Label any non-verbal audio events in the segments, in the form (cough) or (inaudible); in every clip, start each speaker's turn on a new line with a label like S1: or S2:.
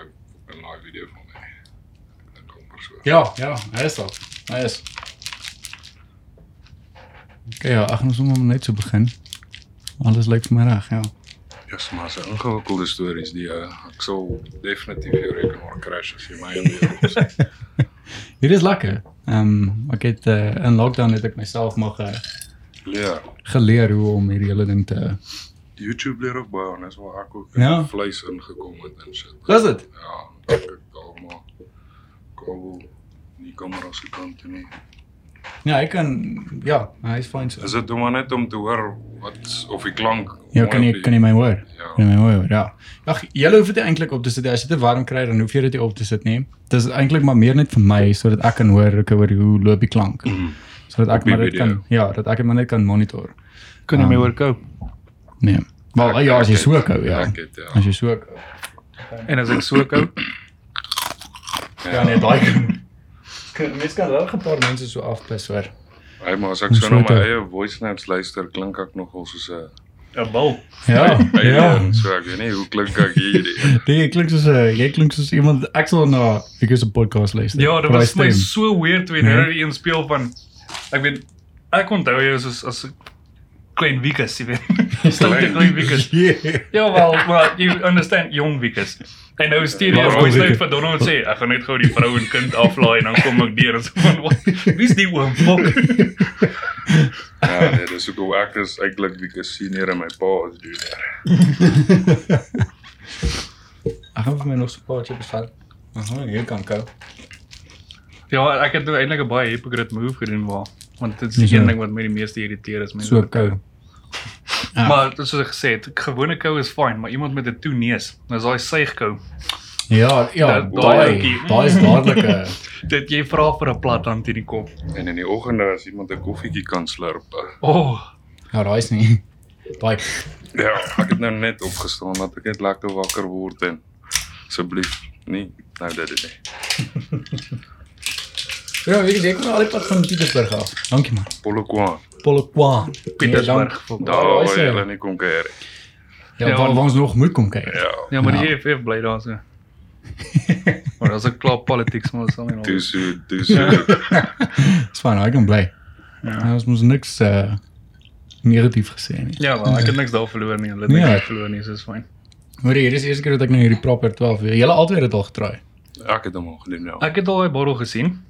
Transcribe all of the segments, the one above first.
S1: een live video van mij. Ik denk amper so.
S2: Ja, ja, hy is daar. Hy is. Okay, ja, ag ons moet net so begin. Alles lyk vir my reg, (laughs) ja.
S1: Ja, yes, maar se ingewikkelde stories die uh, ek sal definitief jou rekenaar crash as jy my (laughs) in die hoofs.
S2: Hier is lekker. Ehm um, ek het uh, in lockdown het ek myself mag uh,
S1: Leer.
S2: geleer hoe om hierdie hele ding te
S1: Ja, YouTube leer ook baie en dis waar ek ook
S2: Ja.
S1: in vleis ingekom het en shit.
S2: Is dit?
S1: Ja, dank ek daar maar kabel nie kamera se kant toe nie.
S2: Ja, ek kan ja, hy is fyn so.
S1: Is dit om maar net om te hoor wat of die klank
S2: Ja, kan jy kan jy my hoor?
S1: Ja.
S2: Kan jy my hoor? Ja. Ag, jy hoef dit nie eintlik op te sit. nie. As jy dit warm kry, dan hoef jy dit nie op te sit nie. Dis eintlik maar meer net vir my sodat ek kan hoor, ek hoor hoe loop die klank. Sodat
S1: Mhm. Op
S2: ek
S1: die
S2: maar dit
S1: video.
S2: kan ja, dat ek dit maar net kan monitor.
S3: Kan jy my hoor koop?
S2: Nee. Maar ja, as jy so kou, ja.
S1: Ek het ja.
S2: As jy so kou.
S3: En as ek so koop,
S2: Ja, nee, daai kan. (laughs) Kan mens kan reg 'n paar mense so afpis hoor.
S1: Hey, maar as ek so
S2: Ons
S1: na my
S2: foto.
S1: eie voice notes luister, klink ek nogal soos 'n
S3: 'n bal.
S2: Ja, ja.
S1: alien. So ek weet nie hoe klink ek
S2: (laughs)
S1: hierdie.
S2: Nee, jy klink soos 'n jy klink soos iemand ek sal na ek is 'n podcast luister.
S3: Ja, dit
S2: Vir
S3: was
S2: hy
S3: my
S2: stem.
S3: so weird toe jy
S2: Nee.
S3: nou een speel van ek weet ek onthou jou as as 'n klein wiekus, jy weet. Stout
S1: Klein
S3: klein
S2: (laughs)
S3: wiekus.
S2: Yeah.
S3: (laughs) Ja wel, (laughs) maar you understand jong wiekus. En nou stuur jy
S2: Waarom
S3: voice note
S2: wiekus?
S3: vir Donald sê ek gaan net gou die vrou en kind aflaai en dan kom ek deur (laughs) en so van "Wat? wie's die oom? Fok.
S2: (laughs)
S1: Ja, nee, dis ook hoe ek is eintlik wie ek senior en my pa is junior.
S2: Ek gaan vir my nog so 'n paar chips vat. Aha, hier kan kou.
S3: (laughs) Ja, ek het nou eintlik 'n baie hypocrite move gedoen waar want dit
S2: Nie
S3: is
S2: so.
S3: die een ding wat my die meeste irriteer is mense.
S2: So kou. Ah.
S3: Maar soos ek gesê het, gewone kou is fyn, maar iemand met 'n toe neus, dis daai suigkou.
S2: Ja, ja,
S3: Dat- daai
S2: daai
S3: ouetjie.
S2: daai is eh, dadelik 'n
S3: Dit jy vra vir 'n plat hand in die kop.
S1: En in die oggende as iemand 'n koffietjie kan slurp. eh.
S3: O, oh,
S2: ja, daai is nie. Daai
S1: Ja, ek het nou net opgestaan dat ek net lekker wakker word en asseblief nie nou dit dit nie.
S2: Ja, weet jy, ek kom al die pad van Pietersburg af. Dankie man.
S1: Polokwan.
S2: Polokwan.
S3: Pietersburg.
S2: Nee, dan-
S1: Daar
S2: daai
S1: waar
S2: is
S1: jy
S2: een-
S1: hulle nie kom kuier.
S2: Ja,
S3: Ja,
S2: waar
S3: want-
S2: waar ons nog moet kom kyk.
S1: Ja.
S3: ja, maar die
S2: Ja.
S3: EFF bly daar so. Maar daar's 'n klop politics maar so en al.
S1: Dis dis ja,
S2: Dis fyn, ek kan bly. Ja. Ons moet niks uh negatief gesê nie.
S3: Ja, maar ek het niks daar verloor nie. Hulle het
S2: Ja.
S3: niks verloor nie, so is fyn.
S2: Hoor jy, dis die eerste keer dat ek nou hierdie proper 12 weer. Julle altyd het dit al getraai.
S1: ek het hom al gedoen ja.
S3: Ek het al daai bottel gesien.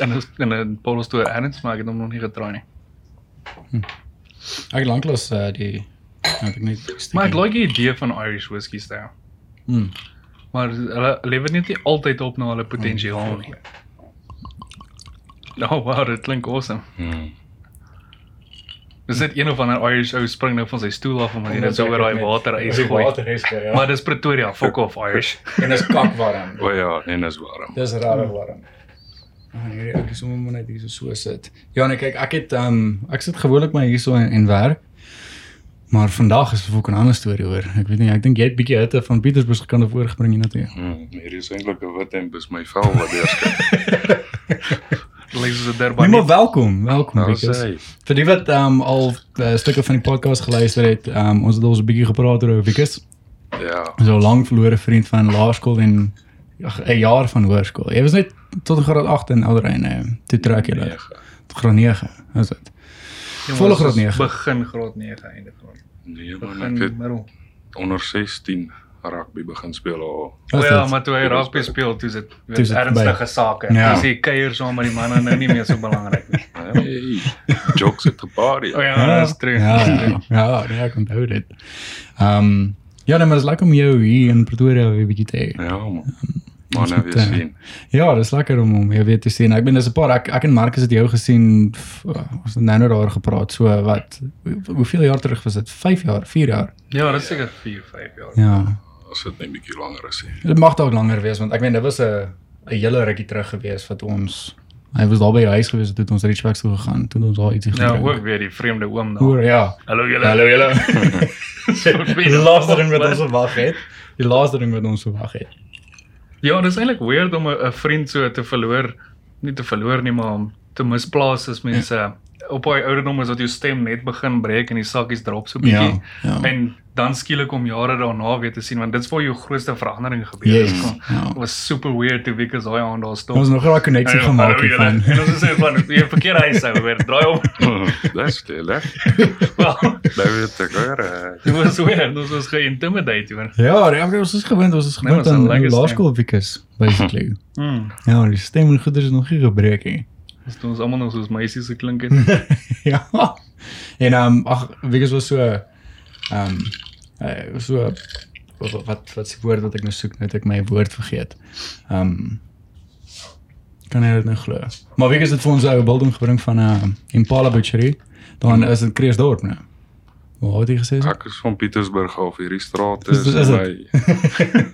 S3: En is in 'n bottel toe erns, maar ek het hom nog nie getraai nie.
S2: Ek het lanklaas uh, die het ek net gestik.
S3: Maar ek like die idee van Irish whiskey styl.
S2: Mm.
S3: Maar hulle lewer net nie altyd op na hulle potensiaal nie. Nou, oh, wow, dit klink awesome.
S1: Hmm.
S3: Dis net een of ander Irish ou spring nou van sy stoel af omdat hy net so oor daai er water ys gooi.
S2: is gooi.
S3: Maar dis Pretoria, fuck off Irish.
S2: en is kak warm.
S1: O ja, en is warm.
S2: Dis rarig warm. Ah, hierdie ek is sommer net hier so so sit. Ja nee, kyk, ek het ehm um, ek sit gewoonlik maar hierso en, en werk. Maar vandag is 'n fucking ander storie hoor. Ek weet nie, ek dink jy het bietjie hitte van Pietersburg se kant af oorgebring hiernatoe.
S1: Hmm, hier is eintlik 'n wit en dis my vel wat deurskyn.
S3: Lees is 'n
S2: Nee,
S3: Durban.
S2: maar welkom, welkom
S1: Nou
S2: Wikus.
S1: sê,
S2: Vir die wat ehm um, al uh, stukke van die podcast geluister het, ehm um, ons het al so 'n bietjie gepraat oor Wikus.
S1: ja,
S2: So lank verlore vriend van laerskool en ag 'n ja, jaar van hoërskool. Jy was net tot in graad 8 in Ouderrein, toe eh, trek jy
S3: Ja.
S2: nou.
S1: nege.
S2: Graad 9, is dit?
S3: Jongens,
S2: volle graad
S3: ons is
S2: nege.
S3: Begin graad 9 einde graad.
S1: Nee, man, ek
S3: Begin
S1: het
S3: middel.
S1: onder 16 rugby begin speel al.
S2: Is
S3: O ja,
S2: dit?
S3: maar toe hy rugby speel, toe is dit
S2: Toe is
S3: weer
S2: dit
S3: ernstige sake.
S2: Ja.
S3: Dis die kuier saam met die manne nou nie meer so belangrik
S2: (laughs)
S3: nie.
S1: (laughs) Hey, jokes het gepaard.
S3: O
S1: Ja.
S3: ja, dis true.
S2: Oh Ja,
S3: Dis
S2: ja,
S3: true.
S2: ja, nee, ek onthou dit. Ehm um, ja, nee, maar dit is lekker om jou hier in Pretoria weer bietjie te hê.
S1: Ja man.
S2: Ons
S1: Maar nou
S2: moet,
S1: weer
S2: eh,
S1: sien.
S2: Ja, dis lekker om hom weer weer te sien. Ek ben dis 'n paar ek ek en Marcus het jou gesien f- ons het nou nou daar gepraat. So wat hoe- hoeveel jaar terug was dit? 5 jaar, 4 jaar.
S3: Ja, dis seker 4, 5 jaar.
S2: Ja.
S1: As dit net 'n bietjie langer
S2: (laughs)
S1: is. hè.
S2: Dit mag dalk langer wees want ek meen dit was 'n 'n hele rukkie terug gewees wat ons hy was daar by die huis gewees toe het ons Richbacks toe gegaan, toe het ons daar ietsie
S3: Nou
S2: gedrink.
S3: ook weer die vreemde oom daar.
S2: Hoor, ja.
S3: Hallo julle.
S2: Hallo julle. (laughs) Die laaste ding wat
S3: Wat?
S2: ons verwag het. Die laaste ding wat ons verwag het.
S3: Ja, dis eintlik weird om 'n 'n vriend so te verloor, nie te verloor nie, maar om te misplaas as mense op daai ouderdom is dat jou stem net begin breek en die sakkies drop so bietjie.
S4: Ja.
S3: Ja. En dan skielik om jare daarna weer te sien want dit's waar jou grootste verandering gebeur
S2: Yes.
S3: het. Kom,
S4: Ja.
S3: It was super weird toe Wikus daai aand daar stop.
S2: Ons nog 'n connectie
S3: Ja,
S2: gemaak
S3: hallo,
S2: hiervan.
S3: julle. En ons sê van jy verkeer hy sou weer draai om.
S1: Dis
S2: (laughs)
S1: lekker.
S3: Wel,
S1: Daar weet ek hoor. eh.
S3: dit was weer, ons was geïntimidate hoor.
S2: (laughs) Ja, ja, maar ons is gewoond, ons is
S3: Nee,
S2: gewoond
S3: ons is
S2: aan
S3: al lekker
S2: laerskool wiekes basically.
S3: Mm.
S2: ja, die stem en goeders is nog nie gebreek nie.
S3: Ons doen ons almal nog soos meisies se klink
S2: (laughs)
S3: het.
S2: ja. En ehm um, ag wiekes was so ehm um, so wat wat wat se woord wat ek nou soek, nou het ek my woord vergeet. Ehm um, kan jy dit nou glo? Maar wiekes het vir ons 'n ou building gebring van 'n uh, Impala Butchery. Dan is dit Kreeusdorp nou. Waar het jy gesê? is dit?
S1: Ek is van Pietersburg af hierdie straat
S2: Is-
S1: is
S2: is
S1: my.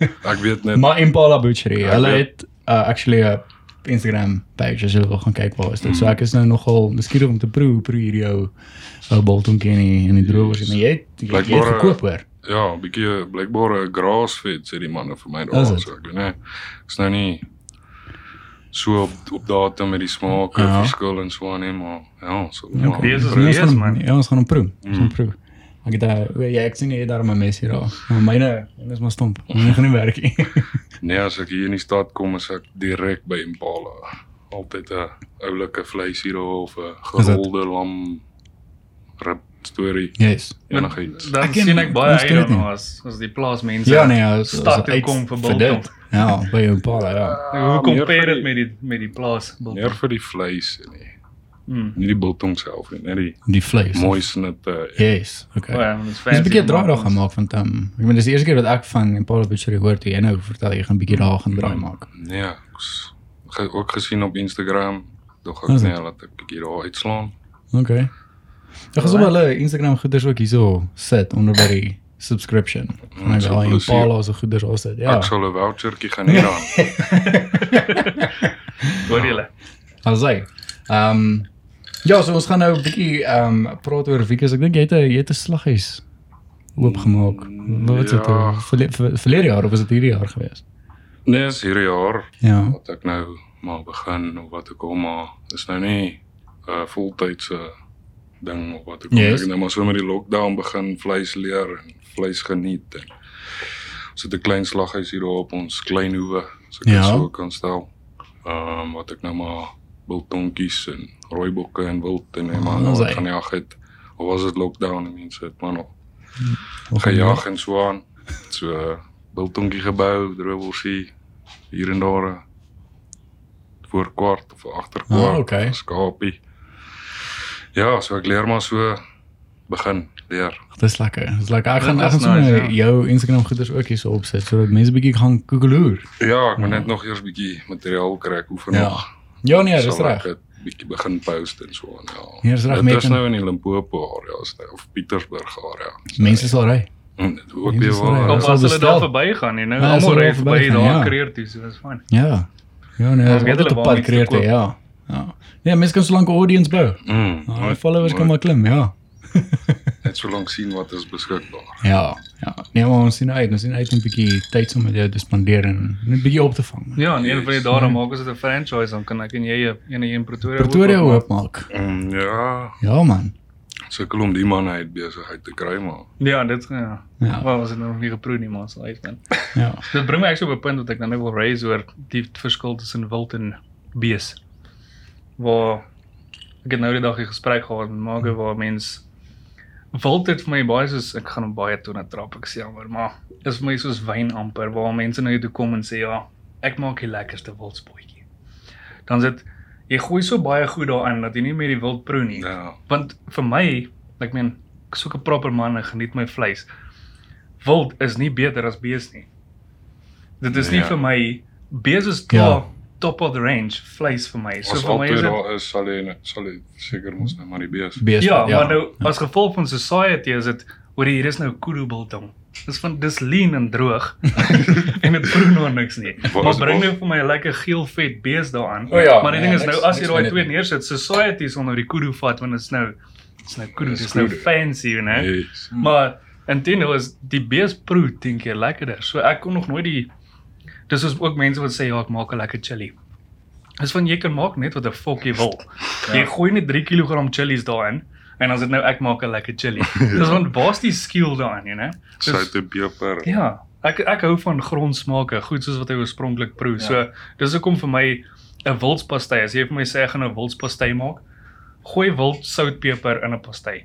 S2: (laughs)
S1: Ek weet net
S2: Maar Impala Butchery,
S1: Ja,
S2: hulle
S1: ja.
S2: het uh, actually 'n Instagram page as jy wil gaan kyk waar is dit. So ek is nou nogal nuuskierig om te proe hoe proe hierdie ou ou biltongkie en die- en die droogers en maar jy het jy het
S1: Blijkbaar, eh,
S2: gekoop hoor.
S1: ja, 'n bietjie blykbaar 'n graasvet sê die manne vir my
S2: Is
S1: daar
S2: het?
S1: so ek weet nie. Is nou nie so op op datum met die smaak en
S2: Ja.
S1: verskil en so aan nie, maar ja, so
S2: Okay.
S1: maar-
S3: Wees is
S2: Ja, ons
S3: wees,
S2: gaan hom-
S3: man. Hmm.
S2: Ja, ons gaan hom proe. Ons gaan
S1: Mm.
S2: proe. Ek het daar weet jy ek sien jy het daar 'n mes hier daar. Maar myne, myne is maar stomp. Myne gaan nie werk nie. (laughs)
S1: Nee, as ek hier in die stad kom, is ek direk by Impala. Altyd 'n oulike vleis hier of 'n
S2: Is dit?
S1: gerolde lam rib storie
S2: Yes.
S1: enigiets.
S3: Dan
S2: Ek ken-
S3: sien ek baie
S2: ons ken
S3: uit
S2: dit nie.
S3: daarna as as die plaasmense.
S2: Ja nee, as
S3: stad toe kom vir biltong.
S2: Ja, by Impala ja.
S3: Hoe
S1: meer
S3: compare
S1: vir
S3: dit
S1: die-
S3: met die met die plaas?
S1: meer vir die vleis nie.
S3: Mm.
S1: Nie die biltong self nie, net die
S2: Die vleis.
S1: mooi snitte.
S2: Yes. Okay.
S3: Ja, dit is
S2: Dis 'n bietjie draai
S3: maar-
S2: daar gaan maak van Tam. Ek meen ehm, dis die eerste keer wat ek van Impala Butchery hoor toe jy nou vertel jy gaan 'n bietjie daar gaan draai maak.
S1: Nee, ek s- ge- ook gesien op Instagram, dog
S2: Is
S1: ek
S2: dit?
S1: net laat ek bietjie daar uitslaan.
S2: Okay. Ek gaan sommer hulle Instagram goeders ook hierso sit onder by die subscription. Gaan ek
S1: so
S2: daai
S1: plezier.
S2: Impala se goeders al sit.
S1: Ja.
S2: Ja.
S1: Ek sal 'n vouchertjie gaan hê
S2: (laughs)
S1: dan.
S3: Hoor julle?
S2: Ja, Alsai. Ehm um, ja, so ons gaan nou 'n bietjie ehm um, praat oor Wikus. Ek dink jy het 'n jy het 'n slaghuis oopgemaak. Wat is dit?
S1: Ja.
S2: Verle- ver- Verlede jaar of was dit hierdie jaar gewees?
S1: Nee, is hierdie jaar
S2: Ja.
S1: wat ek nou maar begin of wat ek al maar is nou nie 'n uh, voltydse ding of wat ek yes.
S2: Yes.
S1: ek het nou maar so met die lockdown begin vleis leer en vleis geniet. En, ons het 'n klein slaghuis hier daar op ons klein hoewe, as ek
S2: Ja.
S1: ja. so kan stel. Ehm um, wat ek nou maar biltonkies en rooibokke en wild en en maar
S2: Ah,
S1: nou
S2: sy.
S1: gaan jag het. Of was dit lockdown en mense het maar nog gejaag en so aan. So eh, biltonkie gebou, droewelsie hier en daar eh, voor kwart of agter kwart,
S2: Ah, oké.
S1: skapie. Ja, so ek leer maar so begin leer.
S2: Dis lekker. Dis lekker. Ek gaan
S3: Dit
S2: ek
S3: is
S2: gaan
S3: nice,
S2: sommer
S3: ja.
S2: jou Instagram goeders ook hierso opsit sodat mense bietjie gaan googleoer.
S1: Ja, ek moet net nog eers bietjie materiaal kry, ek oefen
S2: Ja.
S1: nog.
S2: Ja nee, dis
S1: Sal
S2: reg.
S1: Ek dit bietjie begin post en so aan. Ja.
S2: Nee, dis reg,
S1: Dit
S2: Megan.
S1: is nou in die Limpopo area is nou of Pietersburg area.
S2: Mense sal ry.
S1: Hm, Dit ook
S2: Mense
S1: weer
S2: sal ry.
S1: waar.
S3: Kom
S2: sal
S3: as hulle
S2: bestel.
S3: daar verbygaan en nou
S2: Ja, as
S3: almal
S2: hulle
S3: ry
S2: daar
S3: verby
S2: verbygaan,
S3: daar
S2: ja.
S3: kreer toe, so dis fyn.
S2: Ja. Ja nee,
S3: Ja,
S2: ons
S3: weet
S2: het
S3: hulle
S2: op
S3: waar
S2: pad
S3: mense
S2: kreer toe,
S3: koop.
S2: ja. Ja. Nee, mense kan so lank 'n audience bou.
S1: Mm,
S2: Ah, Die followers kan maar klim, ja.
S1: net so lank sien wat is beskikbaar.
S2: Ja, ja. Nee, maar ons sien uit, ons sien uit om 'n bietjie tyd saam met jou te spandeer en net 'n bietjie op te vang.
S3: Ja, en een van die
S1: Yes.
S3: dae dan maak ons dit 'n franchise dan kan ek en jy 'n- een in Pretoria
S2: Pretoria
S3: oopmaak.
S2: oopmaak.
S1: Mm, ja,
S2: Ja man.
S1: sukkel om die man uit besigheid te kry maar.
S3: Ja, dit ja.
S2: Ja.
S3: Wel, ons het nog nie geproe nie, maar ons sal uitvind.
S2: Ja.
S3: Dit bring my actually op 'n punt wat ek nou net wil raise oor die verskil tussen wild en bees. Waar ek het nou die dag 'n gesprek gehad met Margo waar mens wild het vir my baie soos ek gaan op baie tone trap, ek sê maar, maar is vir my soos wyn amper waar mense nou toe kom en sê ja, ek maak die lekkerste wildspotjie. Dan sit jy gooi so baie goed daarin dat jy nie meer die wild proe nie.
S1: Ja.
S3: Want vir my, ek meen, ek soek 'n proper man en geniet my vleis. Wild is nie beter as bees nie. Dit is nie
S1: Ja.
S3: vir my bees is
S2: Ja.
S3: klaar top of the range vleis vir my. So
S1: As
S3: vir my is
S1: altyd
S3: dit
S1: daar is sal jy net- sal jy seker mos nou maar die bees.
S2: Beest,
S3: ja, maar nou as gevolg van society is dit hoor jy, hier is nou kudu biltong. Dis van dis lean en droog (laughs) en dit proe nou niks nie.
S1: Waar
S3: Maar
S1: is-
S3: bring
S1: waar-
S3: nou vir my 'n lekker geel vet bees daaraan.
S2: O ja,
S3: maar die
S2: nee,
S3: ding is
S2: niks-
S3: nou as jy
S2: niks
S3: daai
S2: met
S3: twee
S2: dit nie.
S3: neersit, society is onder die kudu vat want dit's nou dit's nou kudu,
S1: Dis
S3: dit's nou
S1: kudu.
S3: fancy,
S2: Ja.
S3: you know.
S1: Yes.
S3: Maar intendo is die beesproe 10 keer lekkerder. So ek kon nog nooit die dis is ook mense wat sê ja, ek maak 'n lekker chili. Dis van jy kan maak net wat 'n fok jy wil. Jy gooi net 3 kg chillies daarin en as dit nou ek maak 'n lekker chilli. Dis van waar's die skill daarin, you know?
S1: Sout en peper.
S3: Ja, ek ek hou van grondsmake, goed soos wat hy oorspronklik proe. Ja. So dis hoekom vir my 'n wildspastei, as jy vir my sê ek gaan 'n wildspastei maak, gooi wild soutpeper in 'n pastei.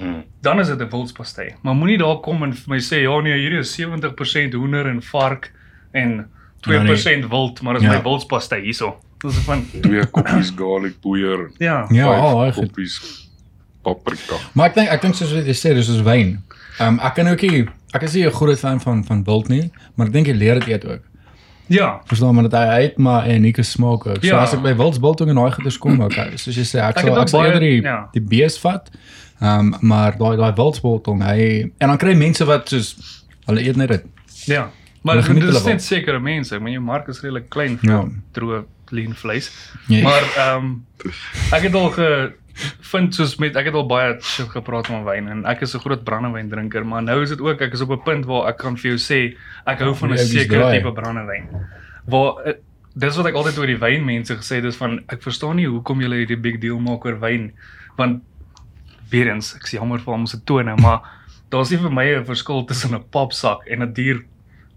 S1: Mm.
S3: Dan is dit 'n wildspastei. Maar moenie daar kom en vir my sê ja nee, hierdie is 70% hoender en vark en 2% ja, nee. wild, maar dis ja.
S2: Ja.
S3: my wildspastei hierso. Dis van
S1: Twee koppies garlic boeier en
S3: ja.
S2: Ja,
S1: vyf
S2: al daai goed.
S1: koppies paprika.
S2: Maar ek dink ek dink soos wat jy sê, dis soos wyn. Ehm um, ek kan ook nie ek is nie 'n groot fan van van wild nie, maar ek dink jy leer dit eet ook.
S3: Ja.
S2: Verstaan maar dat hy uit maar 'n unieke smaak ook. So
S3: Ja.
S2: ja. as ek by Wilds Biltong en daai goeders kom, okay, soos jy sê, ek
S3: Ek
S2: sal
S3: het ook
S2: ek sal
S3: baie-
S2: eerder die,
S3: ja.
S2: ja. die bees vat. Ehm um, maar daai daai Wilds Biltong, hy en dan kry mense wat soos hulle eet net dit.
S3: Ja. Maar
S2: Hulle geniet
S3: dit is
S2: hulle
S3: net sekere mense. Ek meen jou mark is redelik klein vir
S2: Ja.
S3: droë lean vleis.
S2: Ja.
S3: Maar ehm um, ek het al gevind soos met ek het al baie shit gepraat oor wyn en ek is 'n groot brandewyn drinker, maar nou is dit ook ek is op 'n punt waar ek kan vir jou sê ek hou van 'n
S2: Jy is
S3: sekere
S2: Ja, draai.
S3: tipe brandewyn. Waar eh, dis wat ek altyd oor die wynmense gesê het, dis van ek verstaan nie hoekom julle hierdie big deal maak oor wyn want weer eens ek's jammer vir hom se tone, maar daar's nie vir my 'n verskil tussen 'n papsak en 'n duur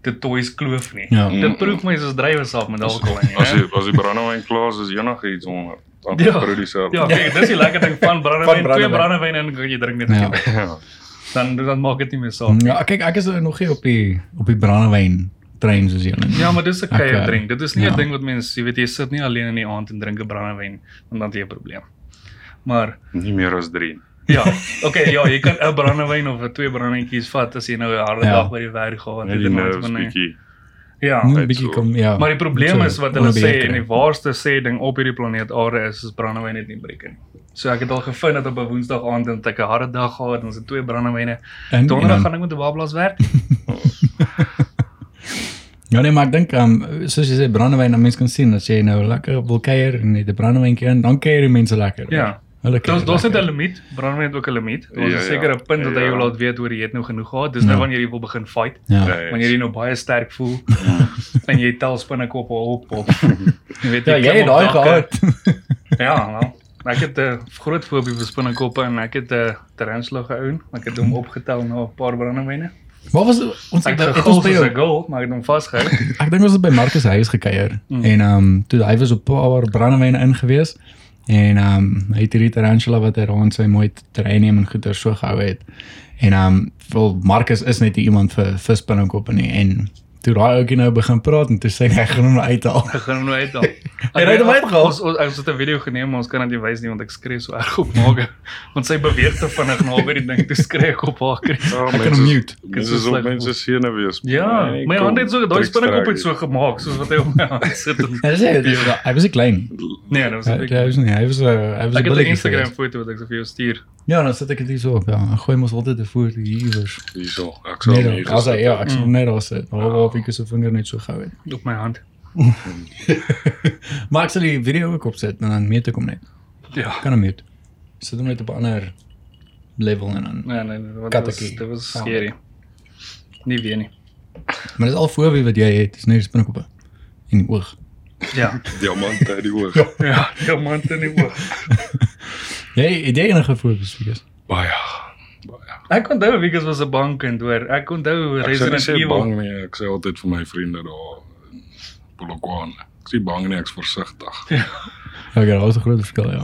S3: te toys kloof nie.
S2: Ja.
S3: Dit proef my soos drywe saap met alkohol in.
S1: As
S3: né?
S1: jy as jy brandewyn klaar is, is enigiets onder. Dan
S3: Ja.
S1: produseer.
S3: Ja, kyk, dis die lekker ding van brandewyn. Twee
S2: brandewyn.
S3: brandewyn en jy drink net
S2: Ja.
S3: ja.
S1: Ja.
S3: dan dan maak dit nie meer saak.
S2: Ja, kyk ek is nog nie op die op die brandewyn trein soos jy nie.
S3: Ja, maar dis 'n kuier
S2: Ek, eh,
S3: drink. Dit is nie 'n
S2: ja.
S3: ding wat mense, jy weet, jy sit nie alleen in die aand en drink 'n brandewyn want dan het jy 'n probleem. Maar
S1: Nie meer as 3.
S3: ja, okay, ja, jy kan 'n brandewyn of 'n twee brandewynkies vat as jy nou 'n harde
S2: Ja.
S3: dag by die werk gehad
S1: Net
S3: het
S1: die
S3: en iets
S1: nerves
S3: van nie.
S1: bietjie.
S3: Ja.
S2: Moet 'n
S1: Net
S2: bietjie
S1: so.
S2: kom, ja.
S3: Maar die probleem
S2: Moet
S3: is
S2: so
S3: wat hulle
S2: onder beheer
S3: sê en
S2: kry.
S3: die waarste sê ding op hierdie planeet Aarde is is brandewyn net nie breek nie. So ek het al gevind dat op 'n Woensdag aand en ek 'n harde dag gehad en ons het twee brandewyne.
S2: En-
S3: Donderdag
S2: en dan-
S3: gaan ek met 'n bablas
S2: (laughs)
S3: werk.
S2: Ja nee, maar ek dink ehm um, soos jy sê brandewyn, mense kan sien as jy nou lekker wil kuier en net 'n brandewyntjie in, dan kuier die mense lekker.
S3: Ja.
S2: Hulle
S3: Daar's
S2: kuier
S3: daar's net
S2: lekker.
S3: 'n limiet. Brandewyn het ook 'n limiet. Daar's
S1: Ja,
S3: 'n
S1: ja.
S3: sekere punt wat hy jou
S1: Ja.
S3: laat weet hoor jy het nou genoeg gehad. Dis nou
S2: Ja.
S3: wanneer jy wil begin fight.
S2: Ja.
S1: Nee,
S3: Wanneer jy nou baie sterk voel (laughs) en jy tel spinnekoppe op
S2: (laughs)
S3: op. Jy weet
S2: Ja, jy
S3: klim
S2: het
S3: op
S2: daai
S3: dakke.
S2: gehad. (laughs)
S3: Ja, wel. Ek het 'n groot fobie vir spinnekoppe en ek het 'n tarantula gehou. Ek het hom opgetel na 'n paar brandewyne.
S2: Wat was het- ons
S3: Ek
S2: ek
S3: het
S2: het ons
S3: gegil
S2: by
S3: soos 'n
S2: jou,
S3: goal, maar ek het hom vasgehou.
S2: ek dink ons het by Marcus huis gekuier
S3: Hmm.
S2: en ehm um, toe hy was op 'n paar brandewyn ingewees en ehm um, hy het hierdie tarantula wat hy rond sy mooi training en goeder so gehou het. En ehm um, wel Marcus is net nie iemand vir vir spinnekop en en toe daai ouetjie nou begin praat en toe sê hy "Ek gaan hom nou uithaal.
S3: Ek gaan hom nou uithaal.
S2: Hy het hom uitgehaal.
S3: Ons ons ons het 'n video geneem, maar ons kan dit nie wys nie want ek skree so erg op Mage. Want sy beweeg te vinnig naby die ding, toe skree ek op haar knie.
S1: Ja,
S2: Ek kan
S1: mense-
S2: hom mute.
S1: Dit
S3: Dit
S1: is
S3: is
S1: op
S3: lekker.
S1: mense senuwees.
S3: Ja,
S1: Nee,
S3: my
S1: kom,
S3: hand het so daai
S1: trek
S3: spinnekop het
S1: strak
S3: so gemaak soos wat hy op my hand sit.
S2: Hy sê dit is hy was nie klein. Ja, er
S3: Nee, dit was
S2: Hy
S3: ek.
S2: hy was nie, hy was 'n hy was 'n
S3: Ek het 'n
S2: billetjie
S3: Instagram
S2: geweest.
S3: foto wat ek so vir jou stuur.
S2: Ja, dan sit ek dit hier so op. Ja, Ek gooi mos altyd 'n voor hier iewers.
S1: Hierso. Ek sal
S2: Nee,
S1: nie.
S2: dan, as hy ja, ek sal net daar sit. Waar waar ek se vinger net so gehou het.
S3: Op my hand.
S2: Maar ek sal die er video ook opsit en dan meet ek hom net.
S1: (laughs)
S3: Ja.
S2: Kan hom mute. Sit hom net op 'n ander level en dan.
S3: Nee, nee, nee, want dit was
S2: Kattekie.
S3: dit was skerry. Nie weer nie.
S2: Maar dis al fobie wat jy het, dis net die spinnekoppe in die oog.
S3: Ja.
S1: diamant uit die oog.
S3: (laughs) Ja, diamant in die oog.
S2: Jy het jy enige fobies vir jy's?
S1: Baie.
S3: Ek onthou Wikus was 'n bankend hoor. Ek onthou
S1: Ek sê
S3: Resident
S1: nie sê
S3: Evil.
S1: bang nie. Ek sê altyd vir my vriende daar in Polokwane. Ek sê bang nie, ek's versigtig.
S2: Okay, daar was 'n groot verskil ja.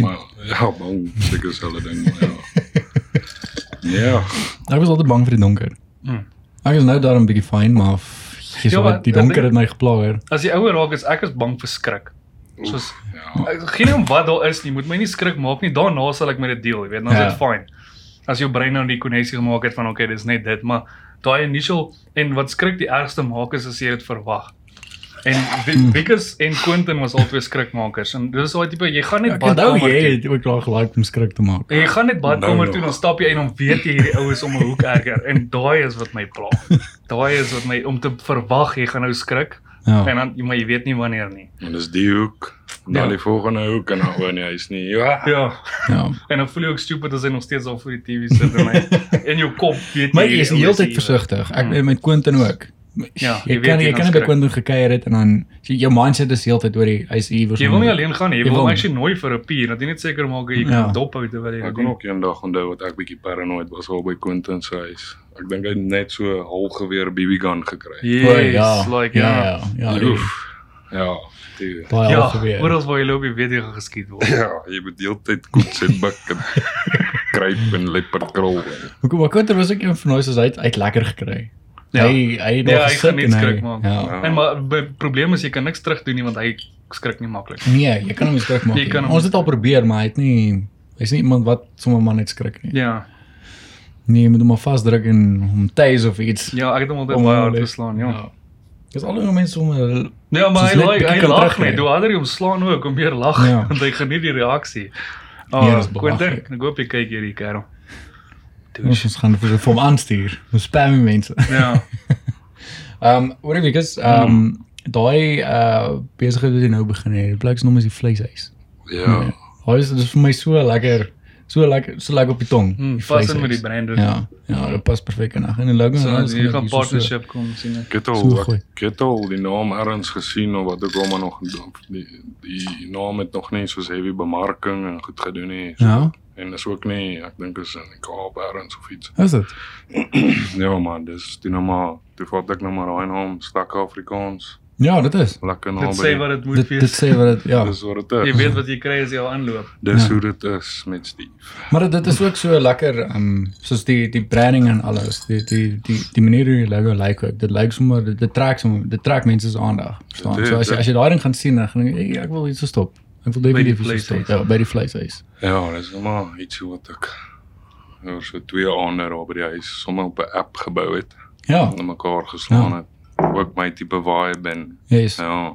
S1: Maar ja, bang seker is hulle ding, maar ja. Ja,
S2: Ek was altyd bang vir die donker.
S3: Mm.
S2: Ek is nou daarom 'n bietjie fyn, maar jy's
S3: Ja,
S2: ja,
S3: maar
S2: wat die
S3: ek dink-
S2: donker het my geplaag. hoor.
S3: As jy ouer raak is ek is bang vir skrik. Soos
S1: ja.
S3: ek gee nie om wat daar is nie, moet my nie skrik maak nie. Daarna sal ek met dit deel, jy weet, dan is
S2: Ja.
S3: dit fyn. As jou brein nou die koneksie gemaak het van okay, dis net dit, maar daai initial en wat skrik die ergste maak is as jy dit verwag. En Wikus en Quentin was albei skrikmakers en dis daai tipe jy gaan net
S2: Ek onthou
S3: badkamer toe.
S2: nou jy het ook daar gelaik om skrik te maak.
S3: En jy gaan net
S1: Nou
S3: badkamer
S1: nog.
S3: toe en dan stap jy en dan weet jy hierdie oues om 'n hoek erger en daai is wat my pla. Daai is wat my om te verwag jy gaan nou skrik
S2: Ja.
S3: en dan maar jy weet nie wanneer nie.
S1: En dis die hoek.
S3: Ja.
S1: Dan die volgende hoek en dan oor nie, hy's nie. Ja.
S3: Ja.
S2: Ja.
S3: En dan voel jy ook stupid as jy nog steeds al voor die TV sit en hy in jou kop weet
S2: Maar jy ja. is die
S3: hierdie
S2: hele
S3: oues
S2: tyd
S3: hier.
S2: versigtig. Ek met Quentin ook.
S3: Ja,
S2: jy,
S3: jy
S2: jy
S3: weet
S2: kan
S3: jy
S2: jy
S3: gaan
S2: kan op 'n
S3: skrik.
S2: kondo gekuier het en dan so jou mindset is heeltyd oor die hy's hier
S3: Jy wil nie alleen gaan nie, jy
S2: Jy
S3: wil
S2: wil
S3: hom
S2: nie.
S3: actually nooi vir 'n pier, dat jy net seker maak jy
S2: Ja.
S3: kan dop hou terwyl jy
S1: Ek
S3: dit
S1: kon
S3: doen.
S1: ook eendag onthou wat ek bietjie paranoid was al by Quentin se huis. Ek dink hy het net so 'n halgeweer BB gun gekry.
S3: Yes, like ja.
S2: ja, ja, ja,
S1: Oef. Ja, die,
S2: baie ja,
S3: Ja,
S2: gebeur.
S3: oral waar jy loop, jy weet jy gaan geskiet word.
S1: ja, jy moet deeltyd koets en buk en kruip en leopardkrol.
S2: Hoekom maar Quentin was ook een van ons as hy het- hy het lekker gekry.
S3: Ja.
S2: Hy hy het
S3: Ja,
S2: nog
S3: hy
S2: gesit
S3: gaan net
S2: en hy-
S3: skrik maak.
S2: Ja.
S1: Ja.
S3: En maar die probleem is jy kan niks terug doen nie want hy skrik nie maklik.
S2: Nee, jy kan hom nie skrik maak.
S3: Jy
S2: nie.
S3: kan hom-
S2: Ons het al probeer, maar hy het nie hy's nie iemand wat sommer maar net skrik nie.
S3: Ja.
S2: Nee, jy moet hom maar vasdruk en hom tase of iets.
S3: Ja, ek het hom altyd
S2: om
S3: baie
S2: hom
S3: hard
S2: net-
S3: geslaan, ja.
S2: Dis al hoe mense om
S3: Ja, maar hy
S2: Soos net
S3: lag, hy
S2: kan
S3: lag
S2: terugkry.
S3: net. Hoe harder jy hom slaan ook, hoe meer lag
S2: Ja.
S3: (laughs) want hy geniet die reaksie.
S2: Nee,
S3: Ah,
S2: dis
S3: Quentin,
S2: belaglik.
S3: ek hoop jy kyk hierdie kerel.
S2: ons ons gaan vir vir hom aanstuur. Ons spam die
S3: (laughs)
S2: mense.
S3: Ja.
S2: Ehm um, oor die week is ehm um, daai uh besigheid wat jy nou begin het. Die plek se naam is die vleishuis.
S1: Ja,
S2: Daai is dis vir my so lekker. So lekker, so lekker op die tong. die
S3: Mm, pas in
S2: vleishuis.
S3: met die brand. Ja.
S2: Ja, ja, dit pas perfek in. En die logo en
S3: So
S2: alles
S3: as jy
S2: gaan
S3: gaan
S2: hier so-
S3: partnership kom sien. ek.
S1: ek het
S2: So
S1: al
S2: gooi.
S1: ek het al die naam ergens gesien of wat ook al maar nog die, die naam het nog nie soos heavy bemarking en goed gedoen nie. So,
S2: Ja,
S1: En is ook nie, ek dink is in die Kaap ergens of iets.
S2: is dit?
S1: Ja man, dis die nou maar, toe vat ek nou maar daai naam stak Afrikaans.
S2: Ja, dit is.
S1: Lekker naam.
S3: Dit sê wat dit moet
S2: Dit dit
S3: wees.
S2: sê wat dit
S3: (laughs)
S2: ja.
S1: Dis wat dit is.
S3: Jy weet wat jy kry as jy al aanloop.
S1: Dis
S2: Ja.
S1: hoe dit is met Steve.
S2: Maar dit- dit is ook so lekker ehm um, soos die die branding en alles. Die die die die manier hoe die logo lyk ook. Dit lyk sommer dit, dit trek sommer dit trek mense se aandag. Verstaan?
S1: Dit- ja.
S2: So as jy
S1: dit-
S2: as jy daai ding gaan sien, dan gaan jy "Hey, ek wil hierso stop. Ek wil
S3: die
S2: definitief hierso stop.
S3: vleishuis.
S2: Ja, by die vleishuis.
S1: Ja, dis nou maar ietsie wat ek oor so twee aande daar by die huis sommer op 'n app gebou het
S2: Ja,
S1: en in mekaar geslaan het. Ook my tipe vibe en
S2: yes. Ja,
S1: ja.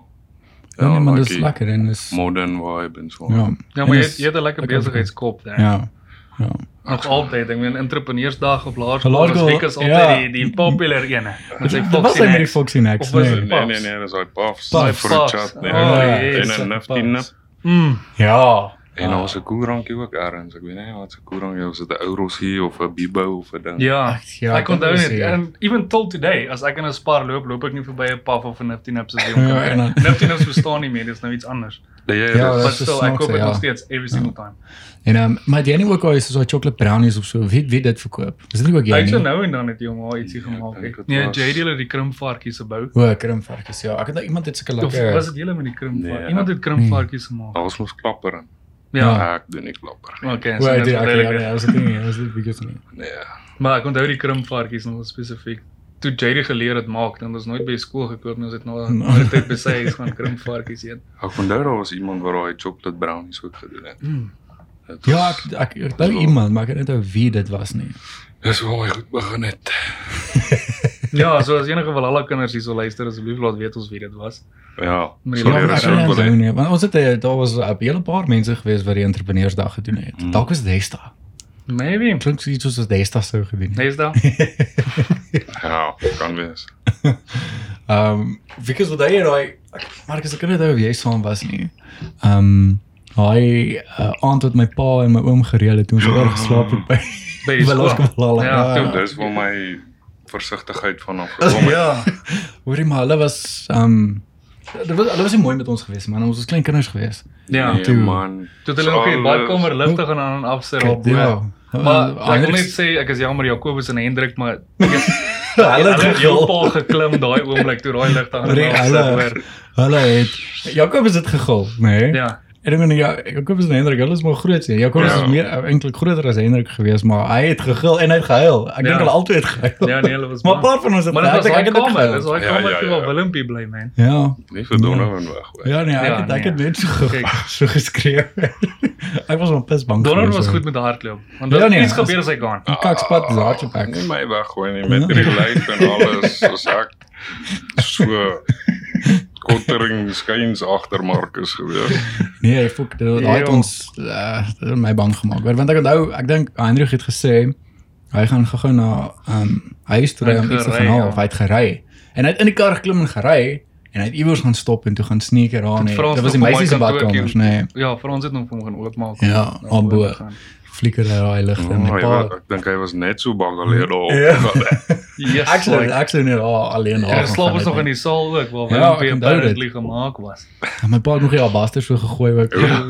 S2: ja nee, maar dit is
S1: like
S2: lekker en is
S1: modern vibe en so.
S2: ja.
S3: Ja,
S2: En
S3: maar jy
S2: dis-
S3: het, jy het 'n lekker
S2: lekker
S3: besigheidskop daar.
S2: Ja. Ja.
S3: Nog altyd, ek meen entrepreneursdag op
S2: Laerskool,
S3: Laerskool was ek is altyd
S2: ja.
S3: die die popular een met sy
S2: Dit was
S3: Foxy
S2: hy met die
S3: Next.
S2: Foxy Next.
S3: Of was
S2: nee.
S3: dit-
S1: Nee
S3: Puffs.
S1: nee nee, dis hy puffs.
S2: Puffs.
S1: Hy fruit
S3: Puffs.
S1: chat nee.
S3: Oh,
S1: En
S2: yes.
S1: 'n nifty nip.
S3: Mm.
S2: Ja.
S1: En ons 'n koerantjie ook ergens. Ek weet nie wat se koerantjie of dit 'n ou rossie of 'n bibo of eh, 'n ding.
S3: Ja.
S2: Ag, ja,
S3: Ja, ek onthou
S2: dit is
S3: net
S2: hier.
S3: en even till today as ek in 'n spaar loop, loop ek nie verby 'n puff of 'n Nifty Nips as jy hom
S2: Ja, en
S3: kan.
S2: dan-
S3: kry. Nifty Nips bestaan nie meer, dis nou iets anders.
S1: Nee, ja,
S2: Ja,
S1: dis-
S2: dis
S3: But
S2: so
S3: still ek koop
S2: snaaks,
S3: dit
S2: ja.
S3: nog steeds every single time.
S2: En ehm um, maar het jy nie ook al is so chocolate brownies of so wie wie dit verkoop? Is dit nie ook jy
S3: Ek sou
S2: nie?
S3: nou en dan het jy hom al ietsie
S1: Ja, ek
S3: gemaak.
S1: dink
S3: het.
S1: het
S3: Nee,
S1: was-
S3: JD het die krimpvarkies gebou.
S2: O, krimpvarkies. Ja, ek het nou iemand het seker
S3: Of was
S2: lekker.
S3: dit julle met die krimpvarkies?
S1: Nee,
S3: Iemand
S1: ek-
S3: het krimpvarkies gemaak.
S1: Daar was mos klapper in.
S3: Ja.
S1: Ja. Ek doen nie klapper nie.
S3: Okay,
S2: O,
S3: so
S2: dit okay,
S3: dit is
S2: ja,
S3: duidelik.
S2: nee, was dit nie, was dit bietjie nie.
S1: Nee.
S3: Maar ek onthou die krimpvarkies nog spesifiek. Toe JD geleer het maak, dan was nooit by skool gekoop nie, ons het nou
S2: No.
S3: altyd tyd by sy huis gaan krimpvarkies eet.
S1: Ek onthou daar was iemand wat daai chocolate brownies ook gedoen het.
S2: Hmm.
S3: Mm.
S1: Dit
S2: Ja,
S1: was-
S2: ek ek ek dink iemand, maar ek weet nie wie dit was nie.
S1: dis waar hy goed begin het.
S3: Ja, so as enige van alle kinders hierso luister, asseblief laat weet ons wie dit was.
S1: Ja.
S3: Maar die
S1: sou
S2: Ja,
S1: leer
S2: maar
S3: laatste
S2: ek
S1: is ook
S2: weet
S1: wel, hè.
S2: nie, nie, want ons het eh, daar was 'n hele paar mense gewees wat die entrepreneursdag gedoen het.
S1: Mm.
S2: Mm. Dalk was Desta.
S3: Maybe.
S2: Klink so iets soos wat Desta sou gedoen het.
S3: Dis daar.
S1: Ja, kan wees.
S2: Ehm um, because wat hy en hy ek- Marcus ek kan net onthou wie hy saam was nie. Ehm um, hy uh, aand wat my pa en my oom gereël het toe ons oor geslaap het by
S3: By die
S2: (laughs) Wel, ons
S3: skool.
S2: kom wel al-
S3: Ja,
S2: ja,
S3: toe.
S2: ja.
S1: Dis vir my versigtigheid van hom
S2: (laughs)
S1: gekom. het.
S2: Ja. Hoorie maar hulle was ehm um, Dit was hulle was nie mooi met ons gewees man, ons was klein kinders gewees.
S3: Ja.
S1: Nee,
S2: toe.
S1: man.
S3: Toe het hulle nog in die
S1: Alles.
S3: badkamer ligte gaan aan en afsit op.
S2: Ja.
S3: bo. Maar ek wil net sê ek is jammer Jakobus en Hendrik,
S2: (laughs)
S3: maar
S2: hulle
S3: (laughs) hulle
S2: het
S3: het
S2: gegil.
S3: heelpaal geklim daai oomblik toe daai ligte aan
S2: Hoorie,
S3: en afsit hoor.
S2: hulle hulle het Jakob is dit gegil, nê? Nee?
S3: Ja.
S2: Ek dink nie, ja, Jakob is en Hendrik, hulle is maar groot sien. Jakob
S1: Ja.
S2: is meer eh, eintlik groter as Hendrik gewees, maar hy het gegil en hy het gehuil. Ek
S3: Ja.
S2: dink hulle altyd het gehuil.
S3: Ja, nee, hulle was
S2: (laughs) maar 'n
S3: bang.
S2: paar van ons het
S3: Maar dit was
S2: ek
S3: daai
S2: dink ek het
S3: kamer,
S2: gehuil.
S3: dis daai
S1: Ja, ja,
S3: kamer toe
S1: ja.
S3: waar Willempie bly man.
S2: Ja.
S1: Nie vir Donovan weg hoor.
S2: Ja nee, ek
S3: Ja,
S2: het ek
S3: nee.
S2: het net so ge-
S3: Kyk.
S2: (laughs) so geskreeu. Ek was op pis bang.
S3: Donner
S2: gewees,
S3: was
S2: hoor.
S3: goed met die hardloop. Want
S2: Ja,
S3: dit
S2: nee,
S3: iets
S2: as-
S3: gebeur as hy gaan.
S2: Die kakspad is hardloop ek.
S1: Nie Nee, my weggooi nie met
S2: Ja.
S1: die lyf en
S2: (laughs)
S1: alles. Ons ek so kottering skuins agter Marcus
S2: (laughs)
S1: gewees.
S2: Nee, fok, dit daai het
S3: Ja.
S2: ons uh, dit het my bang gemaak. hoor, Want ek onthou, ek dink Hendrik het gesê hy gaan gou-gou na ehm um, huis toe
S3: Hy
S2: ry
S3: het
S2: om iets te
S3: gery,
S2: gaan haal
S3: ja.
S2: of hy het gery. En hy het in die kar geklim en gery en hy het iewers gaan stop en toe gaan sneaker aan.
S3: Dit
S2: nee.
S3: vra ons
S2: Dit was die
S3: nog om
S2: meisie
S3: hy
S2: se
S3: kantoortjie-
S2: badkamers, nê. Nee.
S3: Ja, vir ons het hom vir hom gaan oopmaak.
S2: Ja,
S3: Om
S2: aan
S3: oor te
S2: bo.
S3: gaan.
S2: flikker uit daai ligte en my
S1: Oh, ja,
S2: pa.
S1: ek dink hy was net so bang alleen daar.
S2: Ja.
S3: Yes,
S2: Ek sou
S3: like,
S2: ek sou net daar alleen daar.
S3: ja,
S2: gaan
S3: slaap
S2: gaan
S3: ons nog
S2: het,
S3: in die saal ook waar
S2: Ja,
S3: hy
S2: ek
S3: weer
S2: onthou dit.
S3: apparently gemaak was.
S2: En Ja, My pa het nog die alabaster so gegooi ook. (laughs)
S1: Ja.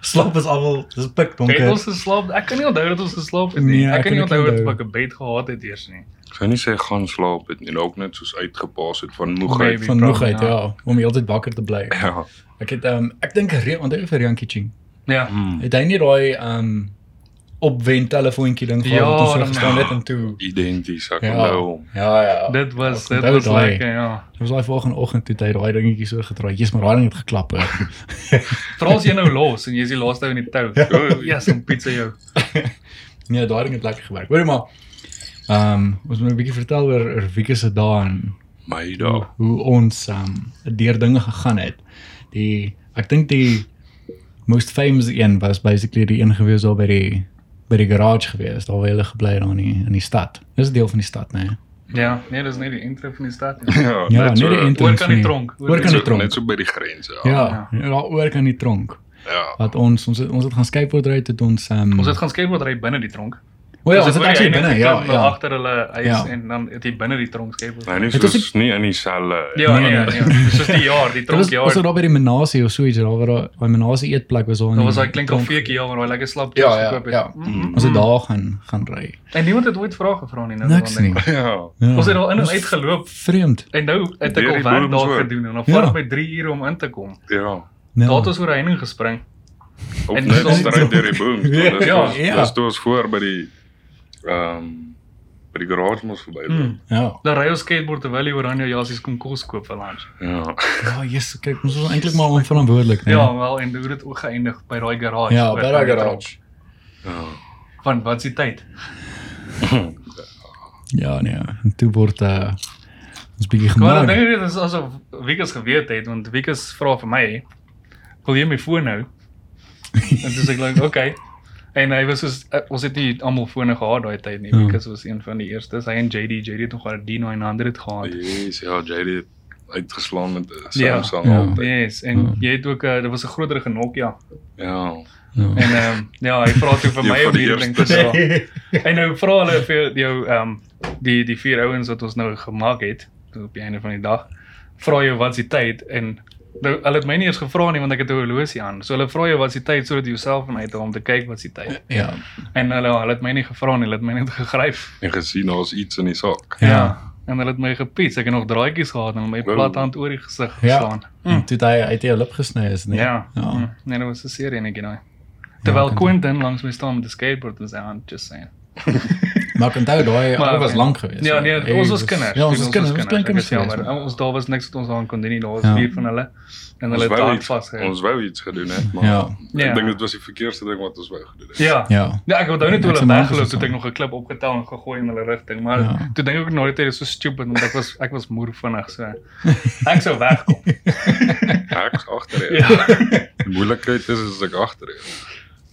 S2: Slaap is almal, dis pik
S3: Okay. Het ons
S2: donker.
S3: geslaap? Ek kan nie onthou dat ons geslaap het nie.
S2: Nee,
S3: ek
S2: ek
S3: kan
S2: kan
S3: nie
S2: ook
S3: onthou
S2: nie
S3: dat
S2: onthou.
S3: ek 'n bed gehad het eers nie.
S1: Ek sou nie sê gaan slaap het nie, dalk net soos uitgepaas het van
S3: Maybe.
S1: moegheid.
S2: Van moegheid,
S3: Ja.
S2: ja, om heeltyd wakker te bly.
S1: Ja.
S2: Ek het ehm um, ek dink Re- onthou vir Jantjie Ching.
S3: Ja.
S1: Mm.
S2: Het hy nie daai ehm um, opwend telefoontjie ding gehad
S3: Ja,
S2: wat ons so
S3: dan-
S2: gestaan het en toe.
S1: Identies, ek
S2: Ja.
S1: onthou hom.
S2: Ja ja.
S3: Dit was
S2: Ek
S3: dit
S2: onthou
S3: was
S2: daai.
S3: lekker, ja.
S2: Dit was daai volgende oggend toe het hy daai dingetjie so gedraai. Jesus, maar daai ding het geklap. hè.
S3: (laughs) Vra as jy nou los en jy's die laaste ou in die tou.
S1: Ja.
S3: Ja, so pizza jou.
S2: Nee, daai ding het lekker gewerk. Hoorie maar. Ehm um, ons moet 'n bietjie vertel oor oor Wieke se dae en
S1: My daag.
S2: hoe ons ehm um, deur dinge gegaan het. Die ek dink die most famous een was basically die een gewees daar by die by die garage gewees, daar waar hulle gebly het daar in die, in die stad. Dis 'n deel van die stad, né? Nee.
S3: Ja, nee, dis nie die intro van die stad nie.
S1: Ja,
S2: Ja, net die
S1: net
S2: entrance
S3: Oor kan die
S2: nie.
S3: tronk.
S2: Oor kan die
S1: so,
S2: tronk.
S1: net so by die grense.
S2: Ja, ja. daar oor kan die tronk.
S1: Ja.
S2: Wat ons ons het, ons het gaan skateboard ry het ons ehm
S3: Ons het gaan skateboard ry binne die tronk.
S2: O ja,
S3: Dus
S2: ons het
S3: waar jy
S2: actually
S3: net
S2: binne,
S3: geklim
S2: ja,
S3: na
S2: ja.
S3: Agter hulle huis
S2: Ja.
S3: en dan het jy binne die tronk skateboard.
S1: Nou nie
S2: Het is
S1: soos nie in dieselfde.
S3: Ja,
S2: Nee,
S3: nee, ja,
S2: nee.
S3: ja. Soos die jaar, die
S2: Dit was
S3: tronkjaar.
S2: ons het daar by die menasie of so iets daar waar daar by menasie eetplek was daar in.
S3: Daar
S2: die
S3: was daai klink
S2: tronk.
S3: kafeetjie ja, waar hy lekker slap
S2: Ja,
S3: chips
S2: ja,
S3: gekoop het.
S2: ja.
S3: Mm.
S2: Ons het daar gaan gaan ry.
S3: En niemand het ooit vrae gevra nie nou.
S2: Niks
S3: dan
S2: nie.
S3: dink ek.
S1: Ja.
S2: Ja.
S3: Ons het al in en
S2: Dis
S3: uit geloop
S2: Vreemd.
S3: en nou het ek
S1: Deur
S3: al
S1: die
S3: werk daar
S1: bodems ook.
S3: gedoen en dan
S2: Ja.
S3: vat my 3 ure om in te kom.
S1: Ja.
S2: Ja.
S3: Daar het ons oor 'n heining gespring.
S1: Op
S3: En
S1: net
S3: dis
S1: ons ry deur die boom.
S2: Ja,
S3: (laughs) ja,
S2: ja.
S1: Dis toe ons voor by die ehm by die garage mos verby. loop.
S3: Mm.
S2: Ja.
S3: Dan ry ons skateboard terwyl jy oranje jasies kom kos koop vir lunch. (laughs)
S1: Ja.
S2: Ja, yes, kyk, ons was eintlik maar onverantwoordelik, né?
S3: Ja, wel en hoe dit ook geëindig by daai garage.
S2: Ja,
S3: By
S2: by
S3: daai
S2: daai garage.
S1: Ja.
S3: tronk. Want wat is die tyd?
S2: Ja, nee. En toe word uh ons bietjie
S1: Nou,
S3: Maar dan
S2: gemaak.
S1: nee.
S3: dink ek nou, nee, dit is asof Wikus geweet het want Wikus vra vir my, "Wil jy my foon hou?" en dis ek like, "Okay." En hy was soos eh, ons het nie almal fone gehad daai tyd nie.
S2: Ja.
S3: Wikus was een van die eerstes. Hy en JD, JD het nog al die 900 gehad.
S1: Yes, ja, JD het uitgeslaan met 'n
S3: Ja.
S1: Samsung
S2: Ja.
S1: altyd.
S3: Yes, en
S2: Ja.
S3: jy het ook uh, dit was 'n groterige Nokia.
S1: Ja.
S2: Ja.
S3: En ehm um, ja, hy vra toe vir
S1: Een
S3: my
S1: van
S3: om
S1: die
S3: hierdie ding te
S1: eerstes. ja.
S3: dra. En nou vra hulle vir jou ehm um, die die vier ouens wat ons nou gemaak het toe op die einde van die dag. Vra jou wat's die tyd en nou hulle het my nie eens gevra nie want ek het 'n horlosie aan. So hulle vra jou wat's die tyd sodat jy jouself kan uithou om te kyk wat's die tyd.
S2: Ja.
S3: En hulle hulle het my nie gevra nie, hulle het my net gegryp.
S1: En gesien daar's iets in die sak.
S2: Ja.
S3: En hulle het my gepiets. Ek het nog draadjies gehad en hulle het my
S1: Wow.
S3: plat hand oor die gesig
S2: Ja.
S3: geslaan.
S2: En Toe het hy uit jou lip gesny is, né?
S3: Mm. Ja.
S2: Ja.
S3: Mm. Nee, dit was 'n serie enetjie daai. Terwyl
S2: kan
S3: Quentin langs my staan met 'n skateboard in sy hand just saying.
S2: Maar ek onthou daai
S3: Maar,
S2: ou was
S3: okay.
S2: lank geweest.
S3: Ja, nee,
S2: Hy
S3: ons was kinders.
S2: Ja,
S3: Toen
S2: ons was kinders, ons was klein
S3: Ek
S2: kinders.
S3: is Jammer,
S2: geweest.
S3: ons daar was niks wat ons aan kon doen nie. Daar was
S2: Ja.
S3: vier van hulle en
S1: Ons
S3: hulle het
S1: wou
S3: daar
S1: iets-
S3: vasgehou.
S1: Ons wou iets gedoen het, maar
S2: Ja.
S3: Ja.
S1: ek dink dit was die verkeerste ding wat ons wou gedoen het.
S3: Ja.
S2: Ja.
S3: Ja, ek onthou net
S2: Ek
S3: hoe
S2: sê
S3: hulle
S2: man,
S3: weggeloop
S2: is
S3: het,
S2: dit
S3: ek het nog 'n klip opgetel en gegooi in hulle rigting, maar
S2: Ja.
S3: toe dink ek nooit dit is so stupid want ek was ek was moer vinnig so. Ek sou
S2: (laughs)
S3: wegkom.
S1: Ek's
S3: (laughs)
S1: agter jou.
S3: Ja.
S1: Die moeilikheid is as ek agter jou.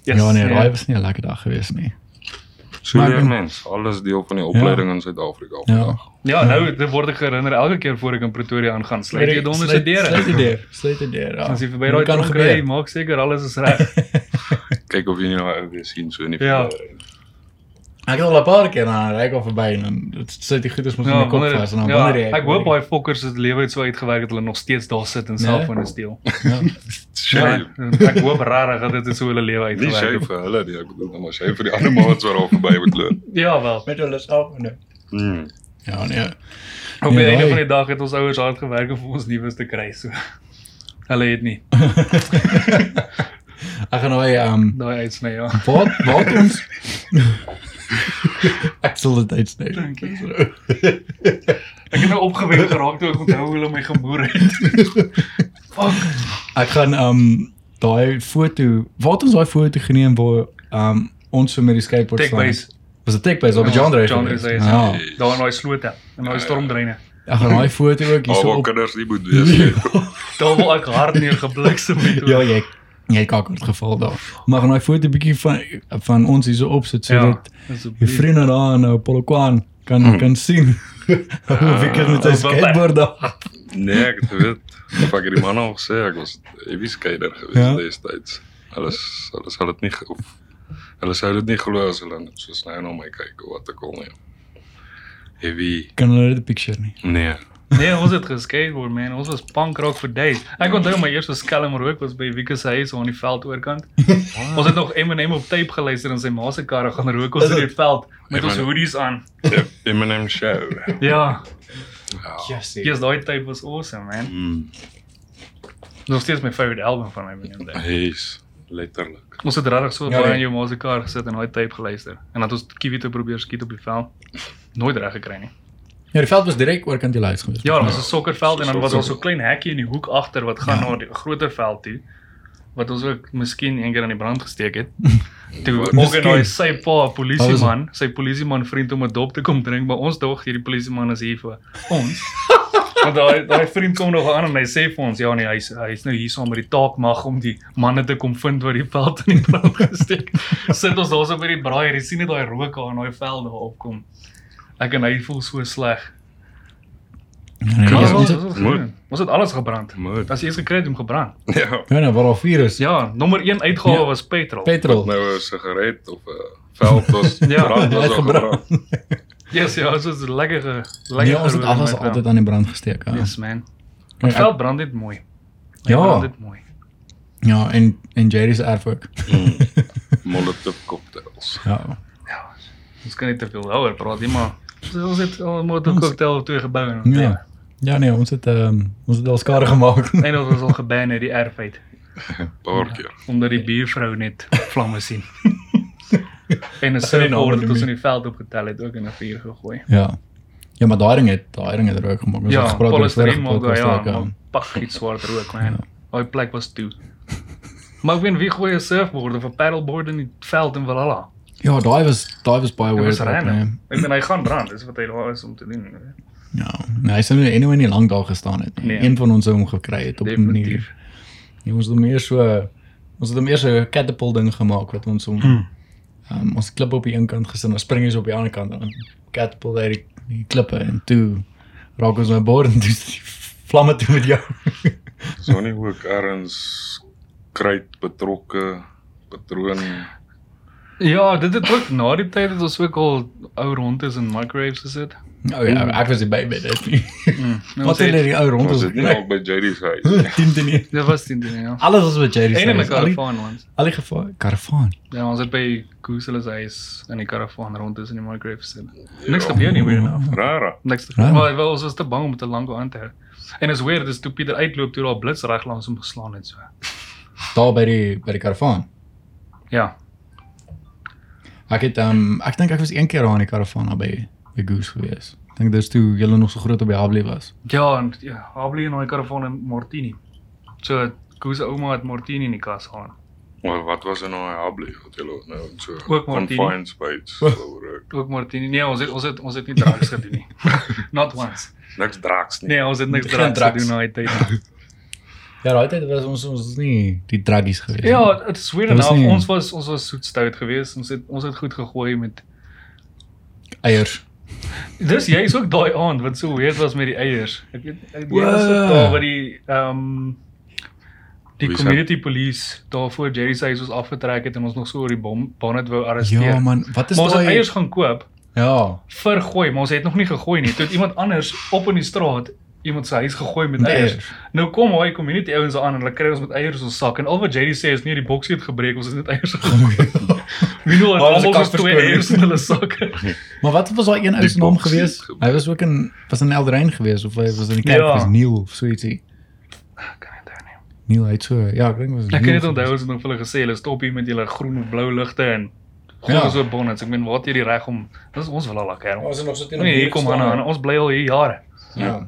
S3: Yes,
S2: ja, nee, daai was nie 'n lekker dag geweest nie.
S1: So
S2: Maar
S1: leer
S2: ek-
S1: mens, alles deel van die opleiding in Suid-Afrika.
S2: Ja.
S3: Ja, nou dit word ek herinner elke keer voor ek in Pretoria aangaan, sluit jy domme se
S2: Sluit
S3: deure.
S2: die deur. Sluit die deur. ja.
S3: As jy verby daai
S2: Kan
S3: tronk
S2: gebeur.
S3: ry, maak seker alles is reg.
S1: Kyk of jy nie nou ou weer sien so in die
S3: Ja.
S1: verkeer.
S2: Ek het al 'n paar keer na ry al verby en dan dit sit die goeders mos in
S3: Ja,
S2: my kop
S3: wonder,
S2: vas en dan
S3: ja,
S2: wonder jy.
S3: ek hoop daai fokkers se lewe het so uitgewerk dat hulle nog steeds daar sit en
S2: Nee.
S3: selfone steel.
S2: Ja.
S3: (laughs)
S1: Shave.
S3: Maar Ek hoop rarig dat dit is hoe hulle lewe
S1: Nie
S3: uitgewerk
S1: shave
S3: het.
S1: vir hulle nie, ek bedoel nou maar shave vir die ander maats wat daar verby moet loop.
S3: Ja wel.
S2: Met hulle selfone.
S1: Mm.
S2: Ja, nee. (laughs)
S3: Op die
S2: Ja,
S3: einde
S2: hy-
S3: van die dag het ons ouers hard gewerk om vir ons nuus te kry so. Hulle het nie
S2: Ek gaan daai um
S3: daai uitsny ja.
S2: wat wat ons
S3: (laughs)
S2: (laughs) Ek sal dit uitsny.
S3: Dankie. Ek het nou opgewek geraak toe ek onthou hoe hulle my geboer het.
S2: nou- (laughs)
S3: Fuck.
S2: Ek gaan um daai foto, wat ons daai foto geneem waar um ons so met die skateboard
S3: Take base.
S2: Was dit take base of John Drake?
S3: John Drake,
S2: Ja.
S1: ja.
S3: Daar in daai slote en daai stormdreine.
S2: Ek gaan daai foto ook
S1: Al
S2: hierso
S1: wat
S2: op.
S1: kinders nie moet wees nie.
S3: Daar word ek hard neergebliksem met
S2: Ja, jy jy kak het geval daar. Maar gaan daai foto bietjie van van ons hierso opsit
S3: Ja.
S2: sodat Je
S3: Vriend,
S2: vrienden daar in uh, Polokwan kan, kan zien (laughs) hoe ik het met zijn
S3: Oh, wat
S2: skateboard daar.
S1: Nee, ek het geweet. Of ek het die man al gesê ek was heavy skater gewees
S2: Ja.
S1: ja. destyds. Alles alles sal dit nie ge- of Hulle sou dit nie glo as hulle net soos nou na my kyk of wat ek al nie. Heavy.
S2: Kan hulle dit 'n picture nie.
S1: Nee.
S3: Nee, ons het geskateboard man. Ons was punk rock vir days. Ek onthou my eerste skelm rook was by Wieke se huis aan die veld
S2: (laughs)
S3: oorkant. Ons het nog Eminem op tape geluister in sy ma se kar en gaan rook ons in die veld met ons hoodies aan.
S1: Ja, (laughs) Eminem show.
S3: Ja,
S1: Ja.
S2: Yes.
S3: yes, daai tape was awesome man.
S1: Mm.
S3: Dis nog steeds my favorite album van Eminem. Day.
S1: He's letterlik.
S3: Ons het regtig so
S2: Ja,
S3: baie
S2: nee.
S3: in jou ma se kar gesit en daai tape geluister. En dat ons kiwi te probeer skiet op die veld. Nooit reg gekry nie.
S2: Ja, die veld was direk oor kant die huis gewees.
S3: Ja, daar was 'n sokkerveld en dan was daar so 'n
S1: Sokker.
S3: klein hekkie in die hoek agter wat gaan na die groter veld toe wat ons ook miskien eendag aan die brand gesteek het. Toe
S2: Miskien.
S3: organiseer sy pa, 'n
S2: Daar
S3: polisieman, sy polisieman vriend om 'n dop te kom drink, maar ons dog hierdie polisieman is hier vir ons. Want daai daai vriend kom nog aan en hy sê vir ons ja nee, hy's hy's nou hier saam met die taak mag om die manne te kom vind wat die veld in die brand gesteek. Sit ons daarso by die braai, jy sien net daai rook aan daai veld daar opkom. Ek en hy voel so sleg.
S2: Nee, ja,
S3: Ja, ons,
S2: ons
S3: ons, ons,
S1: Mooi.
S3: ons, ons het alles gebrand.
S1: Mooi.
S3: As jy eens gekry het om gebrand.
S1: Ja.
S2: Ja, nou waar daar vuur is.
S3: Ja, nommer 1 uitgawe
S2: Ja.
S3: was petrol.
S2: Petrol.
S1: Nou 'n sigaret of 'n velddos
S3: Ja,
S1: brand was al
S2: gebrand.
S1: gebrand.
S3: yes, ja, ons was lekker ge- lekker.
S2: Nee, ons het
S3: geroer
S2: alles
S3: met, ja.
S2: altyd aan die brand gesteek. Ja.
S3: Yes man.
S2: Ja,
S3: Maar
S2: ek-
S3: veld brand dit mooi. Hy
S2: Ja.
S3: Brand dit mooi.
S2: Ja, en en Jerry se erf ook.
S1: Mm. (laughs) Molotov cocktails.
S2: Ja.
S3: Ons kan nie te veel daaroor praat nie, maar ons- ons het al 'n motor cocktail of twee gebou en
S2: Ja. Ja nee, ons het ehm um, ons het al skade gemaak.
S3: En ons was al geban uit die erf uit Ja.
S1: Paar keer.
S3: omdat die buurvrou net vlamme
S2: (laughs)
S3: sien. en 'n
S2: sy nie naam
S3: surfboard
S2: noem
S3: wat ons in
S2: nie.
S3: die veld opgetel het ook in 'n vuur gegooi.
S2: ja. Ja, maar daai ding het daai ding het rook gemaak. Ons het
S3: Ja,
S2: gepraat oor die
S3: polystyreen
S2: vorige
S3: maak daai ja,
S2: podcast ook, ehm,
S3: maar pak iets swart rook man. Daai plek was toe. Maar ek weet wie gooi 'n surfboard of 'n paddleboard in Ja die veld in Valhalla.
S2: Ja, daai was daai was baie
S3: Dit
S2: weird.
S3: was
S2: ook, nee.
S3: random. Ek meen hy gaan brand, dis wat hy daar is om te doen. nee.
S2: Ja, nee, hy sou nie anyway nie lank daar gestaan het nie.
S3: Nee.
S2: Een van ons sou hom gekry het op 'n manier.
S3: Definitief.
S2: Nee, ons het hom eers so ons het hom eers so 'n catapult ding gemaak wat ons hom
S3: Hmm.
S2: um, ons klip op die een kant gesin, ons spring hy's op die ander kant en dan catapult hy die, die klippe en toe raak ons my bord en toe is die vlamme toe met (laughs) jou.
S1: So nie ook erns kruit betrokke patroon
S3: Ja, dit het ook na die tyd het ons ook al ou rondes in microwaves gesit.
S2: Nou ja, ek was nie by by dit nie.
S3: Mm.
S2: (laughs) Wat
S3: nou, ons Ja.
S2: het hulle
S3: het
S2: die ou rond
S1: was
S2: ons
S1: dit nie (laughs) al by JD se
S3: (laughs)
S1: huis.
S2: 10 10 nie.
S3: Dit was dit ja.
S2: Alles was met Jerry.
S3: Een in 'n
S2: se huis, al die-
S3: karavaan ons.
S2: Al die gevaar karavaan.
S3: Ja, ons het by Kusel's huis in die karavaan rondes in die microwaves gesit. Niks gebeur nie weer nou.
S1: Rara.
S3: Niks te
S2: Ja.
S3: doen. Maar wel, ons was te bang om te lank aan te hou. En is weer dis toe Pieter uitloop toe daar blits reg langs hom geslaan het so.
S2: Daar by die by die karavaan.
S3: Ja.
S2: Ek het um ek dink ek was een keer daar in die karavaan daar by by Goose gewees. Ek dink dis toe julle nog so groot op die Habli was.
S3: Ja, en ja, Habli en daai karavaan en Martini. So Koos ouma het Martini in die kas gehad.
S1: Maar wat was in daai hable wat hulle nou so
S3: Ook Martini.
S1: confined space oor
S3: Ook Martini. Nee, ons het ons het ons het nie drugs gedoen nie. (laughs) Not once.
S1: niks draaks nie.
S3: Nee, ons het niks
S2: Geen
S3: drugs
S2: drugs.
S3: gedoen daai tyd.
S2: (laughs)
S3: nie.
S2: Ja, daai tyd was ons ons was nie die druggies gewees.
S3: Ja, dit is weird
S2: Dit was
S3: enough.
S2: nie-
S3: Ons was ons was soet stout geweest. Ons het ons het goed gegooi met
S2: eiers.
S3: Dis jy is ook daai aand wat so weird was met die eiers. Ek weet ek weet was dit
S2: Wow.
S3: daar waar die ehm um, die
S1: Police
S3: community police daarvoor Jerry se huis ons afgetrek het en ons nog so oor die bom bonnet wou arresteer.
S2: Ja man, wat is
S3: maar ons het
S2: daai?
S3: eiers gaan koop
S2: Ja.
S3: vir gooi, maar ons het nog nie gegooi nie. Toe het iemand anders op in die straat iemand se huis gegooi met
S2: Met
S3: eiers.
S2: eiers.
S3: Nou kom hy community ouens aan en hulle kry ons met eiers in ons sak en al wat Jerry sê is nee, die boksie het gebreek, ons het net eiers gegooi. Wie nou
S2: Alles
S3: al ons
S2: kak
S3: twee
S2: verskoon.
S3: eiers in hulle sakke.
S2: (laughs) Maar wat was daai een ou
S1: Die
S2: se naam
S1: boksies
S2: gewees?
S1: gebeur.
S2: Hy was ook in was in Elderrein gewees of hy was in die kerk
S3: Ja.
S2: was Neil of so ietsie.
S3: Kan dit nou nie.
S2: Neil hy het so. Ja, ek dink was
S3: Ek kan
S2: Neil
S3: net onthou
S2: gewees.
S3: ons het nog vir hulle gesê hulle stop hier met julle groen en blou ligte en
S2: Ja.
S3: gooi ons oor bonnets. Ek meen waar het jy die reg om dis ons wil al lekker.
S2: Ja, Ons het nog so teen
S3: Nee, hier kom aan aan. Ons bly al hier jare.
S2: Ja.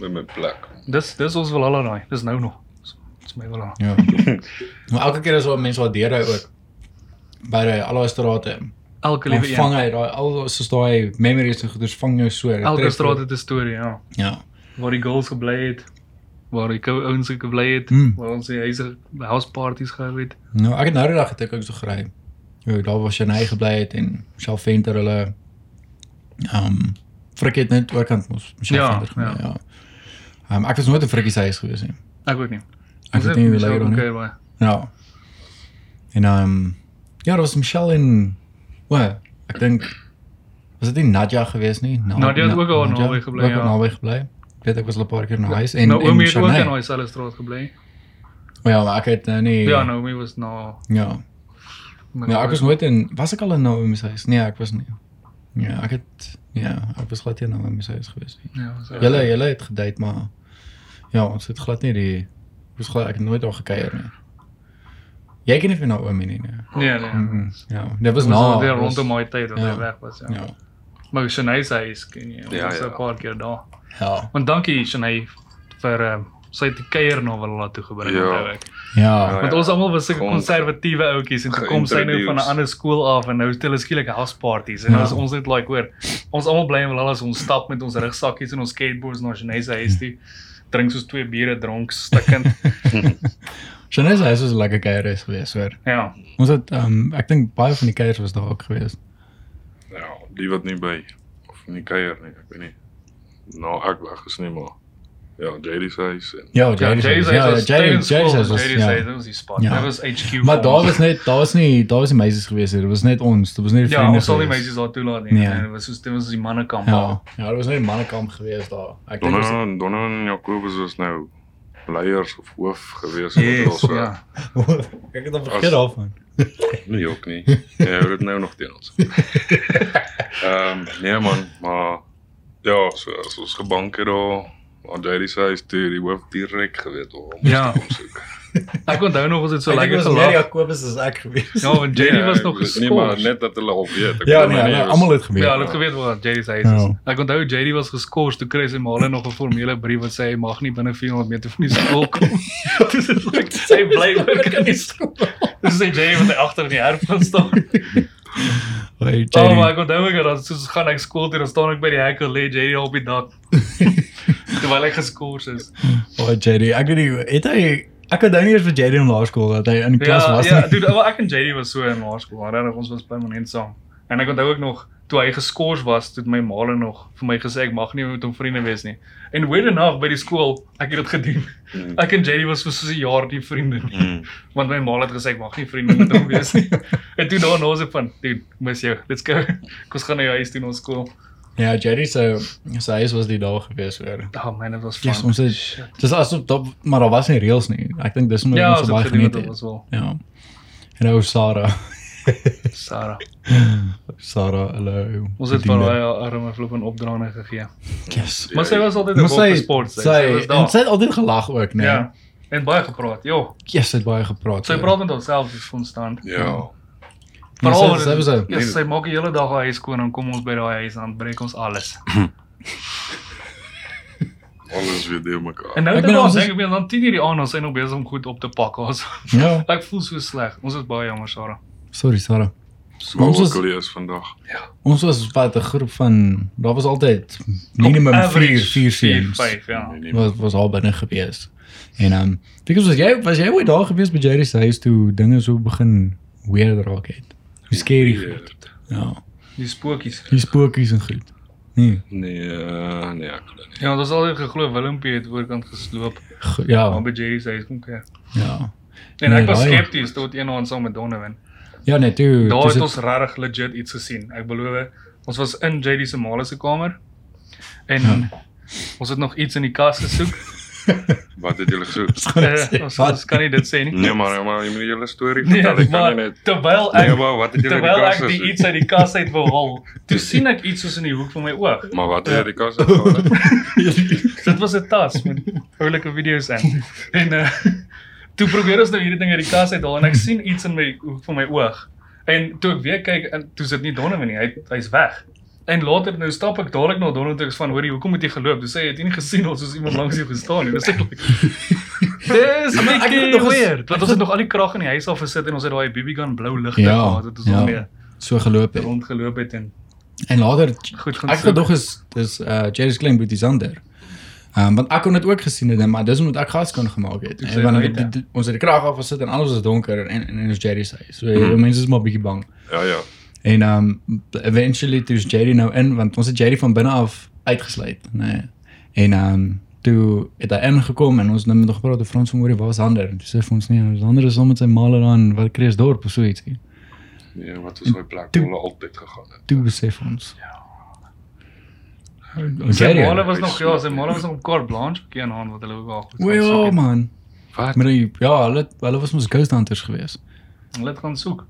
S1: By
S3: Nee.
S1: my plek.
S3: Dis dis ons wil al aan daai. Dis nou nog. Dis- Dis my wil aan.
S2: Ja. (laughs) maar elke keer as wat mense wat deur hy ook by die al daai strate
S3: Elke
S2: dan
S3: liewe
S2: vang
S3: een.
S2: hy daai al daai- soos daai memories en goeders vang jou so. dit
S3: Elke
S2: tref
S3: straat
S2: jou.
S3: het 'n storie, ja.
S2: Ja.
S3: Waar die girls gebly het, waar die ou ouens gebly het,
S2: Hmm.
S3: waar ons die huise house parties gehou het.
S2: Nou, ek het nou die dag het ek ook so gery. Ja, daar was Janey gebly het en Shalventer hulle ehm um, Frik het net oorkant mos Shalventer gebly.
S3: Ja,
S2: Ja. ja. Um, ek was nooit in Frikkie se huis gewees nie.
S3: Ek weet nie.
S2: Ek weet nie hoe lekker daar nie.
S3: was.
S2: Ja. En ehm um, Ja, daar was Michelle en o, ek dink was dit nie Nadia gewees nie? Na,
S3: Nadia het ook al in Naby gebly,
S2: Ook
S3: ja.
S2: in Naby gebly. Ek weet ek was al 'n paar keer na huis en
S3: Naomi
S2: en
S3: nou, het ook in
S2: Shanae.
S3: daai selfde straat gebly.
S2: Maar ja, maar ek het nou nie
S3: Ja, Naomi was na
S2: ja. Ja, ek was nooit in was ek al in Naomi se huis? Nee, ek was nie. Ja, ek het ja, ek was glad nie in Naomi se huis gewees nie.
S3: Ja, was ek-
S2: Julle julle het gedate maar ja, ons het glad nie die ons glad ek het nooit daar gekuier nie. Jy ken nie vir Naomi nie. Nee.
S3: Nee, nee.
S2: Mm -mm. Ja, dit was
S3: Ons
S2: na
S3: was nou weer
S2: was-
S3: rondom my tyd wat
S2: Ja.
S3: hy weg was. Ja.
S2: Ja.
S3: Maar Shanay se huis ken jy.
S1: Ja,
S3: Ja, ja.
S1: ja.
S3: 'n paar keer daar.
S2: Ja.
S3: Want dankie Shanay vir ehm sy het die kuier nou na Walla toe gebring
S1: Ja.
S3: onthou ek.
S2: Ja.
S3: Want ons almal was sulke
S1: Kom.
S3: konservatiewe ouetjies en toe kom sy nou van 'n ander skool af en nou stel hulle skielik houseparties en
S2: Ja.
S3: nou is ons net like hoor. Ons almal bly en wil alles ons stap met ons rugsakkies en ons skateboards na Chinese huis toe. Drink soos twee biere dronk stikkend. (laughs)
S2: Shannon se huis was 'n lekker kuier is geweest hoor.
S3: ja.
S2: Ons het um ek dink baie van die kuiers was daar ook geweest.
S1: Ja, die wat nie by of nie kuier nie, ek weet nie. Nou ek weg is nie maar. Ja, JD se huis en
S2: Ja,
S3: Ja,
S2: Jay's huis.
S3: Jay's ja,
S2: Ja,
S3: was tydens
S2: Jay's Jay's
S3: skool,
S2: huis
S3: Jay's
S2: was.
S3: huis,
S2: ja.
S3: dit was die spot.
S2: Ja.
S3: Dit was HQ.
S2: Maar daar
S3: ons.
S2: was net daar was nie daar was nie meisies geweest hier. Dit was net ons. Dit was net
S3: Ja,
S2: vriende.
S3: ons sal nie
S2: geweest.
S3: meisies daar toelaat nie.
S2: Nee.
S3: Nee, Dit was soos dit was die mannekamp.
S2: Ja, ja, daar was net 'n mannekamp geweest daar. Ek dink ons-
S1: Donna Donna en Jacobus was nou leiers of hoof gewees
S3: Yes, ja.
S2: (laughs) ek het al vergeet daarvan.
S1: Nee, ook nie. Ja, hou dit nou nog teen ons. Ehm nee man, maar ja, so as ons gebanke daar Maar Jerry se huis toe die hoof direk geweet hoe om
S3: Ja.
S1: te kom
S3: (laughs)
S1: soek.
S3: Ek onthou nog ons het so
S2: Ek dink
S3: lekker
S2: dit was meer
S3: gelag.
S2: Jakobus as ek geweest.
S3: Ja, en JD was
S1: ek
S3: nog
S1: weet nie maar
S3: geskort.
S1: net dat hulle al weet. ek
S2: Ja,
S1: weet maar
S2: nee,
S1: nie,
S2: hulle
S1: is-
S2: almal het geweet. (laughs)
S3: Ja, hulle het
S1: Ja.
S3: geweet wat JD se huis
S2: Ja.
S3: is. Ek onthou JD was geskort toe kry sy maal nog 'n formele brief wat sê hy mag nie binne 400 meter van die skool kom. Dis like sy bly werk in die skool. (laughs) Dis sê JD wat hy agter in die erf gaan staan.
S2: Hey,
S3: Oh my
S2: Jay.
S3: god, onthou ek dat soos gaan ek skool toe dan staan ek by die hekkel lê JD al op die
S2: (laughs)
S3: dak. Terwyl hy geskort is.
S2: Oh, Jay. Ek weet nie, het hy ek het dan nie eers vir Jay in laerskool dat hy in die klas
S3: Ja,
S2: was
S3: ja,
S2: nie. (laughs)
S3: dude, wel, ek en JD was so in laerskool. Regtig, ons was permanent saam. En ek onthou ook nog toe hy geskort was, toe het my maale nog vir my gesê ek mag nie met hom vriende wees nie. En weird enough by die skool, ek het dit gedoen.
S1: Mm.
S3: (laughs) Ek en JD was vir so 'n jaar die vriende nie,
S1: Mm.
S3: want my maal het gesê ek mag nie vriende met hom wees nie. (laughs) en toe daarna was ek van, dude, mis jou. Let's go. (laughs) Kom ons gaan na jou huis toe na skool.
S2: Ja, Jerry se sy huis was die dag gewees hoor.
S3: Oh man, dit was fun.
S2: Yes, ons het dis asof dat maar daar was nie reëls nie. Ek dink dis omdat
S3: Ja,
S2: ja,
S3: ons
S2: ons so
S3: het
S2: baie
S3: gedoen
S2: geniet
S3: dit
S2: het.
S3: was
S2: (laughs)
S3: wel.
S2: Ja. En ou Sarah.
S3: Sarah.
S2: Sarah, hallo.
S3: Ons het vir haar arme flop en opdraande gegee.
S2: Yes.
S3: Maar sy was altyd 'n
S2: Maar
S3: goeie
S2: sy
S3: sport.
S2: Ja, sy en sy het altyd gelag ook, nee.
S3: Ja. En baie gepraat. Jo,
S2: Yes, sy het baie gepraat.
S3: sy
S2: hoor.
S3: praat met homself is konstant.
S1: Ja.
S2: Maar
S3: Veral
S2: sy- sy was
S3: sy,
S2: een-
S3: ja, sy maak die hele dag haar huis skoon en kom ons by daai huis en dan breek
S2: (laughs)
S3: ons alles.
S1: Alles weer deur mekaar.
S3: En nou
S2: Ek
S3: dan
S2: bedoel,
S3: ons
S2: ons is-
S3: dink ek meer dan 10:00 die aand ons is nog besig om goed op te pak.
S2: (laughs)
S3: Ons
S2: Ja.
S3: ek voel so sleg. Ons is baie jammer, Sarah.
S2: Sorry Sarah.
S1: Maar
S2: ons
S1: ook
S2: was-
S1: al hier is vandag.
S2: Ons was wat 'n groep van daar was altyd minimum 4 4 seuns.
S3: 5, ja.
S1: Nee, nee,
S2: Was was al binne gewees. En ehm um, because was jy was jy ooit daar gewees by Jerry se huis toe dinge so begin weird raak het. Hoe scary
S1: nee,
S2: goed. Ja.
S3: Die spookies.
S2: Die spookies en goed. Nee.
S1: Nee, eh, nee, ek glo nie.
S3: Ja, ons het altyd geglo Willempie het oorkant gesloop.
S2: Go-
S3: Maar
S2: Ja,
S3: by Jerry se huis kom kyk.
S2: ja.
S3: En
S2: Nee,
S3: ek was
S2: daai-
S3: skepties tot een aand saam met Donovan.
S2: Ja, net toe.
S3: Daar
S2: dis
S3: het
S2: het- (laughs)
S3: ons regtig legit iets gesien. Ek beloof, ons was in JD se maale se kamer. En
S2: Ja.
S3: ons het nog iets in die kas
S2: (laughs)
S3: gesoek. (laughs)
S1: Wat het julle gesoek?
S3: Eh, ons, ons kan nie dit sê nie.
S1: (laughs) Nee maar, nee, maar jy moet julle storie
S3: Nee,
S1: vertel. Ek
S3: maar
S1: kan nie net
S3: terwyl
S1: Nee,
S3: ek
S1: maar wat het julle in die
S3: terwyl
S1: kas
S3: ek die iets
S1: gesoek?
S3: uit die kas uit wou haal, toe sien ek iets soos in die hoek van my oog.
S1: Maar wat het jy die kas gesoek?
S3: Dit was 'n tas met oulike video's in. En uh toe probeer ons nou hierdie ding uit die kas uithaal en ek sien iets in my hoek van my oog. En toe ek weer kyk, en toe sit nie Donovan nie. Hy hy's weg. En later nou stap ek dadelik na Donovan toe ek is van hoorie, hoekom het jy geloop? Toe sê hy het jy nie gesien ons soos iemand langs jou gestaan nie. Dis net like Dis
S2: ek het
S3: net
S2: nog eens-
S3: weer.
S2: ek
S3: Dat ons het nog al die krag in die huis af gesit en ons het daai BB gun blou ligte
S2: Ja,
S3: gehad. Dit ons
S2: ja.
S3: al mee
S2: so geloop het.
S3: rondgeloop het en
S2: En later
S3: goed gaan
S2: ek
S3: soek.
S2: gedog is dis uh Jerry's klein boetie Sander. Ehm um, want ek kon dit ook gesien het, maar dis omdat ek gas kon gemaak het.
S3: sê ja.
S2: En want
S3: nooit,
S2: dit- dit- ons het die krag af gesit en alles was donker en en, en is Jerry se huis. So
S3: Mhm.
S2: mm. mense is maar 'n bietjie bang.
S1: Ja ja.
S2: En um eventually toe is Jerry nou in want ons het Jerry van binne af uitgesluit, nê. Nee. En um toe het hy ingekom en ons het net nog gepraat oor Frans van Moorie, waar's Hander? En toe sê hy vir ons nee, Hander is saam met sy maal daar in wat Kreeusdorp of so ietsie.
S1: Nee, wat is daai plek waar hulle altyd gegaan het?
S2: Toe besef ons. Ja.
S3: Sy
S2: Jerry.
S3: male was nog ja, sy male was nog op Carte Blanche bekend aan wat hulle ook al goed gaan soek
S2: Wow
S3: het.
S2: ja, man.
S1: Wat?
S2: Maar die- ja, hulle hulle was mos ghost hunters geweest.
S3: Hulle het gaan soek.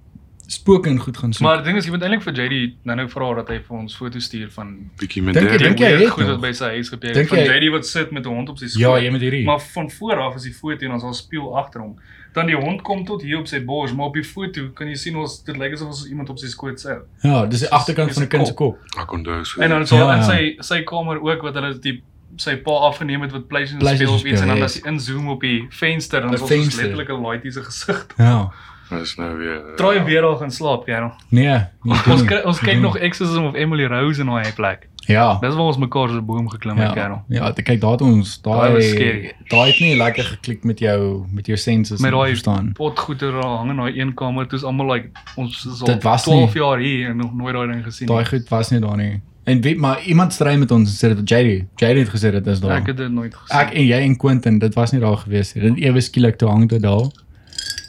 S2: Spooke en goed gaan soek.
S3: Maar die ding is jy moet eintlik vir JD nou-nou vra dat hy vir ons foto stuur van
S1: Bietjie met
S2: Dink jy
S1: derde.
S2: Dink
S3: Dink
S2: jy
S3: jy
S2: hy het
S3: goed
S2: nog?
S3: wat by sy huis gebeur het
S2: Dink
S3: van
S2: jy-
S3: JD wat sit met 'n hond op sy skoot.
S2: ja, jy moet hierdie.
S3: Maar van voor af is die foto en ons al speel agter hom. Dan die hond kom tot hier op sy bors, maar op die foto kan jy sien ons dit lyk asof ons iemand op sy skoot sit.
S2: Ja, dis die agterkant van 'n kind se kop.
S1: Ek onthou so.
S3: En dan so
S2: Ja,
S3: in
S2: ja.
S3: sy sy kamer ook wat hulle die sy pa afgeneem het wat PlayStation,
S2: PlayStation
S3: PlayStation speel of iets en dan
S2: speel,
S3: as jy inzoom op die venster dan
S2: Die
S3: is ons
S2: venster.
S3: letterlik 'n laaitie se gesig.
S2: Ja.
S1: Dis nou weer.
S3: Try weer al gaan slaap,
S2: (laughs)
S3: Karel.
S2: Nee, nie doen
S3: Ons
S2: nie.
S3: kry, ons kyk
S2: Doen
S3: nog
S2: nie.
S3: Exorcism of Emily Rose in daai plek.
S2: Ja.
S3: Dis waar ons mekaar se boom geklim het,
S2: Ja.
S3: Karel.
S2: Ja, te kyk daar het ons
S3: Nou, Daai was
S2: daai
S3: scary.
S2: daai het nie lekker geklik met jou met jou senses
S3: Met
S2: nie,
S3: daai-
S2: verstaan.
S3: Potgoeder daar hang in daai een kamer, toe's almal like ons is al
S2: Dit was
S3: 12
S2: nie-
S3: jaar hier en nog nooit daai ding gesien nie.
S2: Daai goed was nie daar nie. En weet maar iemand stry met ons en sê dit JD. JD het gesê dit is daar.
S3: Ek het dit nooit gesien.
S2: Ek en jy en Quentin, dit was nie daar gewees nie. Dit ewe skielik toe hang dit daar.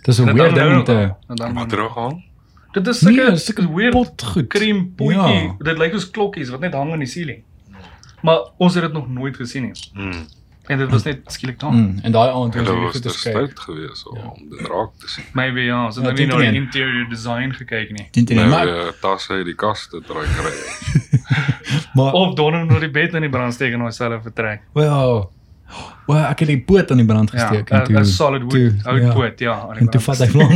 S2: Dis 'n
S3: Dit
S2: weird
S3: hang nou
S2: ding om
S3: nog
S2: te
S3: daar. Dit hang
S1: Wat
S3: nou nog.
S1: terug aan?
S3: Dit is
S2: Nee,
S3: sulke
S2: dis sulke
S3: weird
S2: pot goed.
S3: krem potjie.
S2: Ja.
S3: Dit lyk soos klokkies wat net hang aan die ceiling. Maar ons het dit nog nooit gesien nie.
S2: Hmm.
S1: Mm.
S3: En dit was net skielik daar. Mm.
S2: Mm, en daai aand was
S1: Hulle
S2: dit
S1: was
S2: goed
S1: te
S2: geskei.
S1: stout geweest al, om dit raak te sien.
S3: Maybe ja, ons het
S2: Ja,
S3: nou nie na
S2: dink
S3: die
S2: nie.
S3: interior design gekyk nie.
S2: Dit nie
S1: Nou
S2: maar
S1: eh, tasse uit die kas te draai kry.
S2: maar
S3: Of dan hom na die bed in die brandsteek en homself vertrek.
S2: wel. Wel, ek het die poot aan die brand
S3: Ja,
S2: gesteek en
S3: 'n
S2: toe.
S3: 'n solid wood,
S2: toe-
S3: oud
S2: ja.
S3: poot, ja. aan die
S2: En toe
S3: brand.
S2: vat hy vlam.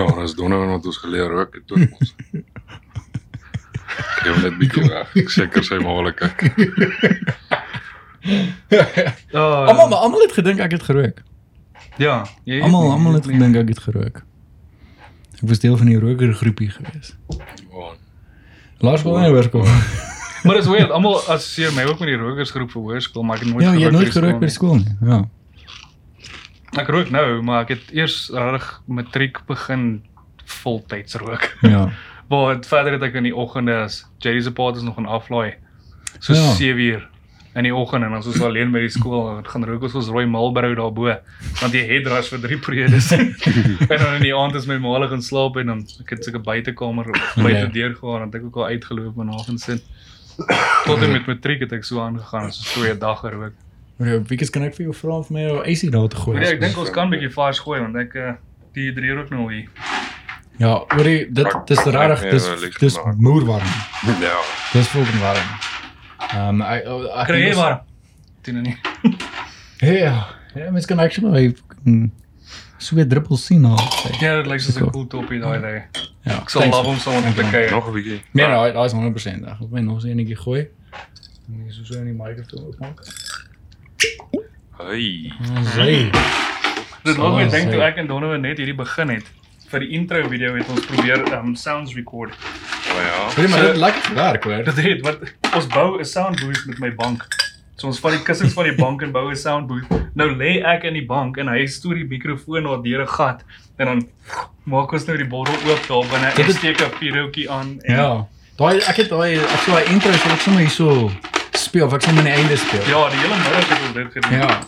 S3: (laughs)
S1: Ja, dis donder wat ons geleer ook het toe ons. Ek het net bietjie weg. Ek seker sy maal kyk.
S3: Ja,
S2: Almal maar almal het gedink ek het gerook.
S3: Ja, jy weet
S2: Almal
S3: nie,
S2: almal
S3: jy
S2: het
S3: weet nie.
S2: gedink ek het gerook. Ek was deel van die rokergroepie gewees.
S1: Ja.
S2: Lars wil nie hoor kom.
S3: Maar dis weird, almal assosieer my ook met die rokersgroep vir hoërskool, maar ek het nooit
S2: Ja, jy het nooit gerook by
S3: nie.
S2: die skool nie. Ja.
S3: Ek rook nou, maar ek het eers regtig matriek begin voltyds rook.
S2: Ja.
S3: Waar het verder het ek in die oggende as Jerry se pa het ons nog in aflaai. So
S2: Ja.
S3: ja. 7 uur in die oggend en ons was alleen by die skool en gaan rook ons ons rooi Marlboro daarbo want jy het ras vir drie periodes. en dan in die aand is my maalig gaan slaap en dan ek het seker buitekamer buite
S2: Ja.
S3: deur gegaan en ek het ook al uitgeloop en avonds in. Tot en met matriek het ek so aangegaan so twee dae gerook.
S2: Maar ja, jou wiekies kan ek vir jou vra om vir my jou AC daar te gooi.
S3: Maar ja, ek dink ons kan 'n bietjie vars gooi want ek eh, die drie rook nou hier.
S2: Ja, oor die dit dis regtig dis dis moerwarm.
S1: Ja.
S2: Dis fucking warm. Ehm ek ek
S3: Kry jy maar. Dit nie.
S2: Ja, ja, mens kan actually my fucking sweet druppels sien al.
S3: Ja, dit lyk soos 'n cool topie daai daai.
S2: Ja.
S3: Ek sal love om saam te kyk.
S1: Nog 'n bietjie.
S2: Nee, daai daai is 100% reg. Ek wil nog so enetjie gooi. Moet jy so so in die mikrofoon oopmaak.
S1: Hey.
S2: Hey.
S3: Dit laat my
S2: Ah,
S3: dink toe
S2: sê.
S3: ek en Donovan net hierdie begin het vir die intro video het ons probeer um sounds record.
S1: Maar Nou ja.
S2: Hoor jy maar dit het lekker gewerk hoor.
S3: Dit het wat ons bou 'n sound booth met my bank. So ons vat die kussings van die bank en bou 'n sound booth. Nou lê ek in die bank en hy stoor die mikrofoon na deur 'n gat en dan maak ons nou die bottel oop daar binne.
S2: Dit
S3: Ek
S2: is-
S3: steek 'n pierootjie aan en
S2: Ja. Daai ek het daai ek sou daai intro so ek sommer hierso speel of ek sommer aan die einde speel.
S3: ja, die hele middag het ons dit gedoen.
S2: Ja.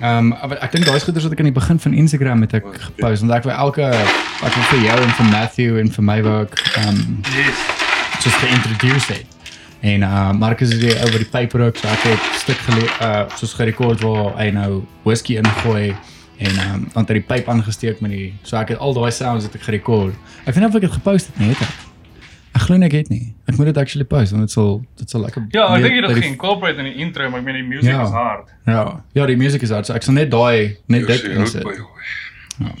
S2: Ehm um, ek dink daai goeders wat ek aan die begin van Instagram het ek gepost want ek wou elke ek wou vir jou en vir Matthew en vir my ook ehm um,
S3: Yes.
S2: soos geïntroduce het. En uh Marcus het oor die paper ook so ek het stuk gele uh soos gerekord waar hy nou whisky ingooi en ehm um, want hy het die pyp aangesteek met die so ek het al daai sounds het ek gerekord. Ek weet nie of ek dit gepost het nie, het ek. Ek glo nie ek het nie. Ek moet dit actually post want dit sal dit sal lekker
S3: Ja, ek
S2: meer
S3: dink jy
S2: by
S3: het
S2: die-
S3: dit geïncorporate in die intro, maar ek meen die music
S2: Ja.
S3: is hard.
S2: Ja, ja, die musiek is uit. So ek sal net daai net
S1: Dis
S2: dit
S1: ook
S2: insit.
S1: by hoor.
S2: Ja.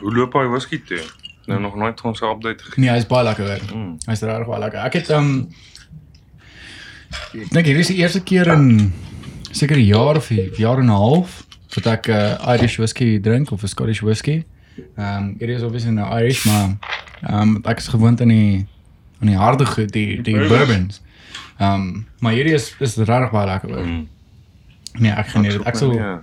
S1: Hoe loop hy whisky toe? Nou nog nooit ons 'n update gegee.
S2: Nee, hy's baie lekker hoor.
S1: Mm.
S2: Hy's regtig baie lekker. Ek het um ek dink hierdie is die eerste keer in seker 'n jaar of 'n jaar en 'n half wat ek uh, Irish whiskey drink of 'n Scottish whiskey. Um hierdie is obviously nou Irish, maar um ek is gewoond aan die aan die harde goed, die die
S3: Bourbons.
S2: bourbons. Um maar hierdie is is regtig baie lekker hoor.
S1: Mm.
S2: Nee, ek geniet dit. Ek sal
S1: Ja.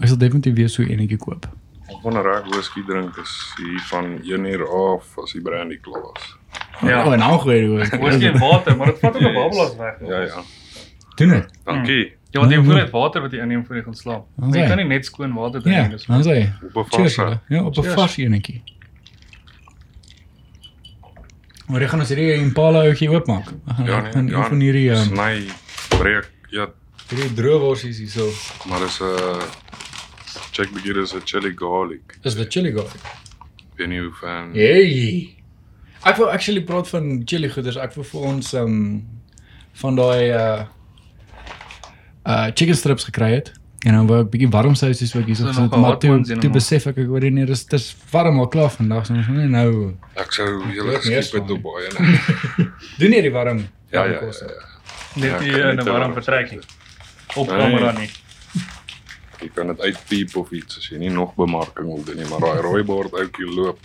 S2: ek sal definitief weer so enetjie koop.
S1: Ek wonder reg whisky drink is hier van 1 uur af as die brandy klaar is.
S3: Ja.
S2: Oh, en nou gooi hoor.
S3: Hoor jy water, maar dit vat ook 'n babbel as weg.
S1: Ja ja.
S2: Doen dit.
S1: Dankie.
S3: Ja, want
S2: Nee,
S3: die
S2: nee.
S3: hoeveelheid water wat jy inneem voor jy gaan slaap.
S2: Dan
S3: Jy
S2: sê.
S3: kan nie net skoon water drink
S2: Ja,
S3: nie. dis-
S2: dan sê.
S1: Op 'n
S2: Cheers.
S1: vaste.
S2: julle. Ja, op 'n
S1: Cheers.
S2: vars enetjie. Maar ek gaan ons hierdie Impala ouetjie oopmaak. Ek gaan
S1: Ja,
S2: ek gaan
S1: nee,
S2: een
S1: ja.
S2: van hierdie
S1: Is
S2: um,
S1: my breek. Ja,
S2: hierdie droeworsies hierso
S1: maar is 'n uh, check bietjie is 'n chili garlic.
S2: is the chili garlic.
S1: Ek weet nie hoe van
S2: Ja. Hey. Ek wou actually praat van chili goeders. Ek wou vir ons um van daai uh uh chicken strips gekry het. En dan wou ek bietjie warm sousies ook hierso
S3: So
S2: gesit,
S3: nogal
S2: maar
S3: hot
S2: toe
S3: ones en
S2: toe
S3: allemaal.
S2: besef ek ek hoor nie dis dis warm al klaar vandag, so ons moet nie nou
S1: ek sou julle
S2: weet nie eens
S1: geskiep het
S2: van
S1: op baie. nee.
S2: doen hierdie warm.
S1: Ja,
S2: warm
S1: ja, ja.
S2: kos.
S1: ja. Ja,
S3: Net
S1: kan
S3: nie
S1: nie
S3: in
S1: te
S3: 'n warm
S1: warm
S3: vertrek nie. Op
S1: Nee.
S3: kamera nie.
S1: (laughs) Jy kan dit uitpiep of iets as jy nie nog bemarking wil doen nie, maar daai rooibord ouetjie loop.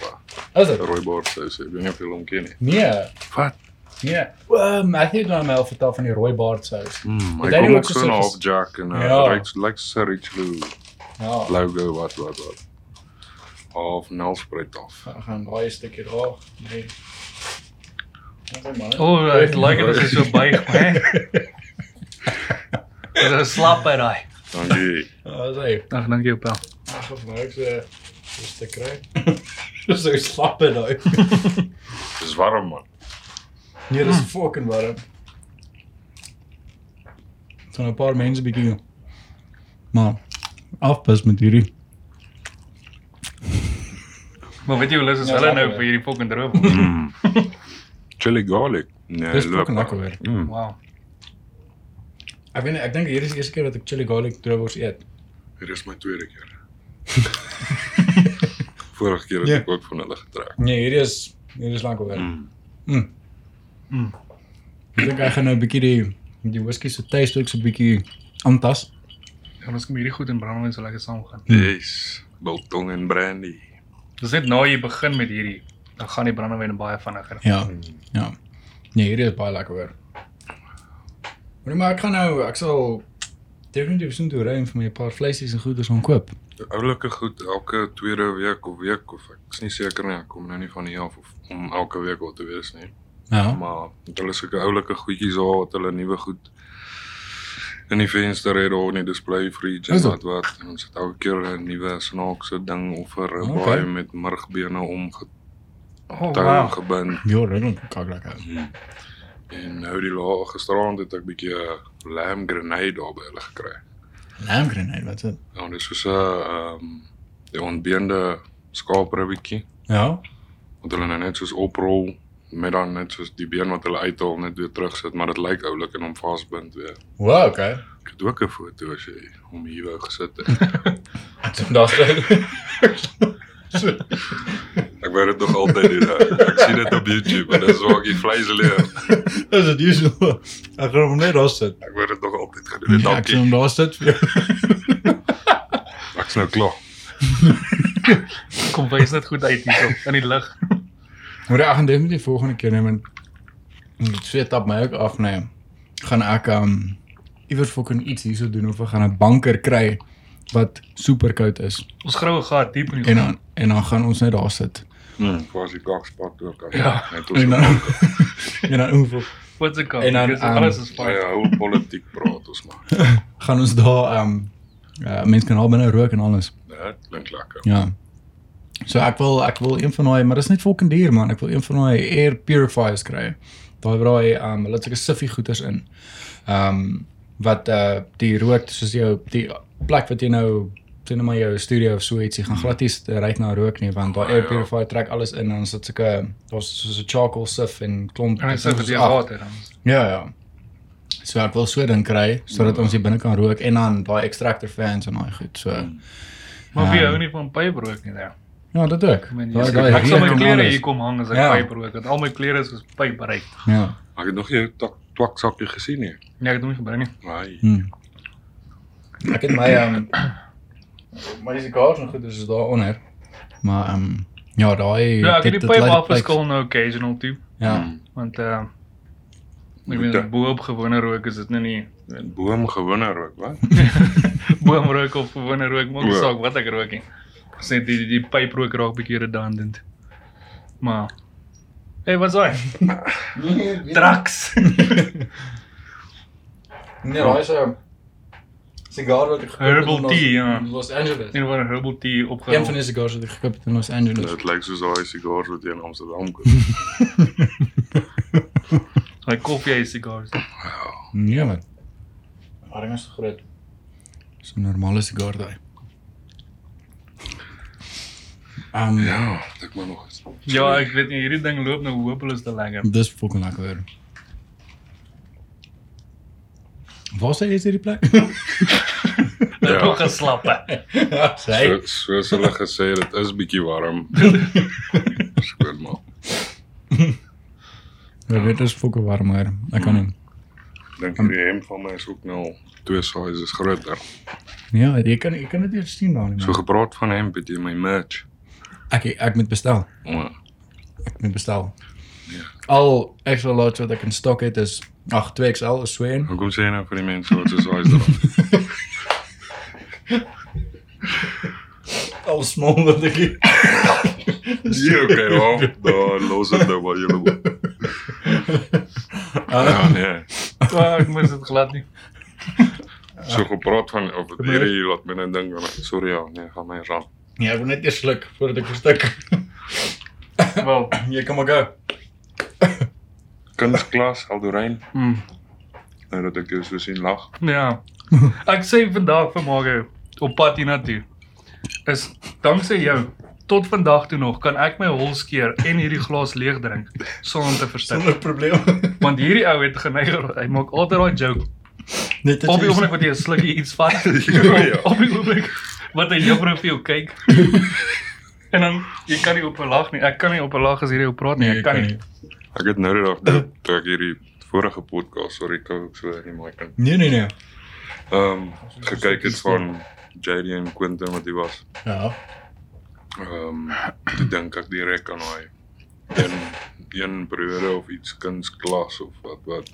S1: ah.
S2: Is dit?
S1: Rooibord sous, ek weet nie of jy hom ken nie.
S2: Nee,
S1: Wat?
S2: nee. Ehm ek het nou my al vertel van die rooibaard sous.
S1: Mm, hy
S2: Het hy
S1: kom
S2: nie
S1: ook
S2: ook
S1: so
S2: gesout
S1: na
S2: ges-
S1: op Jack en uh,
S2: Ja.
S1: ja. lyk lyk so rich blue
S2: Ja.
S1: logo wat wat wat. Half nelspruit af.
S2: Ek gaan daai stukkie daar. Nee. Oh, man.
S3: O, oh, ek like dit as jy so
S2: (laughs)
S3: buig, hè. Dit is 'n slap by daai.
S1: Dankie.
S2: Ah, sê.
S3: Ag, dankie op.
S2: Ag, of nou ek se dis te kry. (laughs) Dis so slap en nou.
S1: Dis warm man.
S2: (laughs) Nee, dis fucking warm. Dit gaan 'n paar mense bietjie. Maar afpas met hierdie.
S3: Maar weet jy hoe lus is
S2: Ja,
S3: hulle
S2: lekker,
S3: nou
S2: hè.
S3: vir hierdie fucking
S1: (laughs)
S3: droom?
S1: Mm. Chili garlic. Nee,
S2: Dis
S1: loop,
S2: fucking
S1: man.
S2: lekker hoor.
S1: Mm.
S3: Wow.
S2: Ek weet nie, ek dink hier is die eerste keer dat ek chili garlic droewors (laughs) eet.
S1: Hier is my tweede keer. Vorige keer het
S2: Ja.
S1: ek ook van hulle getrek.
S2: Nee, hierdie is hierdie is lekker hoor. Mm.
S1: Mm.
S3: Mm.
S2: Ek dink ek gaan nou 'n bietjie die die whisky se taste ook so 'n bietjie aantas.
S3: Ja, ons kom hierdie goed in brandewyn so lekker saam gaan.
S1: Yes. Biltong en brandy.
S3: Dis net na jy begin met hierdie, dan gaan die brandewyn baie vinniger.
S2: Ja. Ja. Nee, hierdie is baie lekker hoor. Maar maar ek gaan nou ek sal definitief so toe ry en vir my 'n paar vleisies en goeders gaan koop.
S1: Oulike goed elke tweede week of week of ek is nie seker nie, ek kom nou nie van hier af of om elke week al te wees nie.
S2: Ja.
S1: maar het hulle sulke oulike goedjies daar wat hulle nuwe goed in die venster het daar in die display fridge en
S2: Is dit?
S1: wat wat en ons het elke keer 'n nuwe snaakse ding of 'n
S2: Okay.
S1: ribeye okay. met murgbene omgetou
S3: Oh,
S1: wow.
S3: wow.
S1: gebind
S2: Ja, regtig kak lekker.
S1: en nou die lae gisteraand het ek bietjie 'n lamb grenade daar by hulle gekry.
S2: Lamb grenade, wat dit?
S1: Ja, en dit is soos 'n ehm die ontbeende skaapribbetjie
S2: Ja.
S1: wat hulle nou net soos oprol met dan net soos die been wat hulle uithaal net weer terugsit, maar dit lyk oulik en hom vasbind weer.
S2: Wow, okay. (laughs)
S1: Ek het ook 'n foto as jy hom hier wou gesit het.
S2: Ek dink daar's
S1: Ek wou dit nog altyd doen. hè. Ek sien dit op YouTube en dis waar ek die vleis leer.
S2: Is dit usual? Ek gaan hom net daar sit. Nee,
S1: Ek wou dit nog altyd gedoen het.
S2: Ek sien
S1: Dankie.
S2: hom daar sit. (laughs)
S1: Ek's nou klaar.
S3: Kom wys net goed uit hierso in die lig.
S2: Maar ek gaan definitief volgende keer nee, neem en dit sweet op my ook af nee. Gaan ek um iewers fucking iets hierso doen of ek gaan 'n banker kry wat super koud is.
S3: Ons groue gat diep in die
S2: En dan en dan gaan ons net daar sit.
S1: Hmm, was die kakspad ook aan.
S3: Ja.
S1: net
S2: En
S1: ons.
S2: dan (laughs) en dan oefel.
S3: Wat se kant?
S2: En dan,
S3: Dis
S2: ehm,
S3: alles is
S1: Maar
S3: fyn.
S1: ja, hoe politiek praat ons maar.
S2: gaan ons daar um uh, mense kan al binne rook en alles.
S1: Ja, dit klink lekker.
S2: Ja. So ek wil ek wil een van daai, maar dit is net fucking duur man. Ek wil een van daai air purifiers kry. Daai waar daai um hulle het sulke siffie goeders in. Um wat uh die rook soos jou die plek wat jy nou sien nou maar jou studio of so ietsie gaan
S3: Mm.
S2: glad nie st- ryk na rook nie want daai air
S1: Ja.
S3: Oh,
S2: purifier trek alles in en dan sit sulke daar's soos 'n charcoal sif en klomp
S3: En hy sê
S2: ding
S3: dit
S2: soos
S3: is
S2: af.
S3: water dan.
S2: Ja ja. So ek wil so ding kry sodat
S3: Mm.
S1: Ja.
S2: ons hier binne kan rook en dan daai extractor fans en daai goed. So
S3: Maar wie
S2: Ehm,
S3: hou nie van pyprook nie daar?
S2: ja, dit ook.
S3: Ek meen,
S2: Daai-
S3: jy-
S2: daai
S3: ek sal my
S2: reuk en
S3: klere
S2: alles.
S3: hier kom hang as ek
S2: Ja.
S3: pyprook. Want al my klere is soos pyp bereik.
S2: Ja.
S1: Ek het nog jou tak twak sakkie gesien nie.
S3: Nee, ek het hom nie gebring nie.
S1: Nee.
S2: Hmm. Ek het my ehm my sigaar nog goed is daar onder. Maar ehm um, ja, daai
S3: Ja, ek het
S2: dit-
S3: die
S2: dit
S3: pyp
S2: lyk-
S3: afgeskil nou occasional toe,
S2: Ja.
S1: Hmm.
S3: want uh ek
S1: Ja.
S3: meen bo-op gewone rook is dit nou nie (laughs)
S1: En boom gewinner ook, wat?
S3: boomrook of gewone rook, maak nie
S1: Ja.
S3: saak wat ek rook nie. Dis net die die, die pyprook raak bietjie redundant. Maar Hey, wat's hy?
S2: (laughs)
S3: Drax.
S2: Nee, daai is 'n sigaar wat ek gekoop het
S3: Herbal
S2: in Los-
S3: tea, ja.
S2: in Los Angeles.
S3: Een van 'n herbal tea
S2: Een van
S3: opgerol.
S2: die sigare wat ek gekoop het in Los Angeles.
S1: Dit lyk soos daai sigaar wat jy in Amsterdam koop.
S3: My koffie en sigars.
S2: Nee man. Arm is groot. Dis 'n normale sigaar daai. Ehm um, ja.
S1: Ja, ik maar nog eens.
S3: Ja, ek weet nie hierdie ding loop nou hopeloos te lekker.
S2: dis fucking lekker hoor. Waar sê jy is hierdie plek?
S3: Dit
S1: Ja.
S3: ja. nog geslap. hè.
S2: Sy.
S1: Zo- Zoals hulle gesê het, het is bietjie (laughs) warm. Skoon maar.
S2: Ja, dit is fucking warm hoor. Ek kan nie.
S1: Ik Dink hierdie hemp van my is ook nou twee sizes groter.
S2: Ja, jy kan jy kan dit eers sien daar nie.
S1: So
S2: man.
S1: gepraat van hemp, het jy my merch.
S2: Ek ek moet bestel.
S1: Maar
S2: Ek moet bestel.
S1: Ja.
S2: Al extra large wat ek in stok het is ag 2XL is swem.
S1: hoe kom sê jy nou vir die mense wat so size (laughs) dra?
S2: Al small wat ek het.
S1: Nee, okay,
S2: (laughs)
S1: dan dan los dit nou maar julle.
S2: Eh,
S1: Ja, nee.
S3: Ah, ek mis dit glad nie.
S1: So gepraat van of dit hierdie laat my nou dink want sorry ja, nee, gaan my raam.
S2: Ja, ek wil net eers sluk voordat ek verstik. (laughs)
S3: Wel,
S2: Jy kan maar gaan.
S1: Kunsklas Aldorein,
S3: mm,
S1: nou dat ek jou so sien lag.
S3: ja. (laughs) Ek sê vandag vir Mario op pad hiernatoe is danksy jou tot vandag toe nog kan ek my hol skeer en hierdie glas leeg drink sonder om te verstik.
S2: probleem. (laughs)
S3: Want hierdie ou het geneig hy maak altyd daai joke
S2: Net
S3: Op die oomblik wat jy 'n slukkie iets vat.
S1: ja.
S3: Op die oomblik wat hy jou profiel kyk. en dan jy kan nie op 'n lag nie. Ek kan nie op 'n lag as hierdie ou praat nie.
S2: Nee,
S3: Ek kan nie.
S1: Ek het nou die dag toe toe ek hierdie vorige podcast, sorry, ek ook so in die mic in.
S2: Nee nee nee.
S1: Ehm gekyk het van JD en Quentin wat hy was.
S3: (laughs)
S2: Ja.
S1: Ehm toe dink ek direk aan hy een een broer of iets kunsklas of wat wat.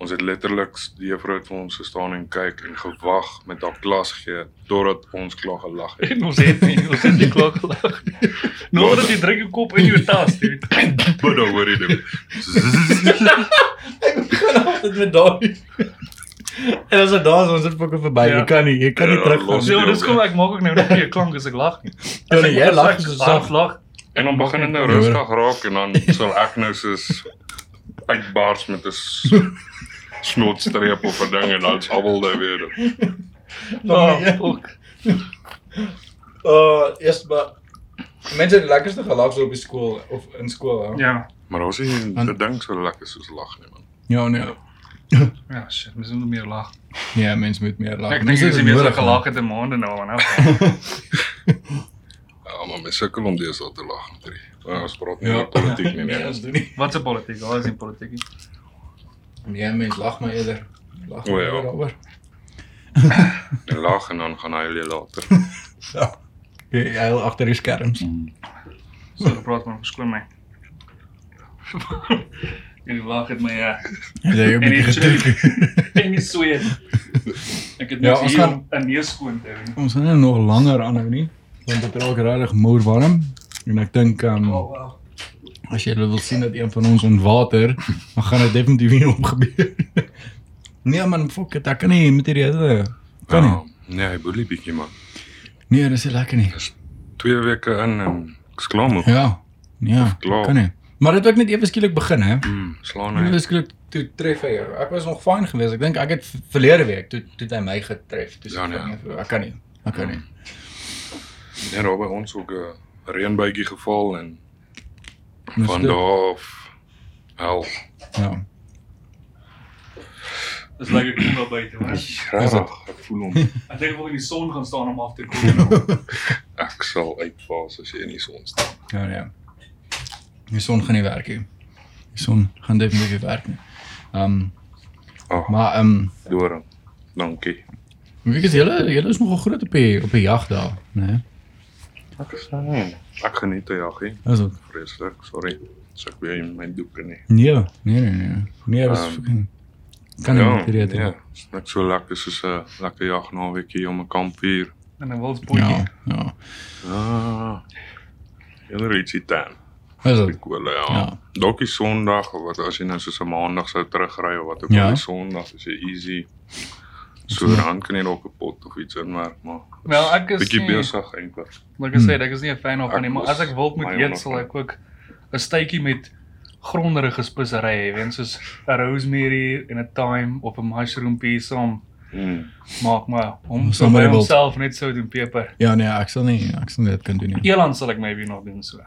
S1: Ons het letterlik die juffrou het vir ons gestaan en kyk en gewag met haar klas gee totdat ons klaar gelag (laughs) het.
S3: En ons het nie, ons het nie klaar gelag. Nou dat jy druk jou kop in jou tas, dude.
S1: Maar dan hoor jy dit.
S2: Ek begin altyd met daai. En as dit daar is, ons is fucking verby.
S3: Ja.
S2: Jy kan nie, jy kan nie
S1: Ja,
S2: teruggaan.
S1: los
S3: So dis kom ek maak ook nou net weer klank as ek lag
S2: (laughs)
S3: nie. As
S2: nee,
S3: ek- (laughs)
S2: jy
S3: as
S2: lag
S3: ek
S2: soos
S3: hard
S2: sag.
S3: lag.
S1: (laughs) En dan begin dit nou
S2: Ja, hoor.
S1: rustig raak en dan sal ek nou soos uitbars met 'n (laughs) s- snotstreep of 'n ding en dan is almal nou weer.
S3: Ja,
S2: Oh.
S3: ook.
S2: Uh, eers maar mense het die lekkerste gelag so op die skool of in skool. Ja,
S3: Ja.
S1: Maar ons sien
S2: Want-
S1: dit ding so lekker soos lag nie man.
S2: ja nee.
S3: Ja, shit, mens moet meer lag.
S2: Ja, mense moet meer lag.
S3: Ek dink jy is die meeste gelag het in maande nou, man.
S1: Ja, maar my sukkel om deesdae te lag met hierdie. Maar ons praat nie
S2: Ja.
S1: oor
S2: (laughs)
S1: politiek nie (laughs)
S2: Nee,
S1: nee.
S2: ons doen nie.
S3: Wat se politiek? Daar is nie politiek nie.
S2: Nee, mense lag maar eerder. Lag
S1: O,
S2: maar
S1: ja.
S2: eerder daaroor.
S1: En lag en dan gaan hy hulle later.
S2: Ja. Jy jy huil agter die skerms.
S3: So gepraat man, verskoon (laughs) my. Hierdie lag het my ja.
S2: Jy jou
S3: (laughs) En die
S2: bietjie getrek.
S3: En die sweet. Ek het
S2: Ja,
S3: net
S2: ons
S3: hier
S2: gaan-
S3: om 'n neus skoon te doen.
S2: Ons gaan nou nog langer aanhou nie, want dit raak regtig moer warm en ek dink um,
S1: Oh.
S3: wow.
S2: as jy wil sien dat een van ons ontwater, dan gaan dit definitief (laughs) hier omgebeur. nee man, fuck dit, ek kan nie met hierdie hele (laughs) kan nie.
S1: Ja, nee, hy boelie bietjie man.
S2: Nee, dis nie lekker nie.
S1: 2 weke in en ek's klaar moeg.
S2: Ja. Ja,
S1: Klaar.
S2: kan nie. Maar dit het ook net ewe skielik begin hè.
S1: Mm, slaan
S2: Nee.
S1: hy.
S2: Ewe skielik toe tref hy jou. Ek was nog fyn geweest. Ek dink ek het v- verlede week toe toe het hy my getref. Toe sê
S1: Ja,
S2: ek,
S1: nee.
S2: "Fuck, ek kan nie. Ek kan nie.
S1: Ja, daar by ons ook 'n reënbytjie geval en
S2: Dis
S1: van
S2: dit.
S1: daar af hel.
S2: Ja.
S3: Dis lekker koel daar buite,
S2: (laughs)
S3: man.
S1: Regtig, ek voel hom.
S3: Ek dink ek wil in die son gaan staan om af te
S2: (laughs)
S3: koel.
S1: Ek sal uitvaas as jy in die son staan.
S2: Ja nee. Die son gaan nie werk nie. Die son gaan definitief nie werk nie. Ehm um,
S1: Ag,
S2: maar ehm um,
S1: doring. Dankie.
S2: Wie is julle? Julle is nogal groot op die op die jag daar, né? Nee?
S1: Ek is nie. Ek geniet die jaggie,
S2: Is dit?
S1: vreeslik. Sorry. Sê ek weer in my doeke nie.
S2: Nee, nee nee nee. Nee, was
S1: Ehm,
S2: um, kan nie met hierdie
S1: ja,
S2: ding.
S1: is net so lekker soos 'n lekker jagnaweekie om 'n kampvuur.
S3: En 'n wildspoetjie.
S2: Ja, ja.
S1: Ah. Julle ietsie dan.
S2: Is dit?
S1: Prikole, ja.
S2: Ja.
S1: ja. Dokkie Sondag of wat as jy nou soos 'n Maandag sou terugry of wat ook
S2: Ja.
S1: al, ja. Sondag is jy easy. So dan kan jy dalk 'n pot of iets inmerk,
S3: Ja,
S1: maar
S3: Wel, ek is
S1: bietjie
S3: nie-
S1: besig eintlik.
S3: Like ek sê, ek is nie 'n fan daarvan
S1: Ek
S3: nie, maar
S1: was
S3: as ek wild moet
S1: my
S3: eet, sal ek ook 'n stytjie met gronderige spesery, jy weet, soos 'n rosemary en 'n thyme of 'n mushroom pie saam
S1: Mm.
S3: maak maar hom
S2: Ons
S3: so
S2: sal
S3: by
S2: maar wild.
S3: homself net sout en peper.
S2: Ja nee, ek sal nie ek sal nie dit kan doen nie.
S3: Eland sal ek maybe nog doen so.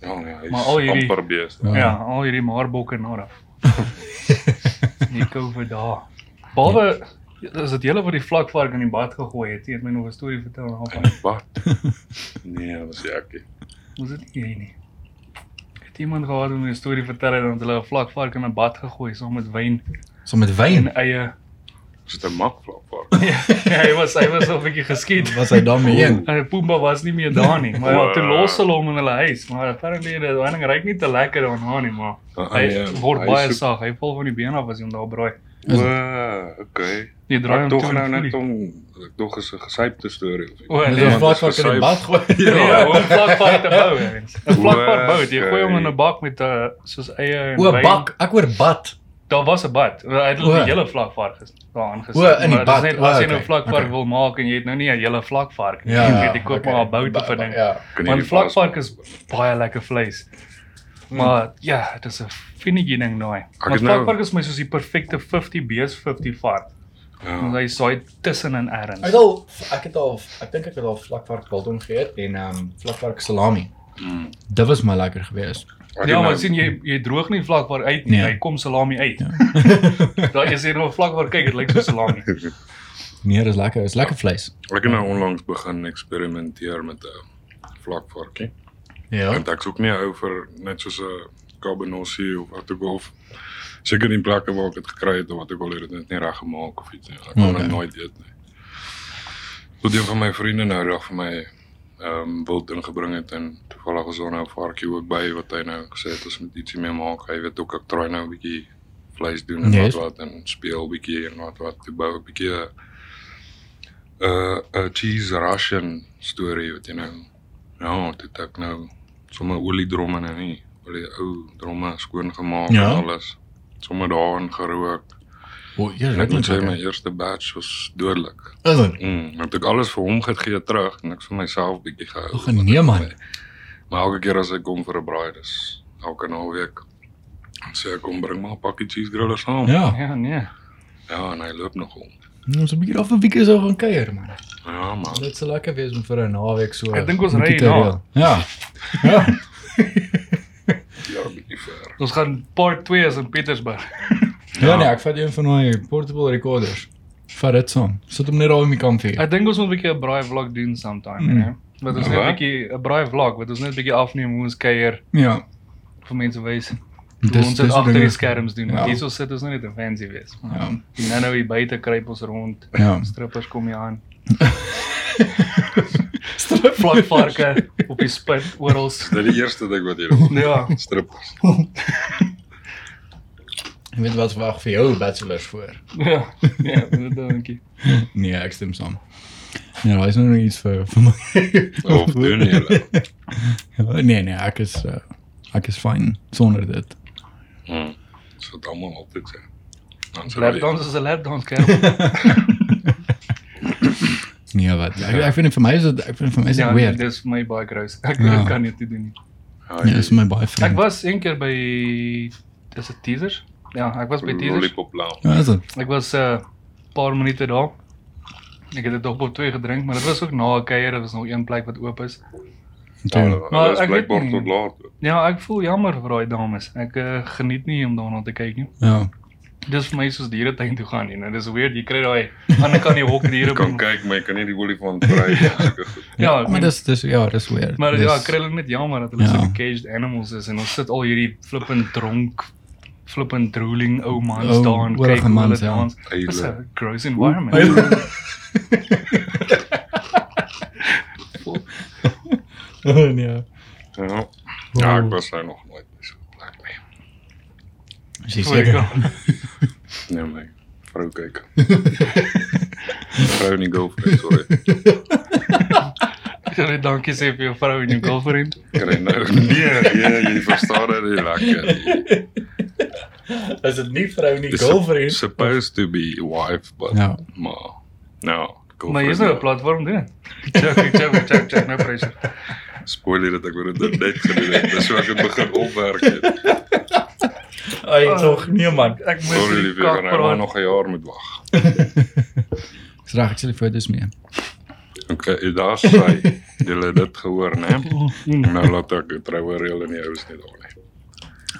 S1: Ja, nee, hy
S3: Maar al
S1: is
S3: hierdie-
S1: amper beeste.
S2: Ja.
S3: Ja, ja al hierdie maarbokke en nada. Nico vir daar. Behalwe is dit julle wat die vlakvark in die bad gegooi het, jy het my nog 'n storie vertel daarvan.
S1: Wat? (laughs) nee, dat was jakkie.
S3: Ons dit nie jy nie. Het iemand gehad om 'n storie vertel het dat hulle 'n vlakvark in 'n bad gegooi saam met wyn
S2: So met
S3: en
S2: wyn
S3: eie. (laughs)
S1: Is dit 'n makvlak voor?
S3: Ja, hy was hy was al 'n bietjie geskiet.
S2: was hy daarmee een.
S3: Hy Pumba was nie meer daar nie, maar
S1: Wow.
S3: toe los hulle hom in hulle huis, maar apparently dit wyning ryk nie te lekker daarna nie, maar hy
S1: Ja, eh,
S3: word baie sag. Hy val van die been af as jy hom daar braai.
S1: Wow, okay.
S3: Jy draai
S1: Draai
S3: hom
S1: tog
S3: toe
S1: nou
S3: en
S1: net
S3: net
S1: om ek dog is 'n gesypte storie of iets.
S3: O,
S2: Met
S3: nee,
S2: 'n
S1: want dit
S2: vlak wat
S1: is
S2: in die
S1: gesuip.
S2: bad gooi.
S3: Ja, 'n vlakvark te bou. hè, mens. 'n Vlakvark bou, jy
S1: Oké.
S3: gooi hom in 'n bak met 'n soos eie en
S2: O,
S3: wyn.
S2: bak, ek hoor bad.
S3: Daar was 'n bad. Hy het
S2: O.
S3: hulle die hele vlakvark ges- daar aangesit.
S2: O, in die
S3: maar dit is
S2: bad.
S3: Net, as
S2: O,
S3: jy nou
S2: oké,
S3: vlakvark
S2: oké.
S3: wil maak en jy het nou nie 'n hele vlakvark nie. jy weet jy koop maar 'n bout of 'n ding.
S2: Ja.
S1: Kan
S3: Want
S1: hierdie vas-
S3: vlakvark is baie lekker vleis. Maar ja, dit is 'n vinnige ding daai.
S1: het
S3: Want
S1: nou-
S3: vlakvark is my soos die perfekte 50 bees 50 vark. Want
S1: Ja.
S3: hy saai tussen en erns.
S2: Ek het al ek het al ek dink ek het al vlakvark biltong geëet en ehm um, vlakvark salami.
S1: Mm.
S2: Dit was my lekker geweest.
S1: Ek
S3: Ja,
S1: het
S3: maar
S1: nou-
S3: sien jy jy droog nie vlakvark uit nie.
S2: Nee. Ja.
S3: Hy kom salami uit. (laughs) Daar is hier nog vlakvark kyk, dit lyk so
S1: (laughs)
S3: salami.
S2: Nee, dis lekker. Dis lekker vleis.
S1: Ek het nou onlangs begin eksperimenteer met 'n vlakvarkie.
S2: Ja.
S1: Want ek's ook nie 'n ou vir net soos 'n Cabernet of wat ook al. of Seker in plekke waar ek dit gekry het of wat ook al het dit net nie reg gemaak of iets nie. Ek kon
S2: Okay.
S1: dit nooit eet nie. Tot een van my vriende nou reg vir my ehm um, wild ingebring het en toevallig was daar nou 'n varkie ook by wat hy nou gesê het ons moet ietsie mee maak. Hy weet ook ek probeer nou 'n bietjie vleis doen en
S2: Yes.
S1: yes. wat wat en speel bietjie en wat wat toe bou 'n bietjie 'n uh, 'n cheese Russian storie wat jy nou ja, dit ek nou sommer oliedromme en nie, al die ou dromme skoon gemaak ja.
S2: Ja.
S1: en alles. Sommer daarin gerook.
S2: O, ja,
S1: En
S2: dit
S1: ek moet sê my
S2: lekker.
S1: eerste batch was dodelik.
S2: Is dit?
S1: Mm, want ek alles vir hom gegee terug en ek vir myself bietjie gehou.
S2: Ag nee man.
S1: Maar elke keer as ek kom vir 'n braai, dis elke naweek dan sê ek kom bring maar 'n pakkie cheese griller saam. Ja.
S2: Ja,
S3: Ja, nee.
S1: ja, en hy loop nog om.
S2: ons het 'n bietjie af 'n weekie so gaan kuier man.
S1: Ja, maar
S2: Dit sou lekker wees om vir 'n naweek so.
S3: Ek dink ons
S2: bietjie
S3: ry
S2: te
S3: na.
S2: reël. Ja. Ja.
S3: (laughs)
S1: ja, 'n bietjie ver.
S3: Ons gaan part 2 is in Pietersburg.
S2: Ja nee, ek vat een van daai portable recorders. Vat dit saam. Sit hom net daar in my kampvuur.
S3: Ek dink ons moet 'n bietjie 'n braai vlog doen sometime,
S2: Mm.
S3: mm. né? Wat ons net 'n
S1: Wat?
S3: bietjie 'n braai vlog, wat ons net 'n bietjie afneem hoe ons kuier
S2: Ja.
S3: vir mense wys. Dis,
S2: Dis-
S3: ons
S2: dis
S3: dit
S2: die
S3: agter
S2: ding
S3: die
S2: is-
S3: skerms doen.
S2: Ja.
S3: Ja. Hierso sit ons nou net 'n fancy wees.
S2: Ja.
S3: Die nou nou hier buite kruip ons rond.
S2: Ja.
S3: Strippers kom hier aan. (laughs)
S2: Strip (laughs)
S3: Vlakvarke op die spit oral.
S1: Dit is die eerste ding wat jy doen.
S3: Ja.
S1: Strippers.
S2: Ek weet wat wag vir jou bachelors voor.
S3: Ja. Ja, dit dankie.
S2: Nee, ek stem saam. Ja, daar is nog iets vir vir my.
S3: Oh,
S1: Of doen jy?
S2: Ja, (laughs) nee nee, ek is uh, ek is fyn sonder
S3: (laughs)
S2: dit.
S1: Mm. So dit almal altyd sê. Dan sê jy
S3: Lapdans is 'n lapdans kerel.
S2: Nee, wat ek ek vind dit vir my is dit ek vind dit vir my is dit
S3: Ja,
S2: ja, weird.
S3: dis vir my baie gross. Ek
S2: Ja.
S3: ja. kan dit nie doen nie.
S2: Ja, dis my baie
S3: Ek
S2: vriend.
S3: was een keer by is dit teasers? Ja, ek was by teasers.
S1: Lollipop lounge.
S2: Ja, is dit?
S3: Ek was 'n uh, paar minute daar. Ek het dit op op 2 gedrink, maar dit was ook na 'n kuier, dit was nog een plek wat oop is.
S2: Toe.
S1: Maar
S3: ek
S1: ek
S3: weet
S1: blykbaar
S3: nie.
S1: tot laat. oop.
S3: Ja, ek voel jammer vir daai dames. Ek uh, geniet nie om daarna te kyk nie.
S2: Ja.
S3: Dis vir my soos dieretuin toe gaan nie. Nou dis weird, jy kry daai (laughs) ander kan die hok diere
S1: Jy kan kyk, maar jy kan nie die olifant
S2: (laughs)
S1: vry sulke goed.
S3: Ja, ek
S2: maar
S3: meen-
S2: dis dis ja, dis weird.
S3: Maar
S2: dis,
S3: ja, ek kry hulle net jammer dat hulle
S2: Ja.
S3: ja. so caged animals is en ons sit al hierdie flippend dronk flippend drooling ou mans
S2: Ou,
S3: daar en
S2: oorige
S3: kyk hoe hulle
S2: mans, ja.
S3: dans.
S1: Huile.
S3: Dis 'n gross environment. (laughs)
S2: nee.
S1: (laughs) Ja. Ja, ek was nou nog nooit by so 'n plek nie.
S2: Is jy
S3: O, ek-
S2: seker? (laughs)
S1: Nee my vrou kyk. vrou nie girlfriend, sorry.
S3: Ek wil net dankie sê vir jou vrou en jou girlfriend.
S1: Kry
S2: (laughs)
S1: nou. Nee, nee, (laughs) jy verstaan dit nie lekker. nie.
S2: Is dit nie vrou nie
S1: Dis Supposed to be wife, but
S2: Dus- Ja.
S1: maar no. e
S3: (laughs) Maar hier's nou 'n platform doen. Check, check, check, check, no pressure.
S1: Spoiler dat ek oor dit net gedoen het. Dis hoe ek dit begin opwerk het.
S2: Oh,
S4: Ai,
S1: Oh.
S4: tog nee man.
S3: Ek moet
S1: Sorry
S3: die
S1: lief, ek
S3: kak
S1: gaan nou
S3: praat.
S1: nog 'n jaar moet wag.
S2: Dis reg, ek sal die foto's mee.
S1: Okay, daar sê julle het dit gehoor, né?
S3: (laughs)
S1: Nou laat ek trouer julle nie ouens net al nie.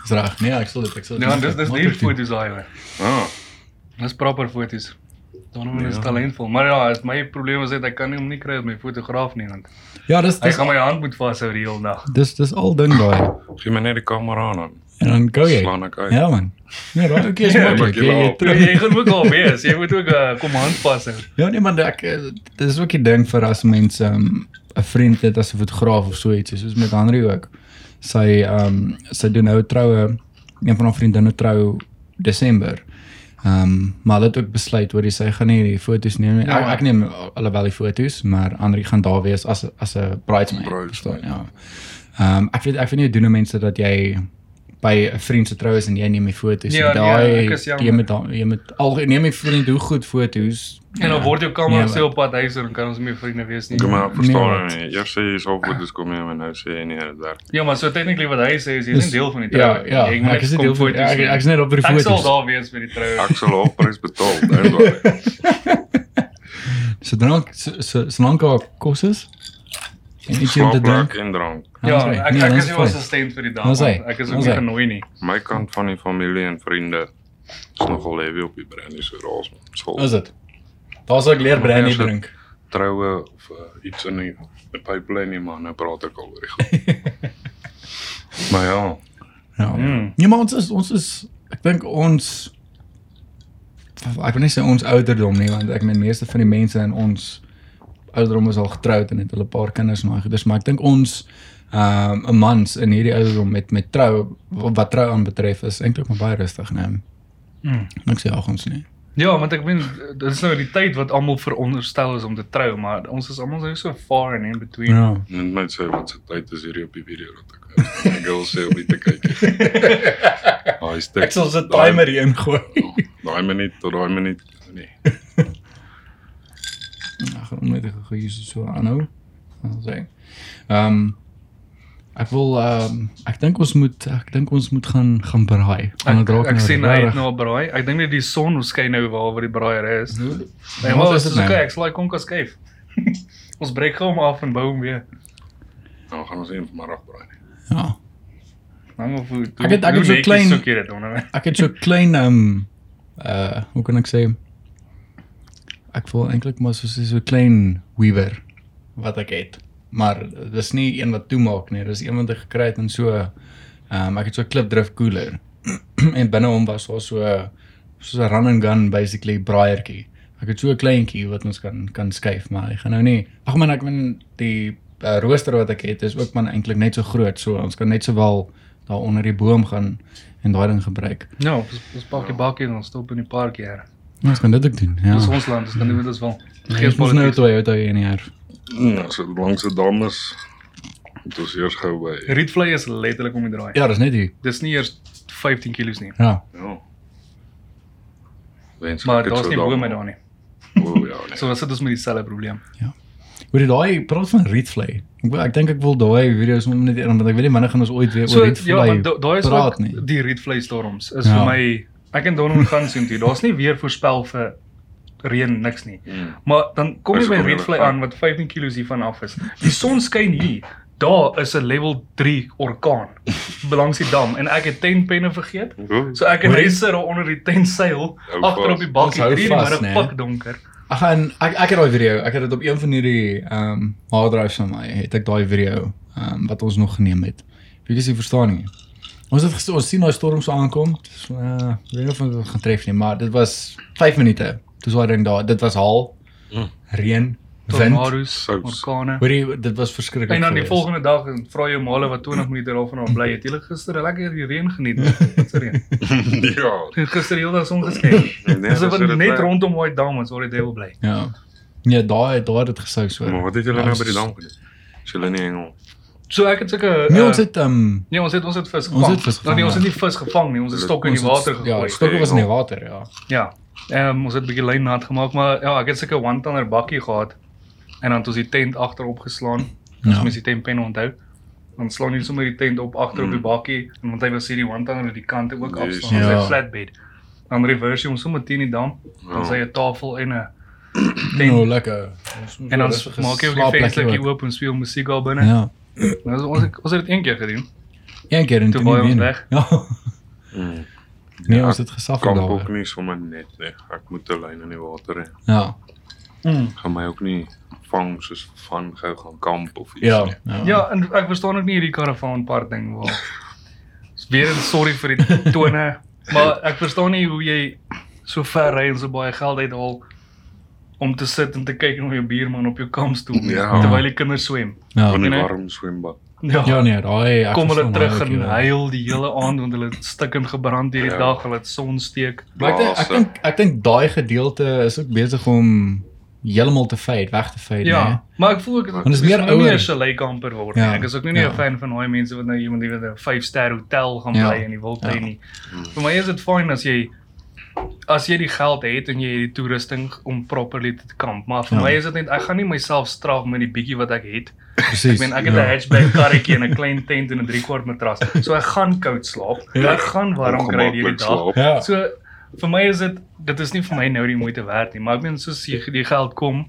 S2: Dis reg. Nee, ek sal dit ek sal
S3: Ja, dis dis nie
S2: Maklik doen.
S3: foto's daai hoor.
S1: Ah,
S3: Dis e. proper foto's. Donovan is
S1: Ja.
S3: talentvol, maar ja, is my probleem is net ek kan nie hom nie kry as my fotograaf nie want
S2: Ja, dis
S3: hy
S2: dis
S3: gaan my hand moet vashou die hele dag.
S2: dis dis al ding daai.
S1: gee my net die kamera aan dan.
S2: En dan go jy.
S1: Slaan ek uit.
S2: Ja man. Nee, daai ouetjie is
S3: Ja,
S1: maak
S2: maklik.
S1: jy
S2: Jy- jy
S1: wel.
S3: Jy, (laughs)
S2: trou-
S3: jy gaan ook al wees, jy moet ook 'n uh, kom hand vashou.
S2: Ja nee man, ek eh, dis ook die ding vir as mense um, 'n vriend het as 'n fotograaf of so iets, soos met Henry ook. Sy ehm um, sy doen nou 'n troue, een van haar vriendinne trou Desember. Ehm um, maar hulle het ook besluit hoor jy sy gaan nie die foto's neem nie. Ek,
S3: Ja.
S2: ek neem alhoewel die foto's, maar Henry gaan daar wees as as 'n bridesmaid.
S1: Bridesmaid.
S2: verstaan, Ja. Ehm um, ek weet ek weet nie hoe doen mense dat jy by 'n vriend se trou is en jy neem die foto's
S3: Ja,
S2: en
S3: nee,
S2: daai
S3: ek is jammer.
S2: jy moet dan- jy moet al neem die vriend hoe goed foto's
S3: En dan word jou
S2: Nee,
S3: kamera
S2: wat-
S3: so op pad huis en dan kan ons nie meer vriende wees nie.
S1: Kom maar,
S2: Nee,
S1: verstaan
S2: wat?
S1: jy? Eers sê jy sou foto's kom hê en nou sê jy nee, dit werk.
S3: Ja, maar so technically wat hy sê is jy
S2: Dis-
S3: is nie deel van die
S2: Ja,
S3: trou. nie.
S2: ja,
S3: Jy
S2: ek,
S3: moet
S2: ek is nie
S3: kom
S2: deel van
S3: foto's
S2: ek,
S3: neem.
S2: ek is net op vir die
S3: Ek sal
S2: foto's.
S3: daar wees by die trou.
S1: Ek sal halfprys betaal, nou dan waar.
S2: (laughs) Sodoende sodoende haar kos is (laughs) en ietsie om te
S1: Slaapplek
S2: drink.
S1: en drank.
S3: Ja,
S2: dan is hy.
S3: ek
S2: Nee,
S3: ek
S2: dan
S3: is
S2: hy
S3: nie
S2: fine.
S3: assistent vir die dag.
S2: Dan is hy.
S3: want Ek is
S2: Dan
S3: ook
S2: is
S3: nie
S2: hy.
S3: genooi nie.
S1: My kant van die familie en vriende is nogal heavy op die brandies oor ons. Skool.
S2: Is dit? Daar's ook leer brandy
S1: Ja, so-
S2: drink.
S1: Troue of uh, iets in die, die pipeline nie, maar nou praat ek al oor die
S2: (laughs)
S1: goed. maar ja,
S2: Ja.
S3: Mm.
S2: Nee, maar ons is ons is ek dink ons ek wil nie sê ons ouderdom nie want ek meen meeste van die mense in ons ouderdom is al getroud en het hulle 'n paar kinders en daai goeders, maar ek dink ons ehm 'n mans in hierdie ouderdom met met trou wat trou aanbetref is eintlik maar baie rustig, nee.
S3: Mm.
S2: Niks jaag ons nie.
S3: Ja, want ek meen dit is nou die tyd wat almal veronderstel is om te trou, maar ons is almal nou so far and in between.
S2: Ja.
S1: net my sê wat se tyd is hierdie op die video dat ek ek wil sê om dit te kyk. Daai stuk.
S2: Ek sal se timer hier ingooi.
S1: Daai minuut tot daai minuut. Nee.
S2: Ag, onnodige gees so aanhou. Dan sê. Ehm ek wil ehm ek dink ons moet ek dink ons moet gaan gaan braai. Want
S3: Ek,
S2: dit raak
S3: ek
S2: nou
S3: sien hy het
S2: rarig.
S3: nou 'n braai. Ek dink net die son skyn nou waar waar die braaier is. Nee,
S2: Wat
S3: maar
S2: is
S3: dis
S2: dit
S3: okay,
S2: nou?
S3: ek slaai konka skuif. (laughs) Ons breek gou hom af en bou hom weer.
S1: Nou gaan ons een vanmiddag braai.
S2: Ja.
S3: Hang of hoe.
S2: Ek het- ek het so klein-
S3: soekie dit nou. onder.
S2: Ek het so klein ehm uh hoe kan ek sê ek voel eintlik maar soos so 'n klein weaver wat ek het. Maar dis nie een wat toemaak nie, dis een wat ek gekry het in so ehm um, ek het so 'n klipdrif koeler (clears throat) en binne hom was daar so soos 'n run and gun basically braaiertjie. Ek het so 'n kleintjie wat ons kan kan skuif, maar hy gaan nou nie. Ag man, ek min die uh, rooster wat ek het is ook man eintlik net so groot, so ons kan net sowel daar onder die boom gaan en daai ding gebruik.
S3: (laughs) Ja, ons ons pak die bakkie en ons stop in die parkie hier.
S2: Ons kan dit ook doen. Ja.
S3: Dis ons land, ons kan doen wat ons wil.
S2: Ons
S3: Geen
S2: moet nou
S3: politiek.
S2: Toyota hier in die erf.
S1: Nou, so langs die dames. Dit is eers gou by.
S3: Rietvlei is letterlik om die draai.
S2: Ja, dis net hier.
S3: Dis nie eers 15 kg nie.
S2: Ja.
S1: Ja. Wens
S3: Maar daar's nie bome daar nie.
S1: O ja, nee.
S3: So dan sit ons met dieselfde probleem.
S2: Hoor jy daai praat van Rietvlei. Ek wil ek dink ek wil daai video's om net een want ek weet nie wanneer gaan ons ooit weer
S3: So
S2: oor
S3: ja,
S2: Rietvlei
S3: want da- daai is
S2: praat
S3: ook
S2: nie.
S3: die rietvlei storms is
S2: Ja.
S3: vir my ek en Donovan gaan sien toe. Daar's nie weer voorspel vir reën niks nie.
S1: Mm.
S3: Maar dan kom jy
S1: Dis
S3: by
S1: kom jy
S3: Rietvlei
S1: by-
S3: aan wat 15 kg hiervan af is. Die son skyn hier. Daar is 'n level 3 orkaan langs die dam en ek het 10 penne vergeet.
S1: (laughs) Goed.
S3: So ek en
S2: Hoor jy?
S3: hy sit daar onder die tentseil
S1: Hou
S3: agter
S1: vas.
S3: op die
S2: Ons
S3: bakkie
S2: hou
S3: 3 in die
S2: vas,
S3: middag
S2: né?
S3: pik donker.
S2: Ek gaan ek ek het daai video. Ek het dit op een van hierdie ehm um, hard drives van my het ek daai video ehm um, wat ons nog geneem het. Wie dis nie verstaan nie. Ons het gesien ons sien daai storms aankom. Dis uh weet nie of ons dit gaan tref nie, maar dit was 5 minute. Toe sou ding daar. Dit was haal.
S1: Mm.
S2: Reën, wind.
S3: Tornado's,
S1: Sous.
S3: orkane.
S2: Hoorie, dit was verskriklik.
S3: En dan die
S2: geweest.
S3: volgende dag en vra jou maale wat 20 minute daarvan af bly. Het julle gister lekker die reën
S2: (laughs)
S3: geniet? Wat se reën?
S1: ja.
S3: Het Gister die hele dag son geskyn.
S1: Nee,
S3: Dis
S1: dis hoe
S3: wat
S1: dit
S3: net
S1: werk.
S3: rondom daai dam is waar die duiwel bly.
S2: Ja. Ja, daai daai het dit gesou so.
S1: Maar wat het julle nou by die
S2: Ons-
S1: dam gedoen? Is julle nie engel?
S3: So ek het sulke
S2: Nee,
S3: uh,
S2: ons het ehm um,
S3: Nee, ons het ons het vis gevang.
S2: Ons het vis
S3: Nou, nee, ons het
S2: gevang, ja.
S3: nie vis gevang nie. Ons het
S1: Ons
S3: stokke in die
S2: ons het-
S3: water
S2: Ja,
S3: gegooi.
S2: stokke was in die water, ja.
S3: Ja. Ehm ons het 'n bietjie lyn nat gemaak, maar ja, ek het sulke one-tonner bakkie gehad. En dan het ons die tent agterop geslaan As
S2: Ja.
S3: mens die tempen onthou, dan slaan jy sommer die tent op agter op die bakkie en want hy wil sê die wandtang aan die kante ook
S1: Yes.
S3: afslaan, Mm. ja.
S2: Ja.
S3: sy flatbed. Dan reverse jy hom sommer teen die dam, dan sy 'n tafel en 'n (clears throat) tent
S2: Nou lekker.
S3: en dan maak jy Ja, ook die venstertjie oop en speel musiek daar binne. Ja.
S2: Ja.
S3: Ons ons het- ons het dit een keer gedoen.
S2: Een keer in
S3: Toe waai ons weg.
S2: (laughs) Ja.
S1: Mm.
S2: Nee,
S1: Ja,
S2: ons het gesaf
S1: Kamp ook
S2: daar.
S1: nie sommer net nie. Ek moet 'n lyn in die water hê.
S2: Ja.
S3: Mm.
S1: Gaan my ook nie vang soos van gou gaan kamp of iets nie.
S2: Ja.
S3: Ja, en ek verstaan ook nie hierdie karavaan part ding waar. Dis weer en sorry vir die tone, maar ek verstaan nie hoe jy so ver ry en so baie geld uithaal om te sit en te kyk na jou buurman op jou kampstoel
S1: Ja.
S3: terwyl die kinders swem.
S2: Ja.
S1: Van die
S3: Nee.
S1: warm swembad.
S3: Ja.
S2: Ja nee, daai ek
S3: Kom hulle
S2: verstaan
S3: terug
S2: daai ook,
S3: en
S2: ja.
S3: huil die hele aand want hulle het stikkend gebrand hierdie
S1: Ja.
S3: dag, hulle het son steek.
S2: Maar ek dink ek dink
S1: eh.
S2: ek dink daai gedeelte is ook besig om heeltemal te fade, weg te fade,
S3: Ja,
S2: nee.
S3: maar ek voel ek het
S2: Want dit is meer
S3: nou nie
S2: ouer.
S3: 'n chalet kamper word nie.
S2: Ja,
S3: Ek is ook nie nie 'n
S2: ja.
S3: fan van daai mense wat nou iemand die met 'n 5-ster hotel gaan
S2: Ja,
S3: bly in die wildtuin
S2: ja.
S3: nie. Vir my is dit fyn as jy as jy die geld het en jy het die toerusting om properly te kamp, maar vir
S2: Ja.
S3: my is dit net ek gaan nie myself straf met die bietjie wat ek het.
S2: Presies.
S3: Ek meen
S2: ja.
S3: ek het 'n hatchback karretjie en 'n klein tent en 'n 3-kwart matras. So ek gaan koud slaap.
S2: Ja.
S3: Ek gaan warm kry hierdie
S1: Ongemaklik
S3: dag.
S1: slaap.
S2: Ja.
S3: So vir my is dit dit is nie vir my nou die moeite werd nie, maar ek meen soos jy die geld kom,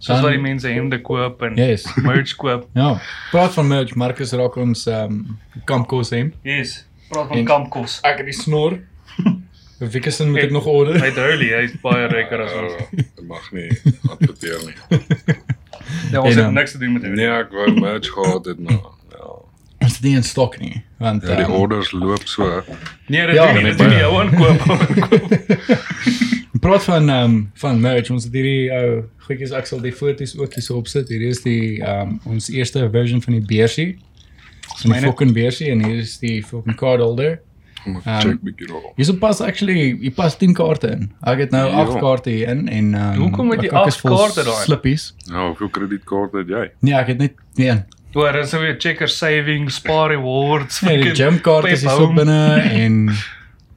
S3: soos
S2: Dan-
S3: wat die mense hemde koop en
S2: Yes.
S3: merch koop.
S2: Ja. Praat van merch, Marcus raak ons ehm um, kampkos hem.
S3: Yes. Praat
S2: En-
S3: van kampkos.
S2: Ek het die snor. (laughs) Wikkerson moet ek nog order. (laughs)
S3: Hy het early, hy's baie ryker as
S2: Oh.
S3: ons.
S1: Uh, dit mag nie adverteer nie.
S3: Ja, ons
S2: En,
S3: het
S2: um,
S3: niks te doen met dit.
S1: Nee, ek wou merch gehad het nou. Ja.
S2: Ons het nie in stok nie, want
S1: Ja, die
S2: ehm,
S1: orders loop so.
S3: Nee, dit
S2: Ja.
S3: ja, doen nie, dit doen nie jou (laughs) aankoop.
S2: (laughs) Praat van ehm um, van merch, ons het hierdie ou goedjies ek sal die foto's ook hierso opsit. Hierdie is die ehm um, ons eerste version van die beersie. Van die
S3: Myne-
S2: fucking beersie en hier is die fucking card holder.
S1: Kom ek
S2: Ehm,
S1: check bietjie daar.
S2: Hierso pas actually, hier pas 10 kaarte in. Ek het nou
S1: Ja.
S2: 8 kaarte hier in en ehm um,
S3: Hoekom het jy acht kaarte daarin?
S2: Slippies.
S1: Nou, hoeveel kredietkaart het jy?
S2: Nee, ek het net nee.
S3: Oor dan sou weer checker saving, spaar rewards,
S2: Nee, die
S3: fucking
S2: gym kaart is
S3: pep
S2: hier so
S3: home. (laughs)
S2: binne en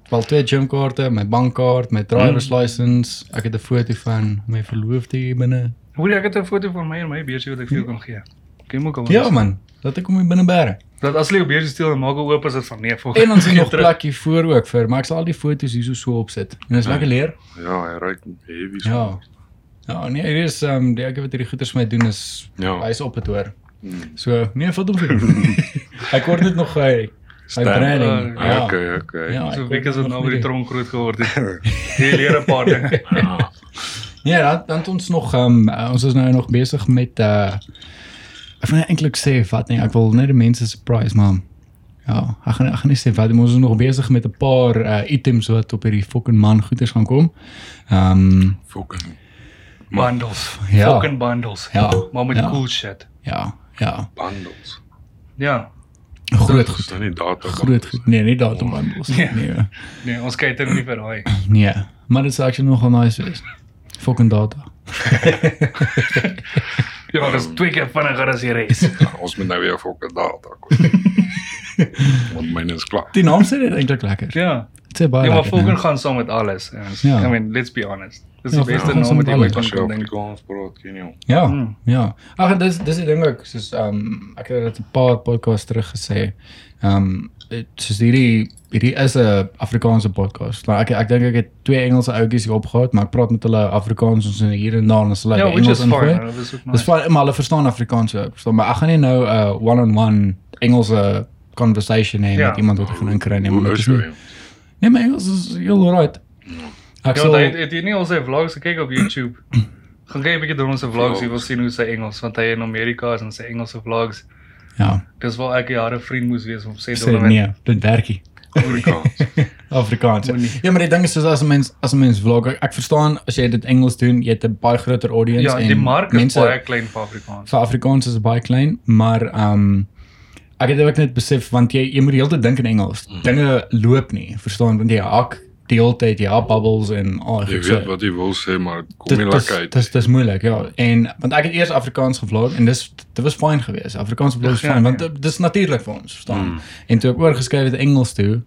S2: wel twee gym kaarte, my bankkaart, my driver's
S3: Hmm.
S2: license. Ek het 'n foto van my verloofde hier binne.
S3: Hoor jy, ek het 'n foto van my en my beursie wat ek vir jou kan gee. Kom ook al.
S2: Ja man, laat ek hom hier binne bære.
S3: Dat as jy jou beursie steel en maak hom oop as dit van nee volg.
S2: En
S3: (laughs)
S2: ons het nog
S3: Terug.
S2: plekkie voor ook vir, maar ek sal al die foto's hierso so opsit. En is lekker leer.
S1: Ja, hy ryk heavy. so.
S2: Ja. Ja, nee, hier is ehm um, die ouetjie wat hierdie goeders vir my doen is
S1: Ja.
S2: hy's op dit hoor.
S1: Mm.
S2: So, nee, vat hom vir. Ek word dit nog hy hy
S1: Stem.
S2: branding.
S3: Ah,
S2: Ja.
S1: Okay, okay.
S2: Ja,
S3: So
S2: ek
S3: ek
S2: word dit
S3: is dit
S2: nog
S3: nou oor die
S2: nie.
S3: tronk groot geword
S2: (laughs)
S3: het. Jy leer 'n paar dinge.
S1: Ja.
S2: Ja, dan dan het ons nog ehm um, ons is nou nog besig met uh ek wil nie eintlik sê wat nie, ek wil net die mense surprise maar ja, ek gaan ek gaan nie sê wat nie, maar ons is nog besig met 'n paar uh items wat op hierdie fucking man goeders gaan kom. Ehm um,
S1: Fucking.
S3: Bundles.
S2: Ja.
S3: Fucking bundles.
S2: Ja,
S3: Maar met
S2: ja.
S3: cool shit.
S2: ja, ja,
S1: Bundles.
S3: Ja.
S2: groot
S1: Dis
S2: goed.
S1: nou nie data.
S2: Groot goed. Nee, nie datum bundles nie.
S3: Ja.
S2: Nee. hoor.
S3: Nee, ons kyk dit nie vir
S2: (laughs)
S3: daai.
S2: Nee, maar dit sou actually nogal nice wees. Fucking data.
S3: Ja, dis twee keer vinniger as die
S2: (laughs)
S3: res.
S1: Ja, ons moet nou weer fucking data koop. Want myne is klaar.
S2: Die naam sê dit eintlik lekker.
S3: Ja.
S2: Dit sê baie.
S3: Ja, maar
S2: lekker,
S3: fucking
S2: nee.
S3: gaan saam met alles. En ons-
S2: Ja.
S3: I mean, let's be honest. Dis
S2: Ja,
S3: die beste
S2: gaan saam
S3: naam
S2: met
S3: wat jy ooit
S2: alles.
S3: kan
S1: Ons het
S3: kan dink.
S1: dink ons praat geen jou.
S2: Ja,
S3: Mm.
S2: ja. Ag, dis dis die ding ook, soos ehm um, ek het dit 'n paar podcasts terug gesê. Ehm um, dit- soos hierdie hierdie is 'n Afrikaanse podcast. Nou ek ek dink ek het twee Engelse ouetjies hier opgehaal, maar ek praat met hulle Afrikaans ons en hier en daar en ons hulle
S3: Ja, which is
S2: ingooi.
S3: fine. Dis ook
S2: Dis
S3: nice.
S2: fyn, maar hulle verstaan Afrikaans ook. Verstaan, maar ek gaan nie nou 'n uh, one-on-one Engelse conversation hê
S3: Ja.
S2: met iemand wat ek gaan inkry nie, maar
S1: Hoe
S2: dit
S1: is
S2: is nie.
S1: jy?
S2: Nee, my Engels is heel alright. Ek
S3: Ja,
S2: sal
S3: want hy het jy nie al sy vlogs gekyk op YouTube. Gaan kyk 'n bietjie deur ons vlogs, jy wil sien hoe sy Engels, want hy in Amerika is en sy Engelse vlogs.
S2: ja,
S3: Dis waar ek jare vriend moes wees om sê
S2: sê
S3: Donovan.
S2: nee, dit werk nie. (laughs)
S1: Afrikaans.
S2: Afrikaans. ja.
S3: Moenie.
S2: Ja, maar die ding is soos as 'n mens as 'n mens vlog, ek, ek verstaan as jy dit Engels doen, jy het 'n baie groter audience
S3: Ja,
S2: en
S3: die mark is
S2: mense
S3: baie klein vir Afrikaans.
S2: vir Afrikaans is baie klein, maar ehm um, ek het dit ook net besef want jy jy moet die hele tyd dink in Engels. Dinge loop nie, verstaan want jy hak die hele tyd jy hak bubbles en al
S1: Jy weet wat jy wil sê, maar dit kom nie
S2: Dit
S1: lekker
S2: dis
S1: uit.
S2: dis dis moeilik ja en want ek het eers Afrikaans gevlog en dis dit was fyn geweest. Afrikaans vlog is
S3: Ja, Hmm.
S2: fyn
S3: ja.
S2: want dit- dis natuurlik vir ons, verstaan. Mm. En toe ek oorgeskuif het Engels toe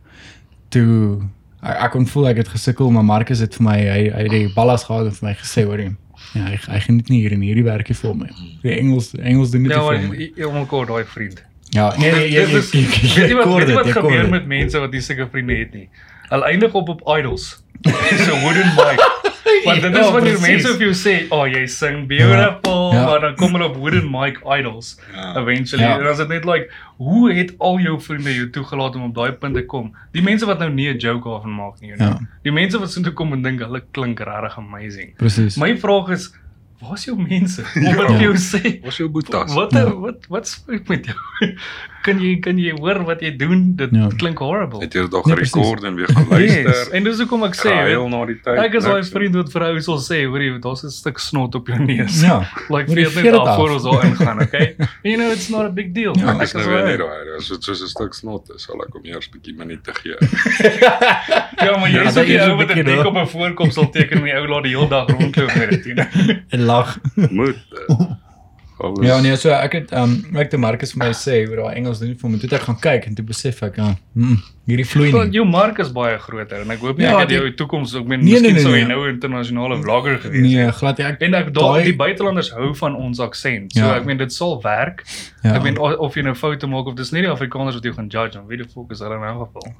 S2: toe ek, ek kon voel ek het gesukkel maar Marcus het vir my hy hy het die ballas gehad en vir my gesê hoorie Ja, hy hy geniet nie hier in hierdie werkie vol my. Die Engels Engels doen dit
S3: Ja,
S2: nie
S3: maar
S2: vir my.
S3: helemaal kort daai vriend.
S2: Ja, nee nee, jy
S3: (laughs) Dit is
S2: jy- jy-
S3: weet jy
S2: jy
S3: wat,
S2: kort
S3: weet jy
S2: dit,
S3: wat
S2: jy kort
S3: gebeur
S2: dit.
S3: met mense wat nie sulke vriende het nie. Hulle eindig op op idols. (laughs) Dis 'n wooden mic. Want dit
S2: (laughs)
S3: is
S4: Ja,
S3: wanneer
S4: precies.
S3: mense vir jou sê, "O, oh, jy sing beautiful,"
S2: Ja.
S3: maar dan kom hulle op wooden mic idols eventually.
S2: Ja.
S3: En dan is dit net like, hoe het al jou vriende jou toegelaat om op daai punt te kom? Die mense wat nou nie 'n joke daarvan maak nie. you know.
S2: Ja.
S3: Die mense wat soontoe kom en dink hulle klink regtig amazing.
S2: Presies.
S3: My vraag is, waar's jou
S2: (laughs)
S3: mense? Om wat
S2: Ja.
S3: vir jou sê?
S1: Was jou boetas?
S3: Wat
S2: Ja.
S3: wat wat spreek met jou? (laughs) kan jy kan jy hoor wat jy doen? Dit
S2: Ja.
S3: klink horrible.
S1: Het jy dit al
S2: Nee, precies.
S1: gerekord en weer gaan luister?
S3: En dis hoekom ek sê
S1: Kraaiel na die tyd.
S3: ek is daai
S1: niks. (laughs)
S3: vriend wat vir ou sal sê, hoor jy, daar's 'n stuk snot op jou neus.
S2: Ja.
S3: (laughs)
S2: hoor jy,
S3: Like vir dit
S2: veer
S3: net
S2: dit
S3: af
S2: af.
S3: voor ons daar ingaan,
S2: (laughs)
S3: okay? You know it's not a big deal.
S2: Ja,
S1: Ek is nou weer
S3: daai-
S1: net daai. As dit soos 'n stuk snot is, sal ek hom eers 'n bietjie minute
S2: (laughs)
S1: gee.
S3: Ja, maar jy
S2: Ja,
S3: is
S2: dat
S3: ook die
S2: is
S3: ou
S2: een
S3: wat 'n
S2: bietjie
S3: dik
S2: daar.
S3: op 'n voorkop sal teken en die ou laat die hele dag rondloop met dit, you know.
S2: En lag.
S1: Moet. eh, Alles.
S2: Ja nee, so ek het um ek te Marcus vir my sê oor daai Engels doen nie vir my. Toe het ek gaan kyk en toe besef ek, ja, mm, hierdie vloei
S3: Want
S2: nie.
S3: jou mark is baie groter en ek hoop nie
S2: Ja,
S3: ek het
S2: die-
S3: jou toekoms ook met
S2: Nee, nee,
S3: miskien
S2: nee,
S3: sou jy
S2: nee.
S3: nou 'n internasionale vlogger gewees het.
S2: Nee, glad nie. Ek
S3: En ek daai
S2: Daai-
S3: die buitelanders hou van ons aksent. So ja.
S2: Ja.
S3: ek meen dit sal werk. Ja.
S2: Ja.
S3: Ek meen o- of jy nou foute maak of dis nie die Afrikaners wat jou gaan judge en wie die fuck is hulle in
S2: (laughs)
S3: 'n geval.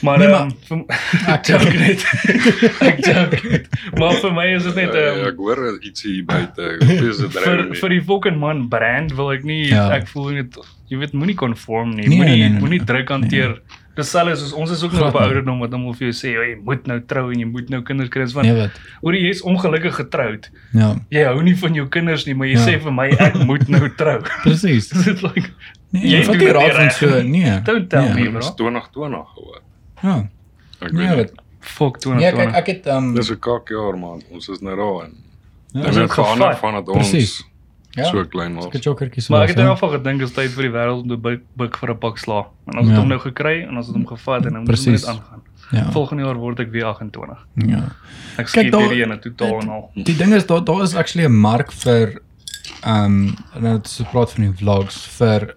S3: Maar
S2: Nee,
S3: nee,
S2: maar-
S3: um,
S2: (laughs)
S3: vir, (laughs) ek dink net ek dink net. Maar vir my is dit net
S1: Ja, ja,
S3: um,
S1: Ek hoor iets hier
S2: (laughs)
S1: buite. Ek hoop nie is dit
S3: vir
S1: reg
S3: vir
S1: nie.
S3: die fucking man brand wil ek nie ja.
S2: Ja.
S3: ek voel net jy weet moenie conform nie.
S2: Nee,
S3: Moenie
S2: nee, nee,
S3: moenie
S2: nee.
S3: druk hanteer. Dis selfs soos ons is ook
S2: (laughs)
S3: nou
S2: Glad
S3: op 'n
S2: nie.
S3: ouderdom wat almal vir jou sê "O, jy moet nou trou en jy moet nou kinders kry. Dis van
S2: Nee, wat?
S3: oor jy is ongelukkig getroud.
S2: Ja,
S3: jy hou nie van jou kinders nie, maar jy
S2: Ja.
S3: ja. sê vir my
S2: (laughs)
S3: ek moet nou trou. (laughs)
S2: presies.
S3: Is dit like
S2: Nee,
S3: Jy
S2: jy vat
S3: doen
S2: nie
S3: dit
S2: raad
S3: nie
S2: van
S3: reg
S2: so nee.
S3: Don't tell
S2: nee.
S3: me.
S1: Dit is 2020 hoor.
S2: Ja.
S1: Ek
S2: Nee,
S1: weet.
S2: wat?
S1: nie.
S3: fuck 2020?
S2: Nee, kyk, ek het um
S1: Dis 'n kakjaar man. Ons is nou daar en
S2: ja,
S1: dit
S3: is
S1: het
S3: ook
S1: verander
S3: gevat.
S1: van dat
S2: Precies.
S1: ons
S2: ja,
S1: so klein was.
S2: ek jokkertjies.
S3: maar ek het in
S2: ja.
S3: elk geval gedink is tyd vir die wêreld om te buk, buk vir 'n pak sla. En ons het
S2: Ja.
S3: hom nou gekry en ons het hom gevat en nou moet ons
S2: Presies.
S3: net aangaan.
S2: ja.
S3: Volgende jaar word ek weer 28.
S2: ja.
S3: Ek skiep
S2: daar-
S3: hierdie een totaal en al.
S2: Die ding is daar daar is actually 'n mark vir um nou het so praat van die vlogs vir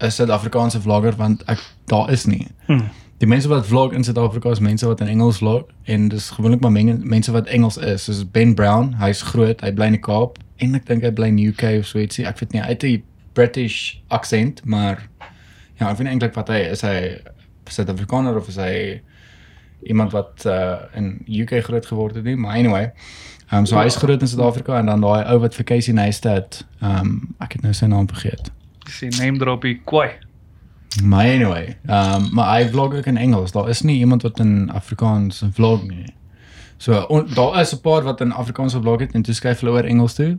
S2: 'n Suid-Afrikaanse vlogger want ek daar is nie.
S3: Hmm.
S2: Die mense wat vlog in Suid-Afrika is mense wat in Engels vlog en dis gewoonlik maar men, mense wat Engels is. Soos Ben Brown, hy's groot, hy bly in die Kaap en ek dink hy bly in die UK of so ietsie. Ek weet nie, hy het 'n British aksent, maar ja, ek weet nie eintlik wat hy is hy Suid-Afrikaner of is hy iemand wat uh in UK groot geword het nie, maar anyway. Ehm um, so hy's groot in Suid-Afrika en dan daai ou wat vir Casey Neistat, ehm um, ek het nou sy naam vergeet.
S3: Dis 'n name droppie kwai.
S2: Maar anyway, ehm um, maar hy vlog ook in Engels. Daar is nie iemand wat in Afrikaans vlog nie. So on, daar is 'n paar wat in Afrikaans vlog het en toe skuif hulle oor Engels toe.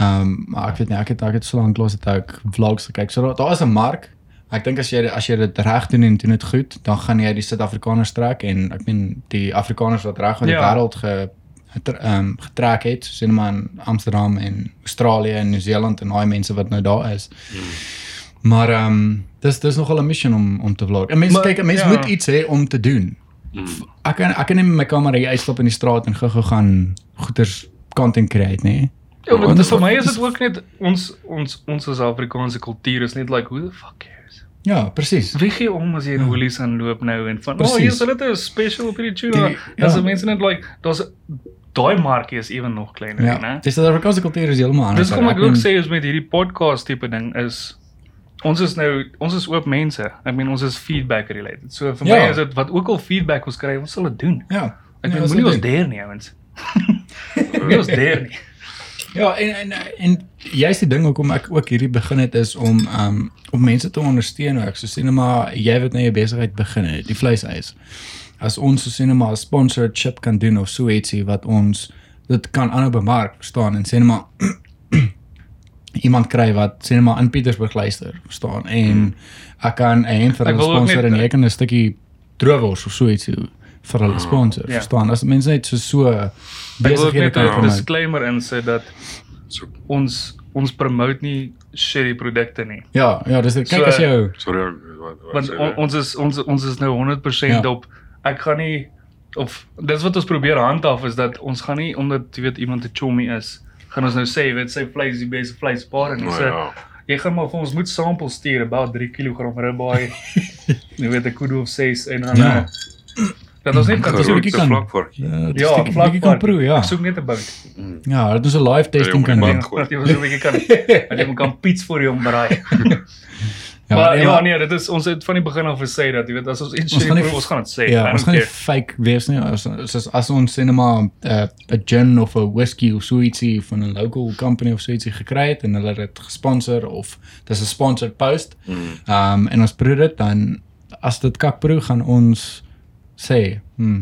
S2: Ehm um, maar ek weet nie ek het ek het so lank lank het ek vlogs gekyk. So daar, daar is 'n mark. Ek dink as jy as jy dit reg doen en doen dit goed, dan gaan jy die Suid-Afrikaners trek en ek meen die Afrikaners wat reg oor die
S3: Ja.
S2: ja. wêreld ge getre- ehm um, getrek het, soos in maar in Amsterdam en Australië en Nieu-Seeland en daai mense wat nou daar is. Maar ehm um, dis dis nogal 'n mission om om te vlog. En mense
S3: Hmm. Maar-
S2: kyk, mense
S3: ja.
S2: ja. moet iets hê om te doen.
S1: Mm.
S2: Ek kan ek kan nie met my kamera hier uitstap in die straat en gou-gou gaan goeters content create nee. nie.
S3: Ja, maar
S2: Want
S3: dit
S2: dit
S3: vir my is
S2: is-
S3: dit ook net ons ons ons as Afrikaanse kultuur is net like who the fuck cares.
S2: Ja, presies.
S3: Wie gee om as jy in Woolies aanloop nou en van, "O, oh,
S2: Ja. Precies.
S3: hier's hulle 'n special op hierdie tuna."
S2: Die- ja.
S3: Dis mense net like daar's daai markie is ewen nog kleiner, ja.
S2: Ja.
S3: né?
S2: Dis dat Afrikaanse kultuur is heeltemal anders.
S3: Dis kom ek ook
S2: meen-
S3: sê is met hierdie podcast tipe ding is ons is nou ons is oop mense. Ek meen ons is feedback related. So vir ja.
S2: Ja.
S3: my is dit wat ook al feedback ons kry, ons sal dit doen.
S2: Ja.
S3: Ek
S2: Ja,
S3: meen
S2: dis
S3: moenie
S2: die
S3: ons
S2: ding.
S3: deer nie, ouens. (laughs) moenie ons deer nie.
S2: Ja, en en en jy's die ding hoekom ek ook hierdie begin het is om um om mense te ondersteun ook. So sien nou maar jy wat nou jou besigheid begin het, die vleisys. As ons so sien nou maar 'n sponsorship kan doen of so ietsie wat ons dit kan aanhou bemark, verstaan en sien nou maar (clears throat) iemand kry wat sê net maar in Pietersburg luister, verstaan? En ek kan 'n hemp vir
S3: Hmm. Ek
S2: hulle
S3: wil ook
S2: sponsor
S3: net-
S2: en jy kan 'n stukkie droewors of so ietsie vir hulle sponsor,
S3: Ja.
S2: verstaan? As mense net so so
S3: Ek wil ook
S2: besighede
S3: net
S2: kan
S3: 'n
S2: promote.
S3: disclaimer insit dat
S1: So,
S3: ons ons promote nie shitty produkte nie.
S2: Ja, ja, dis kyk
S3: So,
S2: as jy hou.
S1: sorry ek wat wat
S3: want
S1: sê
S3: on,
S1: jy?
S3: ons is ons ons is nou 100% ja.
S2: Ja.
S3: op ek gaan nie of dis wat ons probeer handhaaf is dat ons gaan nie omdat jy weet iemand 'n chommy is gaan ons nou sê jy weet sy vleis is die beste vleispaar en
S1: Nou
S3: ons
S1: ja.
S3: jy gaan maar vir ons moet samples (laughs) stuur about 3 kg ribeye jy weet 'n kudu of 6 en dan
S2: Ja.
S3: ja. Dat ons net kan
S2: is 'n bietjie kan-
S1: vlakvarkie.
S4: Ja,
S3: Ja,
S2: Bietjie- bietjie kan
S3: vlakvarkie.
S2: proe, ja.
S3: Ek soek net 'n bout.
S2: Ja, dat is 'n live testing
S1: Ja,
S2: kan
S1: jongen,
S2: doen.
S1: man.
S3: Dat (laughs) jy so 'n bietjie kan. Dat jy kan pits vir jou braai. (laughs)
S2: Ja,
S3: maar ja,
S2: maar-
S3: nee, dit is ons het van die begin af gesê dat jy weet as ons iets
S2: Ons
S3: sê,
S2: gaan nie-
S3: broer, ons gaan dit sê. I
S2: Ja,
S3: don't
S2: ons gaan nie
S3: care.
S2: fake wees nie. As as, as ons sinema 'n uh, 'n gin of 'n whisky of so ietsie van 'n local company of so ietsie gekry het en hulle het dit gesponsor of dis 'n sponsored post.
S3: Hmm.
S2: Ehm um, en ons proe dit dan as dit kak proe gaan ons sê, "Hm,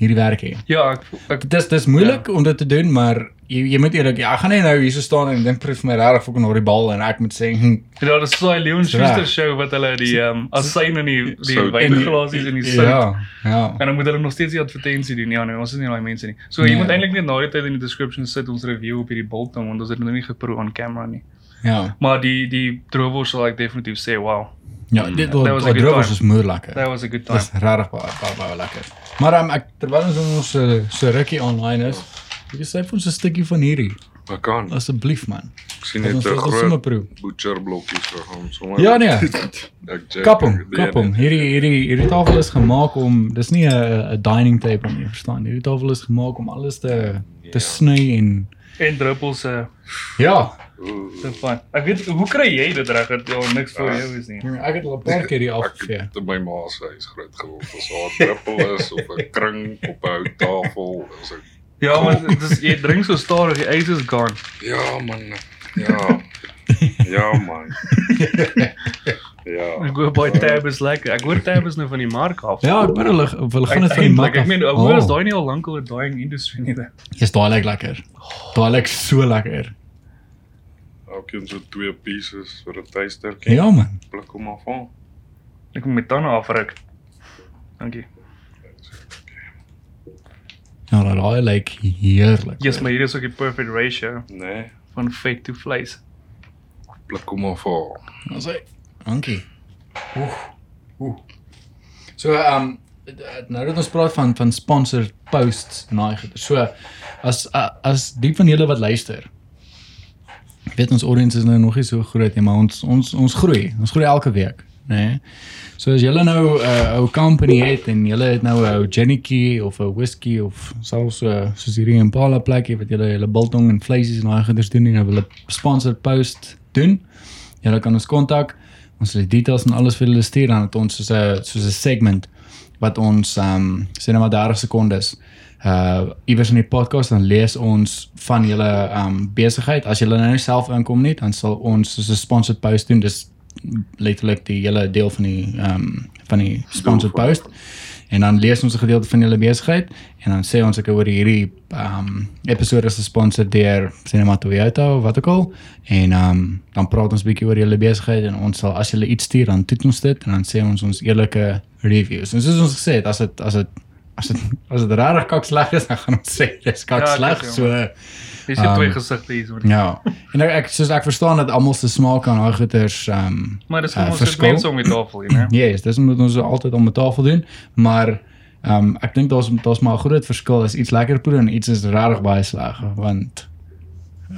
S2: hierdie werk hier."
S3: Ja, ek ek
S2: Dit is dis moeilik ja. om dit te doen, maar jy jy moet eerlik, ja, ek gaan nie nou hierso staan en dink proef my regtig fucking horribal en ek moet sê, (laughs) hm,
S3: Ja, dis so 'n Leon Schuster
S2: reg.
S3: show wat hulle die ehm um, asyn in die die
S1: Sout.
S3: wynglaasies en die sout. Ja.
S2: ja, ja.
S3: En dan moet hulle nog steeds die advertensie doen. Ja, nee, ons is nie daai mense nie. So jy
S2: Nee.
S3: moet eintlik net na die tyd in die description sit ons review op hierdie biltong want ons het nog nie geproe aan camera nie.
S2: Ja.
S3: Maar die die droewors sal ek definitief sê, wow,
S2: Ja, dit
S3: Hmm, That
S2: was
S3: was a good
S2: droog
S3: time.
S2: is moeilik lekker.
S3: that was a good time.
S2: Dis regtig baie baie baie lekker. Maar um, ek terwyl ons in ons eh, so rukkie online is, ek sê vir ons 'n stukkie van hierdie
S1: Ek kan.
S2: asseblief man.
S1: Ek sien
S2: Dat
S1: net
S2: ons
S1: 'n
S2: dit al sommer
S1: groot
S2: proe.
S1: butcher blokkies vir hom sommer.
S2: Ja nee,
S1: Ek
S3: eh,
S1: jack-
S2: kap hom,
S1: die
S2: kap hom.
S1: ene.
S2: Hierdie hierdie hierdie tafel is gemaak om dis nie 'n 'n dining table nie, verstaan? Hierdie tafel is gemaak om alles te
S1: Ja.
S2: te sny en
S3: En druppels se uh,
S2: ja,
S1: Ooh,
S3: te fun. Ek weet hoe kry jy dit reg dat daar niks vir jou is nie.
S2: Ja, ek het al 'n paar keer hier
S1: Ek
S3: (laughs)
S2: afgevee.
S1: het in my ma se huis groot geword. As haar druppel is of 'n kring op 'n houttafel, is ek
S3: Ja, maar dis jy drink so stadig, die ys is gone.
S1: ja man. Ja. Ja man.
S3: Ek
S2: (laughs)
S1: Ja.
S3: hoor baie tab is lekker. Ek hoor tab is nou van die mark af.
S2: Ja, ek moet hulle of hulle gaan dit van die Oh.
S3: Uiteindelik,
S2: mak.
S3: ek meen, ek hoor is
S2: daai.
S3: daai nie al lankal 'n dying industry nie.
S2: Dis daai lyk lekker. Daai lyk so lekker.
S1: Elkeen so twee pieces vir 'n tuistertjie.
S2: Ja man.
S1: Pluk hom af aan.
S3: Ek moet my tande afruk. Dankie.
S2: Ja, daai lyk heerlik.
S3: Yes, maar hier is ook die perfect ratio
S1: Nee,
S3: van vet to vleis.
S1: pluk hom af aan.
S2: Ons sê, dankie. Oef. Oef. So ehm um, nou dat ons praat van van sponsored posts en daai goeie. So as a- as die van julle wat luister. Ek weet ons audience is nou nog nie so groot nie, maar ons ons ons groei. Ons groei elke week, nê? Nee? So as julle nou 'n uh, ou company het en julle het nou 'n ou gennetjie of 'n whisky of selfs uh, soos hierdie Impala plekkie wat julle julle biltong en vleisies en daai goeders doen en nou wil 'n sponsored post doen. Julle Ja, kan ons kontak. Ons sal die details en alles vir julle stuur dan het ons soos 'n soos 'n segment wat ons um sê net maar 30 sekondes uh iewers in die podcast dan lees ons van julle um besigheid. As julle nou self inkom nie, dan sal ons soos 'n sponsored post doen. Dis letterlik die hele deel van die ehm um, van die sponsored
S1: van-
S2: post. En dan lees ons 'n gedeelte van julle besigheid en dan sê ons ek oor hierdie ehm um, episode is gesponsor deur Cinema Toyota of wat ook al en ehm um, dan praat ons bietjie oor julle besigheid en ons sal as julle iets stuur dan toets ons dit en dan sê ons ons eerlike reviews. En soos ons gesê het, as dit as dit as dit as dit regtig kak sleg is, dan gaan ons sê dis kak
S3: Ja,
S2: ja,
S3: ek
S2: sleg.
S3: weet,
S2: So
S3: Dis um,
S2: Ehm,
S3: twee gesigte hier hoor.
S2: ja. En ek, ek soos ek verstaan dat almal se smaak aan daai goeters ehm um,
S3: Maar dis
S2: eh,
S3: kom ons het
S2: verskil.
S3: mense om die tafel hier, né?
S2: Ja, yes, dis moet ons altyd om 'n tafel doen, maar ehm um, ek dink daar's daar's maar 'n groot verskil as iets lekker proe en iets is regtig baie sleg, want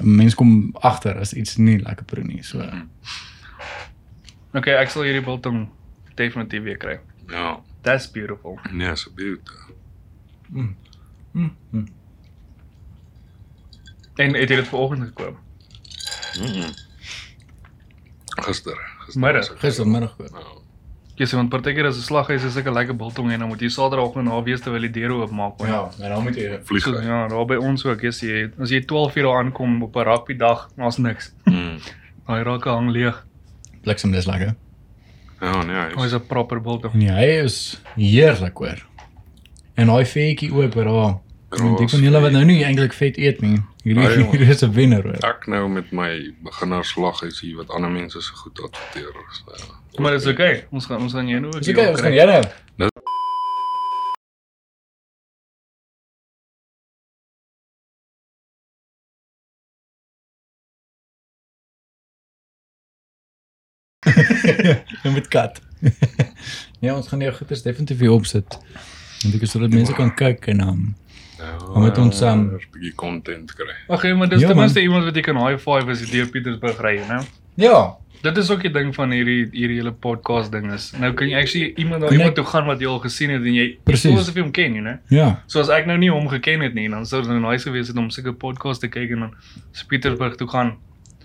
S2: 'n mens kom agter as iets nie lekker proe nie. So
S3: Okay, ek sal hierdie biltong definitief weer kry.
S1: Ja.
S3: That's beautiful.
S1: Nee, asseblief.
S2: Mm.
S3: En het jy dit vanoggend gekoop?
S1: Gister. gister
S3: Middag.
S1: was ek-
S2: gistermiddag koop.
S1: Nou,
S3: Jy sê want partykeer as 'n slaghuis is sulke lekker biltong en dan moet jy saterdagoggend na wees terwyl die deure oopmaak. hoor.
S2: en dan moet jy
S1: Vlieg
S3: So,
S1: hy.
S3: ja, daar by ons ook, jy sê as jy 12 uur daar aankom op 'n rugby dag, daar's niks.
S1: Mm.
S3: Daai rakke hang leeg.
S2: bliksem dis lekker.
S1: Ja, nee, hy
S3: Ons
S1: is
S3: is 'n proper biltong.
S2: En hy is heerlik hoor. En daai vetjie ook hoor daar. Want die van julle wat nou nie eintlik vet eet nie. Hierdie
S1: Ah, jongen.
S2: hierdie is 'n wenner hoor.
S1: ek nou met my beginnerslag is hier wat ander mense so goed adverteer. So, ja.
S3: Maar dis okay. Ons gaan ons gaan jou nou ook.
S2: Dis
S3: hier
S2: okay, ons
S3: opkry.
S2: gaan jy nou. (laughs) Jy moet kat. (laughs) nee, ons gaan jou goeders definitief hier opsit. Want ek is sodat mense kan kyk en um,
S1: nou,
S2: maar met ons, ehm,
S1: 'n bietjie content kry.
S3: Ag, okay, maar dis
S2: Ja,
S3: ten minste iemand wat jy kan high five as jy deur Pietersburg ry, né?
S2: ja,
S3: Dit is ook die ding van hierdie hierdie hele podcast ding is. Nou kan jy actually iemand na
S2: Connect.
S3: iemand toe gaan wat jy al gesien het en jy
S2: Presies.
S3: soos of jy hom ken, you know.
S2: Ja,
S3: So as ek nou nie hom geken het nie, dan sou dit nou nice gewees het om sulke podcasts te kyk en dan so Pietersburg toe gaan.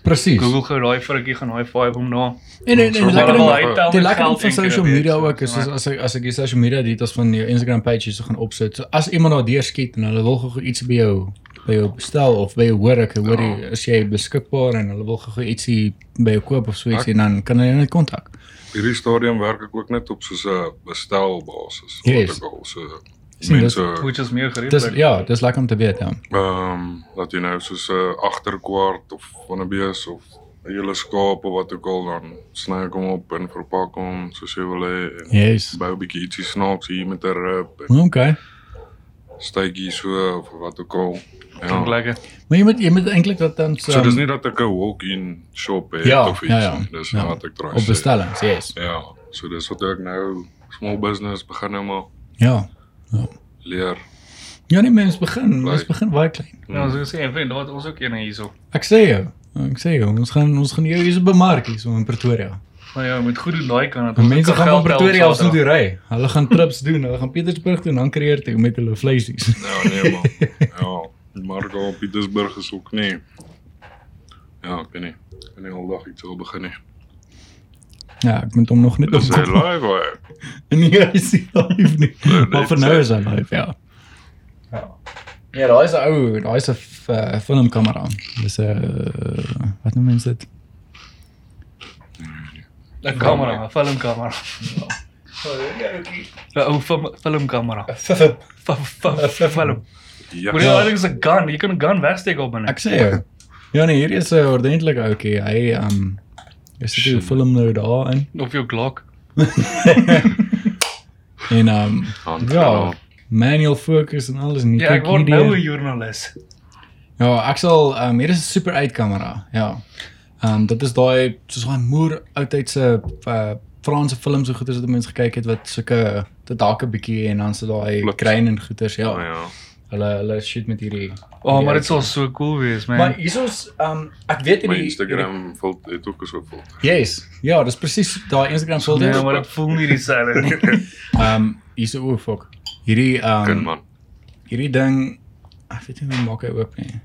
S2: presies.
S3: Google gou daai frikkie gaan high five hom na.
S2: En en, en
S1: Sorry,
S2: lekker
S1: maar
S2: ding
S1: wel hy tel
S2: Die lekker ding van social media ook is is as ek as ek die social media details van jou Instagram page so gaan opsit. So as iemand daar deurskiet en hulle wil gou iets by jou by jou bestel of by jou hoor ek hoor jy
S1: Ja.
S2: is jy beskikbaar en hulle wil gou ietsie by jou koop of so iets en dan kan hulle jou net kontak.
S1: Hierdie stadium werk ek ook net op soos 'n bestelbasis
S2: Yes.
S1: wat ek al so
S2: Sien, dis-
S1: mense
S3: Which is meer gereed.
S2: Dis ja, dis lekker om te weet ja.
S1: ehm dat jy nou soos 'n agterkwart of van 'n bees of 'n hele skaap of wat ook al dan sny ek hom op en verpak hom soos jy wil hê en
S2: Yes.
S1: bou 'n bietjie ietsie snaaks hier met 'n rib en
S2: Okay.
S1: stytjie so of wat ook al.
S3: klink
S1: Ja.
S3: lekker.
S2: Maar jy moet jy moet eintlik dat dan so,
S1: So dis nie dat ek 'n walk-in shop het
S2: Ja,
S1: of iets
S2: ja, ja.
S1: nie. Dis
S2: Ja.
S1: wat ek probeer.
S2: op bestellings, yes.
S1: Ja, so dis wat ek nou small business begin nou maar
S2: Ja.
S1: leer.
S2: Ja, nee mens begin, mens begin baie klein.
S3: Ja, ons sê en vriend, daar het ons ook een hierso.
S2: Ek sê jou, ek sê jou, ons gaan ons gaan jou hier so bemark hier so in Pretoria.
S3: Maar ja, moet goed doen daai kant. dat
S2: En
S3: ons
S2: mense
S3: ook
S2: gaan
S3: geld
S2: van
S3: tel
S2: Pretoria af
S3: Saterdag.
S2: soontoe ry. Hulle gaan trips doen, hulle gaan Pietersburg toe en dan kreer toe met hulle vleisies.
S1: Ja, nee man. Ja, Marco Pietersburg is ook nie. Ja, ek weet nie. Ek kan nie al dag iets wil begin nie.
S2: Ja, ek moet hom nog net
S1: Dis hy
S2: opkom.
S1: live hoor.
S2: En hier is hy live nie.
S1: Nee,
S2: Maar vir
S1: dis
S2: nou
S1: hy.
S2: is hy live, ja. Ja, daai is 'n ou, daai is 'n f- eh, filmkamera. Dis 'n eh, wat noem mense dit?
S3: 'n kamera, 'n (laughs) filmkamera.
S4: Fff.
S3: 'n Ou film, (laughs) filmkamera. F- f- f- Film.
S1: Ja.
S3: Maar ja, dit is 'n gun. Jy kan 'n gun wegsteek op binne.
S2: Ek sê jou. Ja nee, hier is 'n ordentlike ouetjie. Hy um is dit 'n film nou daarin.
S3: Of jou Glock.
S2: (laughs) En um ja,
S1: Handgranaat.
S2: manual focus en alles en jy
S3: nou, Ja, ek
S2: kyk
S3: word
S2: hierdie-
S3: nou 'n joernalis.
S2: Ja, ek sal um, hier is 'n super uitkamera. Ja. Ehm um, dit is daai soos daai moer oudtydse uh, Franse films en goeters wat mense gekyk het wat sulke dit dalk 'n bietjie en dan so daai
S1: Flips.
S2: kruin en goeters. Ja.
S1: Ja, Oh, ja.
S2: Hulle hulle shoot met hierdie.
S3: Oh, maar
S2: Ja.
S3: dit sal so cool wees, man.
S2: Maar hiersoos ehm um, ek weet
S1: My
S2: hierdie
S1: Instagram vult het ook so vol.
S2: hierdie- Yes. Ja, dis presies daai Instagram filter.
S3: Nee,
S2: Ehm
S3: maar dit voel nie dieselfde nie.
S2: um, hierso o fuck. Hierdie ehm
S1: Kind
S2: um,
S1: man.
S2: hierdie ding ek weet nie hoe maak hy oop nie.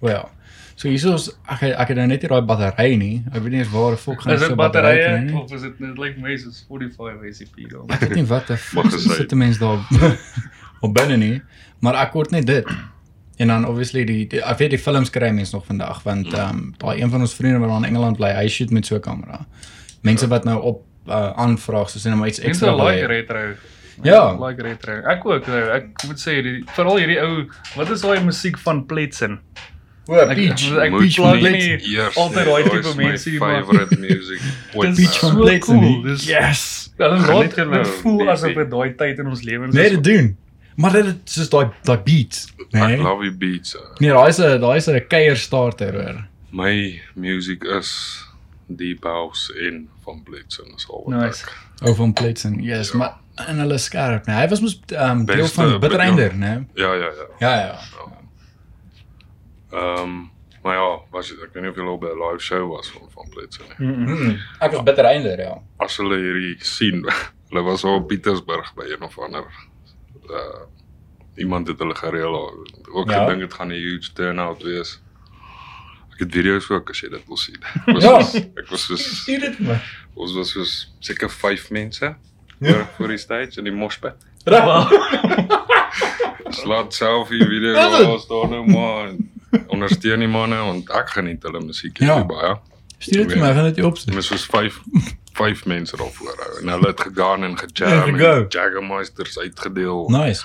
S2: Wel. So hierso is ek ek het nou net nie daai battery nie. Ek weet nie eens waar 'n fok (laughs) gaan
S3: Is
S2: so
S3: dit
S2: 'n battery kry
S3: batterye
S2: nie.
S3: of is dit net like mense is 45 recipe dan?
S2: Ek weet nie wat 'n
S1: Mag
S2: fok
S1: gesê.
S2: sit 'n mens daar (laughs) op binne nie, maar ek kort net dit. En dan obviously die, die ek weet die films kry mense nog vandag
S3: Hmm.
S2: want ehm um, daai een van ons vriende wat daar in Engeland bly, hy shoot met so 'n kamera. Mense wat nou op uh, aanvraag soos hulle maar iets
S3: Mense
S2: ekstra wil
S3: like er-
S2: hê.
S3: retro.
S2: Ja.
S3: Like retro. Ek ook. nou, Ek moet sê die veral hierdie ou, wat is daai musiek van Pletsen?
S2: O,
S3: Ek
S2: peach.
S3: ek
S1: Moet
S3: plug
S1: nie
S3: nie
S1: eers
S3: altyd
S1: nie.
S3: daai
S1: Daai
S3: tipe
S1: is my
S3: mense hier maar.
S1: Favorite music. ooit.
S3: Dis
S2: van
S3: so
S2: Pletsen,
S3: cool,
S2: nie?
S3: dis-
S2: Yes.
S3: Hulle
S1: Geniet
S3: laat
S1: dit
S3: dit
S1: nou,
S3: voel
S1: die-
S3: asof
S1: die-
S3: dit daai tyd in ons lewens
S2: Nee,
S3: is.
S2: dit doen. Maar dit is soos daai daai beat,
S1: Ek
S2: né?
S1: love you beats. eh.
S2: Nee, daai is 'n daai is 'n keier starter hoor.
S1: My music is Deep House en van Blitzen is al wat
S3: Nice.
S1: ek.
S2: Ou van Pletsen. Yes, ja. maar en hulle is skerp, né? Hy was mos um, deel
S1: Beste,
S2: van
S1: ja.
S2: Bitreinder, né?
S1: Ja, ja, ja.
S2: Ja, ja.
S1: Ehm um, maar ja, was dit ek weet nie of jy al by 'n live show was van van Blitzen nie.
S3: Mm -mm.
S2: Mm, ek was Bitreinder, ja.
S1: As hulle hierdie sien, (laughs) hulle was al op Pietersburg by een of ander uh iemand het hulle gereël. daar. Ook
S2: Ja.
S1: ja. gedink dit gaan 'n huge turnout wees. Ek het video's ook as jy dit wil sien. (laughs) Ek was
S2: Ja.
S1: soos, ek was soos
S2: Stuur dit my.
S1: ons was soos seker 5 mense voor voor die stage in die moshpit.
S2: Wow.
S1: Slaat selfie video
S2: Is het?
S1: daar staan nou maar ondersteun die manne want ek geniet hulle musiek
S2: Ja.
S1: ja. baie.
S2: Stuur dit my, ek gaan dit jou
S1: En
S2: opsit.
S1: Dis was 5 5 mense daar voor hou en hulle het gegaan en
S2: En
S1: gejam
S2: gego.
S1: en Jaggermeisters uitgedeel. No.
S2: Nice.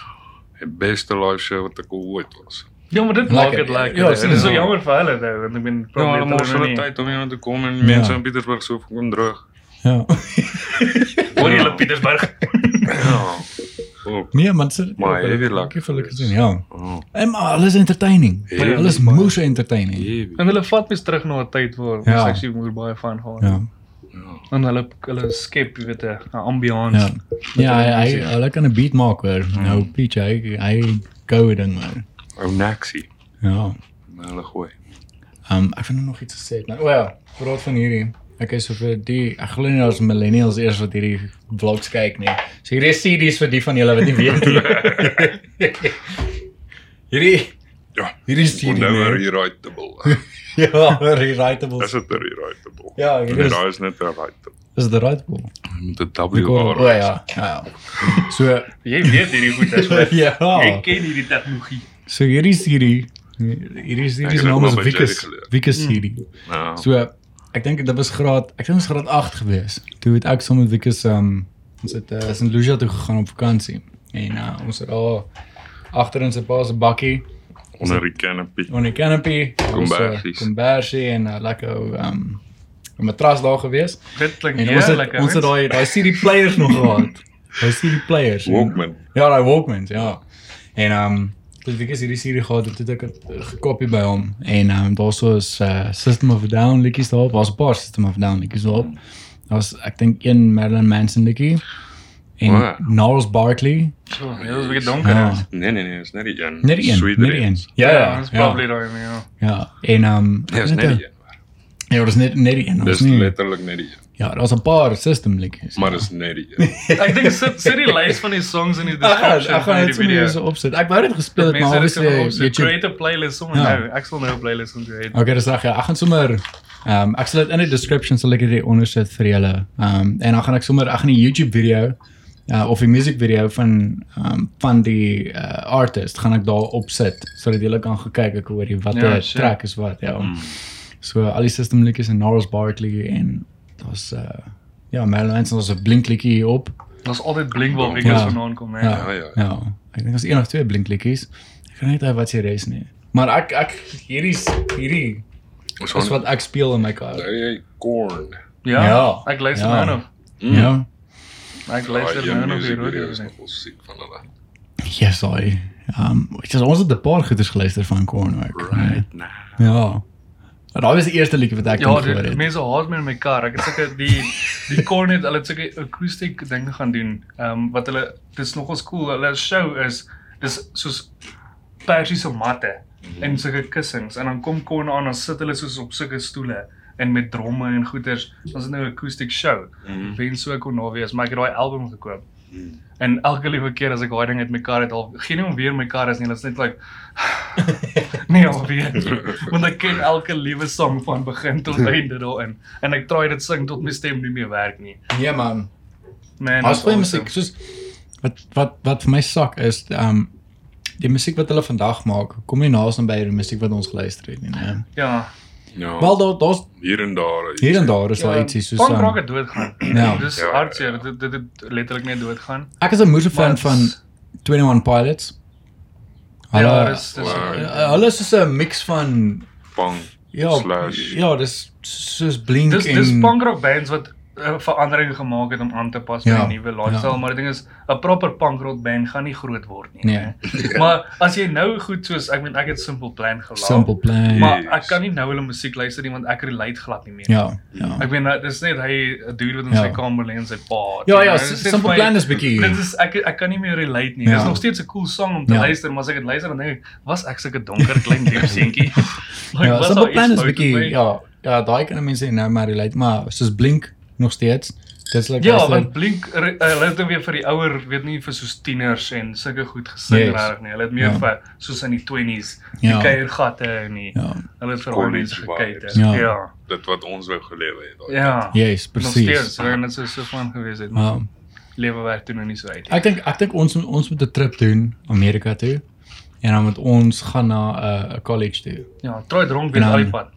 S1: Die beste live show wat ek al ooit was.
S3: Ja, maar dit maak
S2: Lekker.
S3: dit lekker.
S2: Ja,
S3: Ja, dit
S2: sien
S3: is so
S1: jy.
S3: jammer vir hulle nou, want ek bedoel
S1: Ja, hulle
S3: probably
S1: mors
S3: hulle
S1: hulle
S3: nie.
S1: tyd om iemand te kom en
S2: Ja.
S1: mense in Pietersburg so kom droog.
S2: Ja. (laughs)
S3: Hoor jy hulle (laughs) Pietersburg?
S1: Ja. Oh,
S2: Nee, man, sit dit.
S1: Maar
S2: op, hulle-
S1: heavy luck.
S2: Dankie vir hulle gedoen, ja.
S1: oh,
S2: En maar alles entertaining.
S1: Heavy
S2: Hulle is
S1: luck.
S2: moes entertaining.
S1: jebie.
S3: En hulle vat mens terug na 'n tyd waar
S2: Ja.
S3: ja. ons actually moer baie van gehad. Ja.
S2: Ja.
S1: Ja.
S3: En hulle hulle skep, jy weet, 'n ambiance.
S2: Ja.
S3: Ja.
S2: Ja, hy, hy hulle kan 'n beat maak hoor. Nou Peach, hy hy goue ding hoor.
S1: Ou Oh, Naxi.
S2: Ja.
S1: Hulle gooi.
S2: Um ek vind hom nog iets gesê het nou. O ja, praat van hierdie. Ek is vir die ek glo nie daar's millennials eers wat hierdie vlogs kyk nie. So hierdie is series vir die van julle wat nie weet nie. (laughs) hierdie
S1: Ja.
S2: hierdie is hierdie.
S1: Onthou 'n
S2: (laughs) nee.
S1: rewritable.
S2: Ja, rewritable.
S1: Is dit 'n rewritable?
S2: Ja, ek
S1: nee,
S2: weet.
S1: daai is net 'n rewritable.
S2: Is dit rewritable?
S1: Jy moet 'n
S2: O
S1: W
S2: ja, ja. So
S3: Jy weet hierdie goed (laughs)
S1: (laughs)
S3: as wat. Jy
S2: ja.
S3: ken hierdie tegnologie.
S2: So hierdie is hierdie hierdie is
S1: Ek
S2: hierdie
S1: het
S2: se naam
S1: ook
S2: is
S1: maar by
S2: Wikus
S1: Jerry geleer.
S2: Wikus hierdie.
S1: Ja.
S2: So ek dink dit was graad ek dink dit was graad 8 gewees. Toe het ek saam met Wikus um ons het uh, St. Lucia toe gegaan op vakansie en uh, ons het daar agter in sy pa se bakkie
S1: Onder die canopy.
S2: onder die canopy eh,
S1: Kombersies.
S2: kombersie en uh, lekker ou um 'n matras daar gewees.
S3: Dit klink
S2: En
S3: nie
S2: ons
S3: lekker.
S2: het ons het daai daai CD players nog
S1: (laughs)
S2: gehad. Daai CD players. en-
S1: Walkman.
S2: Ja, daai Walkmans, ja. En ehm um, dit ek is hierdie serie gehad het dit ek het eh, gekopie by hom en ehm um, daarso is uh, System of a Down liedjies daarop, was 'n paar System of a Down liedjies daarop. Daar's ek dink een Marilyn Manson liedjie en
S1: O.
S2: wow. Gnarls Barkley.
S3: So, dit is 'n bietjie donker.
S2: Ja,
S3: Ja.
S1: Nee nee nee, is net die een.
S2: net die een,
S1: Sweet
S2: net die een.
S1: Dreams.
S2: Ja, ja,
S3: Dis
S2: ja.
S3: probably daai, ja.
S2: Ja, en ehm um,
S1: Ja, is net die een.
S2: Ja, dis net net die een.
S1: Dis
S2: Dis nie.
S1: letterlik net die een.
S2: Ja, daar's 'n paar System liedjies.
S1: Maar dis net die een. (laughs)
S3: Ek dink sit sit die lys van die songs in die
S2: Ek gaan-
S3: description
S2: ek gaan
S3: van
S2: net
S3: die
S2: so weer
S3: video.
S2: so opsit. Ek wou dit gespeel
S3: Dat
S2: het, maar
S3: mense dit
S2: obviously
S3: sou opsoek.
S2: YouTube
S3: Create 'n playlist sommer
S2: Ja.
S3: nou. Ek sal nou 'n playlist moet create.
S2: Okay, dis reg. Ja. Ek gaan sommer ehm um, ek sal dit in die description sal ek dit onder sit vir julle. Ehm um, en dan gaan ek sommer ek gaan die YouTube video uh, of die music video van ehm um, van die uh, artist gaan ek daar opsit sodat julle kan gaan kyk ek hoor jy watter
S3: Ja,
S2: ja,
S3: sure.
S2: track is wat ja.
S1: Hmm. Mm-hmm.
S2: Mm. So al die system liedjies en Norris Barkley en daar's uh, ja, Marilyn Manson was 'n blink liedjie hier op.
S3: Daar's altyd blink waar
S1: Ja.
S3: Vegas vandaan kom, hè.
S2: Ja,
S1: Ja, ja.
S2: ja. ja. Ek dink daar's een of twee blink liedjies. Ek kan net uit wat se res nie. Maar ek ek hierdie is- hierdie
S1: Ons
S2: is
S1: gaan
S2: wat ek speel in my kar.
S1: nou jy corn.
S3: Ja.
S2: Ja.
S3: Ek luister
S2: Ja.
S3: nou nog.
S2: Ja.
S3: Ek
S1: Ah,
S3: luister nou nog die rooi.
S1: musiek van hulle.
S2: Ja, sorry. Um, ek het ons het 'n paar goeders geluister van Korn ook.
S1: Right now.
S2: Ja. Maar daai was die eerste liedjie wat ek
S3: Ja,
S2: ja,
S3: dit
S2: gehoor het.
S3: mense haat my in my kar. Ek het seker die die corn het hulle het seker acoustic dinge gaan doen. Ehm um, wat hulle dis nogals cool. Hulle show is dis soos persiese matte
S2: Mhm.
S3: en sulke kussings en dan kom corn aan en sit hulle soos op sulke stoele en met dromme en goeters. Ons het nou 'n acoustic show.
S1: Mhm.
S3: Wen so kon daar wees, maar ek het daai album gekoop.
S2: Mhm.
S3: En elke liewe keer as ek daai ding uit my kar het al gee nie om weer my kar is nie, dit's net like nee alweer. Want ek ken elke liewe song van begin tot
S2: Ja.
S3: einde daarin en ek probeer dit sing tot my stem nie meer werk nie.
S2: Ja man.
S3: Man,
S2: Ons
S3: dis
S2: play musiek soos wat wat wat vir my sak is um die musiek wat hulle vandag maak, kom nie naas aan by die musiek wat ons geluister het nie, né?
S3: Ja.
S1: Ja.
S2: Wel daar daar's
S1: hier en daar.
S2: hier en daar is daar
S3: Ja,
S2: ietsie soos
S3: Punk
S2: um,
S3: rock het doodgaan.
S2: Ja.
S3: Dis
S1: Ja,
S3: hartseer dit dit dit letterlik net doodgaan.
S2: ek is 'n moeë fan
S3: Maar
S2: van
S3: dis-
S2: 21 Pilots. Hulle eh,
S3: Ja, dis dis
S1: Wow.
S2: hulle is soos 'n mix van
S1: Pang.
S2: ja,
S1: Slash.
S2: ja, dis soos Blink
S3: Dis
S2: en
S3: dis punk rock bands wat 'n verandering gemaak het om aan te pas by
S2: Ja,
S3: die nuwe lifestyle,
S2: ja.
S3: maar die ding is 'n proper punk rock band gaan nie groot word nie.
S2: Nee.
S3: hè. maar as jy nou goed soos ek meen ek het Simple Plan gelaat.
S2: Simple Plan.
S3: Maar
S1: Yes.
S3: ek kan nie nou hulle musiek luister nie want ek relate glad nie meer.
S2: Ja, ja.
S3: Ek meen dat- dis net hy 'n dude wat in
S2: Ja.
S3: sy kamer lê en sy pa.
S2: Ja,
S3: jy
S2: ja,
S3: weet,
S2: S-
S3: dis net
S2: Simple
S3: vir
S2: Plan is bietjie-
S3: Dit is ek ek kan nie meer relate nie.
S2: Ja.
S3: Dis nog steeds 'n cool song om te
S2: Ja.
S3: luister, maar as ek dit luister dan dink ek, was ek sulke donker klein diep
S2: (laughs)
S3: seentjie? (laughs) Like,
S2: Ja,
S3: was
S2: Simple
S3: daar
S2: Plan
S3: iets
S2: is
S3: fout met my?
S2: bietjie ja, ja, daai kan mense nou maar relate, maar soos Blink nog steeds. Dis like
S3: Ja,
S2: luister-
S3: want Blink re- eh, hulle het ook weer vir die ouer, weet nie vir soos tieners en sulke goed gesing
S2: Yes.
S3: yes. regtig nie. Hulle het meer
S2: Ja.
S3: ja. vir soos in die 20s, die
S2: Ja.
S3: kuiergatte en die
S2: ja,
S3: hulle het vir al
S1: College
S3: mense
S1: vibes.
S3: gekyk.
S2: Ja.
S3: Ja. Ja.
S1: Dit wat ons wou gelewe het. daai
S3: ja.
S2: yes,
S3: Nog steeds,
S2: presies.
S3: want dit sou so van gewees het. Maar
S2: Maar
S3: lewe werk toe nou nie so uit. nie.
S2: ek dink ek dink ons moet- ons moet 'n trip doen Amerika toe. En dan moet ons gaan na 'n uh, college toe.
S3: Ja, trooi dronk weer
S2: En dan-
S3: al die pad.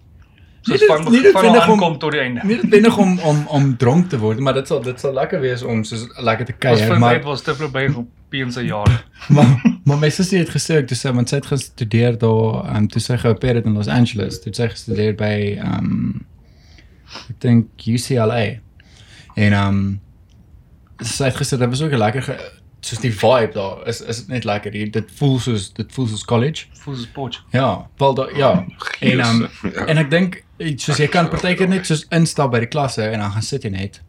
S2: Nie
S3: Soos
S2: dit-
S3: van
S2: nie dit
S3: van
S2: vinnig om-
S3: aankom tot die einde.
S2: Nie noodwendig om om om dronk te word, maar dit sal dit sal lekker wees om soos lekker te
S3: Ons
S2: kuier,
S3: vind uit
S2: maar
S3: was te verby op Pien se jaar.
S2: maar maar my sussie het gesê ek toe sy want sy het gestudeer daar ehm um, toe sy geopereer het in Los Angeles, toe het sy gestudeer by ehm um, ek dink UCLA. En ehm um, sy het gesê dit was ook 'n lekker ge- soos die vibe daar is is dit net lekker. Hier dit voel soos dit voel soos college.
S3: Voel soos potch.
S2: Ja, wel daar ja. En ehm um,
S1: (laughs) Ja.
S2: en ek dink eh, soos jy kan partykeer net soos instap by die klasse en dan gaan sit jy net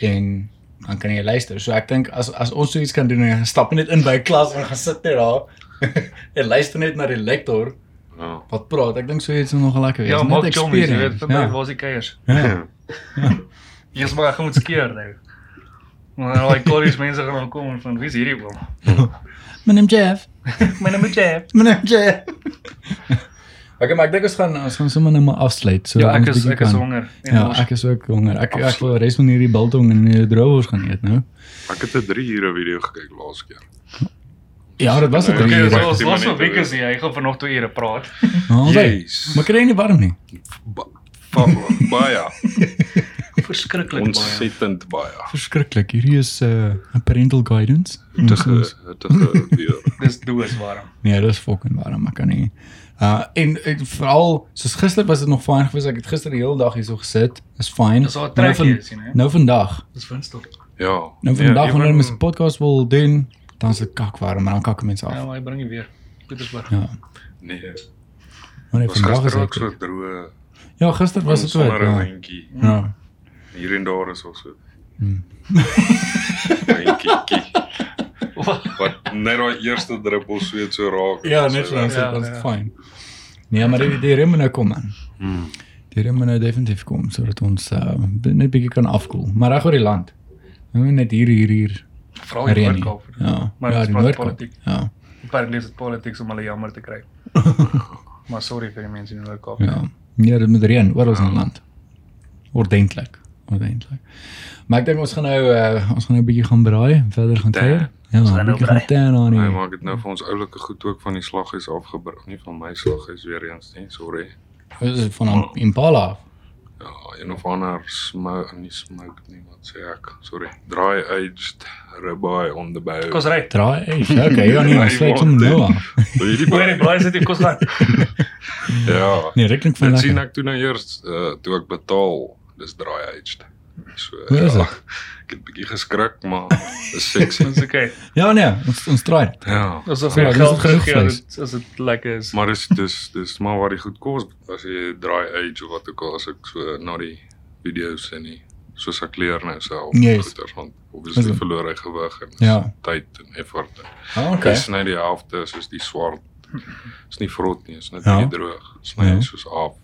S2: en dan kan jy luister. So ek dink as as ons so iets (laughs) kan doen en jy gaan stap net in by 'n klas en gaan sit net daar en luister net na die lektor
S1: Ja.
S2: Wat praat? Ek dink so iets is nogal lekker wees.
S3: Ja,
S2: Net
S3: maak chommies, jy weet,
S2: experience.
S3: vind my
S2: Ja.
S3: waar is die kuiers?
S2: (laughs) Ja.
S3: Eers maar ek gaan moet skeer nou. Maar al die kollies mense gaan dan kom en van wie's hierdie oom?
S2: My naam Jeff.
S3: My naam is Jeff.
S2: My naam (laughs) Jeff. Okay, maar ek dink ons gaan ons gaan sommer nou maar afsluit. So
S3: Ja,
S2: ons
S3: ek is
S2: bietjie
S3: ek is
S2: kan-
S3: honger.
S2: Ja, ek is ook honger. Ek ek wil res van hierdie biltong en hierdie droewors gaan eet nou.
S1: (laughs) Ek het 'n 3 ure video gekyk laas keer.
S2: Ja, dit was 'n
S1: Nee,
S2: drie
S3: Okay,
S1: Hier,
S2: uur.
S1: so-
S3: ons
S1: die
S3: los
S1: minute
S3: vir week
S1: weer.
S3: is hy. Hy gaan vanoggend toe ure praat.
S2: Altyd.
S1: Jeez.
S2: Maar kry nie warm nie.
S1: Ba- ba- Baie.
S3: Verskriklik baie.
S1: Ontsettend baie.
S2: Verskriklik. Hierdie is 'n uh, parental guidance.
S1: Te ge te ge (laughs) weer.
S3: Dis doos warm.
S2: Nee, dis fucking warm, ek kan nie. Uh en ek- veral soos gister was dit nog fyn geweest. Ek het gister die hele dag hierso gesit. Is fyn.
S3: Dis al 'n
S2: Maar nou van-
S3: trekkie is, nee.
S2: Nou vandag.
S3: Dis Woensdag.
S1: Ja.
S2: Nou vandag wanneer
S1: even-
S2: mens 'n podcast wil doen, dan is dit kak warm, maar dan kak mense
S3: Ja,
S2: af.
S3: maar hy bring nie weer. Pietersburg.
S2: Ja.
S1: Nee.
S2: Maar nee,
S1: Was
S2: vandag is
S1: gister ook
S2: dit.
S1: so
S2: goed.
S1: droë.
S2: Ja, gister was dit ook.
S1: sonder 'n
S2: Ja.
S1: reentjie.
S2: ja.
S1: Hier en daar is ons so. (laughs)
S2: Hmm.
S1: Reentjie.
S3: Wat?
S1: Wat net daai eerste druppel sweet so raak.
S2: Ja, net so dan
S3: Ja,
S2: sit ons
S3: ja.
S2: fyn. Nee, maar die, die rem moet nou kom man.
S1: Hmm.
S2: Die rem moet nou definitief kom sodat ons uh, net bietjie kan afkoel. Maar reg oor die land. Nou net hier hier hier
S3: Vra oor
S2: reën
S3: die
S2: nie.
S3: Oh, Noordkaap.
S2: Ja,
S3: Maar
S2: ja,
S3: dis
S2: die
S3: maar
S2: Noordkaap.
S3: politiek.
S2: Ja.
S3: Apparently is dit politics om hulle jammer te kry. maar sorry vir die mense in die Noord-Kaap.
S2: Ja. Nee, dit moet reën oral in die land. Ordentlik, ordentlik. Maar ek dink ons gaan nou uh, ons gaan nou 'n bietjie gaan braai, verder gaan kuier. Ja, ons
S3: gaan nou braai.
S2: Gaan aan
S1: Hy
S2: nie.
S1: maak dit nou vir ons oulike goed ook van die slaghuis afgebring, nie van my slaghuis weer eens nie, sorry.
S2: Ons is van Am- Impala. af.
S1: Ja, een of ander smoke, nie smoke nie, wat sê ek? Sorry. Dry aged ribeye on the bow.
S3: Kos ry.
S2: Draai.
S3: (laughs)
S2: Hey, okay, ja nee,
S1: Hy
S2: ons sluit
S1: maak
S2: hom nou
S1: dit.
S2: af.
S1: Hierdie
S3: Hoor die blaas dit kos ry.
S1: Ja.
S2: Nee, ek klink van
S1: Dit sien
S2: lekker.
S1: ek toe nou eers uh, toe ek betaal, dis dry aged. So ja,
S2: Hoe is dit?
S1: ek het bietjie geskrik, maar dis
S2: (laughs)
S1: sexy.
S3: Dis okay.
S2: Ja nee, ons ons draai. dit.
S1: ja.
S3: Ons het
S2: Ja, dis
S3: geld
S2: genoeg
S3: gegee
S2: vlees.
S3: dit as dit lekker is.
S1: Maar dis dis dis maar wat die goed kos as jy dry age of wat ook al as ek so na die video's en nie soos ek leer nou self
S2: Yes.
S1: goeters want
S2: Is
S1: obviously
S2: dit?
S1: verloor hy gewig en
S2: Ja.
S1: tyd en effort. En
S2: Ah,
S1: okay.
S2: okay.
S1: Dis nou die helfte soos die swart. Is nie vrot nie, is net
S2: Ja.
S1: ja. droog. Sny
S2: Ja.
S1: ja. soos af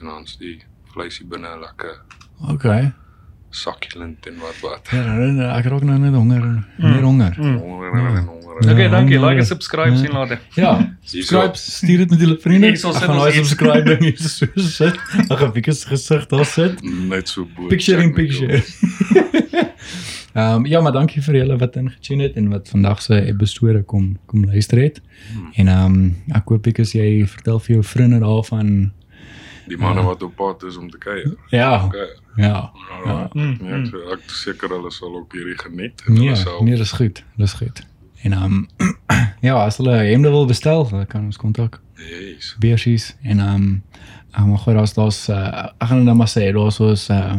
S1: en dan is die vleisie binne lekker
S2: Okay.
S1: succulent en wat wat.
S2: Ja, nee, nee, ek raak nou net honger, meer honger.
S3: Mm.
S1: Honger en honger.
S2: Ja.
S1: en-
S3: Okay, dankie. Like en subscribe
S2: Ja.
S3: sien later.
S2: Ja, subscribe, stuur dit met julle vriende.
S3: Hier sal
S2: Ek
S3: sit
S2: gaan
S3: ons
S2: daai
S3: iets.
S2: subscribe ding hier so sit. Ek gaan Wieke se gesig daar sit.
S1: Net so bo.
S2: Picture in
S1: Jack Nicholson.
S2: picture. (laughs) Ehm um, ja, maar dankie vir julle wat ingetune het en wat vandag se episode kom kom luister het.
S3: Hmm.
S2: En ehm um, ek hoop ek as jy vertel vir jou vriende daarvan.
S1: Die manne wat op pad is om te kuier.
S2: Ja,
S1: Okay.
S2: ja.
S1: Ja. Ja,
S3: Mm.
S1: ek, ek is seker hulle sal ook hierdie geniet en
S2: Nee,
S1: hulle sal
S2: nee, dis goed. Dis goed. En ehm (clears throat) um, ja, as hulle hemde wil bestel, dan kan ons kontak.
S1: Yes.
S2: beersies en ehm um, um, maar goed, daar's daar's uh, ek gaan nou maar sê daar's ons uh,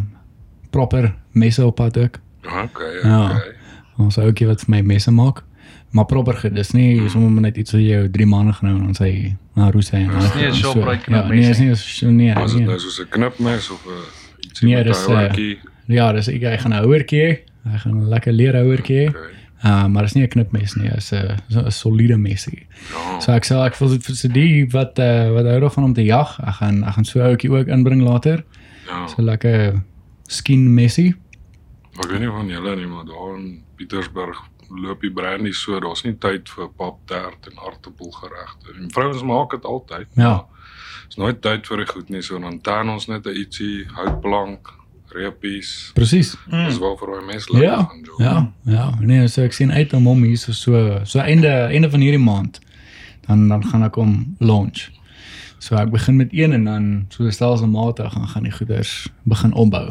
S2: proper messe op pad ook.
S1: Okay,
S2: Ja.
S1: okay.
S2: Ons ouetjie wat vir my messe maak. Maar proper goed, dis nie sommer net iets wat jy jou 3 maande gaan hou en dan sê jy, "Nou, roes hy." en
S1: Dis
S2: alles
S3: nie 'n
S2: goed." So,
S3: Shoprite
S2: Ja,
S3: knop
S2: nee, is
S3: mes
S2: nie 'n sh- nee.
S1: Was dit
S2: nee.
S1: nou soos 'n knipmes of 'n ietsie
S2: Nee,
S1: met
S2: dis,
S1: 'n houertjie?
S2: Ja, dis ek, ek gaan 'n houertjie hê. Ek gaan 'n lekker leerhouertjie hê.
S1: Okay.
S2: Uh, maar dis nie 'n knipmes nie, is 'n is 'n soliede mesie.
S1: Ja.
S2: So ek sê ek voel dit vir se die wat uh, wat hou daarvan om te jag. Ek gaan ek gaan so 'n ouetjie ook inbring later.
S1: ja.
S2: So lekker skien messie.
S1: Ek weet nie van julle nie, maar daar in Pietersburg loop die brandy so, daar's nie tyd vir paptert en aartappelgeregte. En vrouens maak dit altyd.
S2: Ja.
S1: Dis nooit tyd vir die goed nie, so dan tan ons net 'n ietsie houtplank, reepies.
S2: Presies.
S3: mm.
S1: Dis waarvoor hy mens lekker
S2: Hmm. Ja.
S1: gaan doen.
S2: Ja, ja. Nee, so ek sien uit om hom hier so so so einde einde van hierdie maand. Dan dan gaan ek hom launch. So ek begin met een en dan so stelselmatig gaan gaan die goeders begin opbou.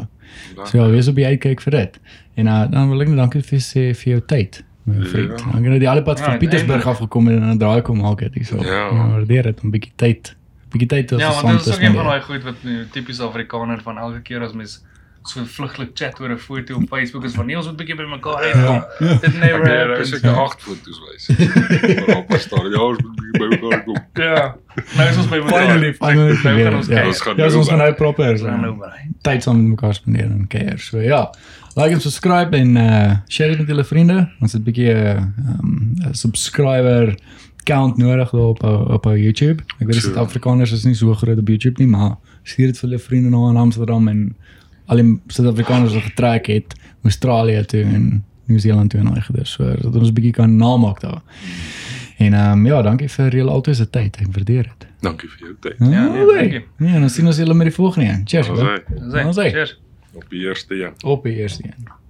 S1: Dan-
S2: So ja, wees op die uitkyk vir dit. En uh, dan wil ek net dankie vir sê vir jou tyd. My vriend.
S1: Ja.
S2: Dankie dat jy alle pad
S3: Ja,
S2: van Pietersburg
S3: uiteindelik.
S2: af gekom het en dan draai kom maak dit hierso.
S1: Ja.
S2: Ek waardeer dit om 'n bietjie tyd, bietjie tyd te
S3: Ja,
S2: saam
S3: want dit
S2: te
S3: is ook een van
S2: spandeer.
S3: daai goed wat nou tipies Afrikaner van elke keer as mens so vluglik chat oor 'n foto op Facebook is van nee, ons moet bietjie by mekaar uitkom. Dit
S1: Ek
S3: never
S1: dink Ja, daar is
S3: happens.
S2: Ja.
S1: seker 8 foto's wys.
S2: (laughs)
S1: Waarop staan ja, ons moet hier by mekaar kom.
S3: Ja. Nou is ons by mekaar.
S2: Finally, finally.
S3: Nou gaan ons
S2: Ja,
S3: kyk.
S1: Ons gaan
S2: Ja, so
S1: nou
S2: ons gaan nou
S1: werk.
S2: proper.
S3: Ons gaan
S2: so.
S3: nou by.
S2: tyd saam met mekaar spandeer en kuier. So ja, like en eh, subscribe en uh share dit met julle vriende. Ons het 'n bietjie 'n uh, um, 'n eh, ehm, subscriber account nodig daar op ou- op ou YouTube. Ek weet
S1: Sure.
S2: Suid-Afrikaners is nie so groot op YouTube nie, maar stuur dit vir hulle vriende na in Amsterdam en al die Suid-Afrikaners wat getrek het Australië toe en Nieu-Seeland toe en daai gedoen. So dat ons 'n bietjie kan namaak daar. En ehm um, ja, dankie vir julle altyd se tyd. Ek waardeer dit.
S1: Dankie vir jou tyd.
S2: Ja,
S3: nee, dankie.
S2: é? Nee, en dan sien ons julle met die volgende een. Cheers.
S1: Ons
S2: bro.
S1: sê
S3: Dis hy.
S2: Ons hy.
S3: Cheers.
S1: op die eerste een.
S2: Op die eerste een.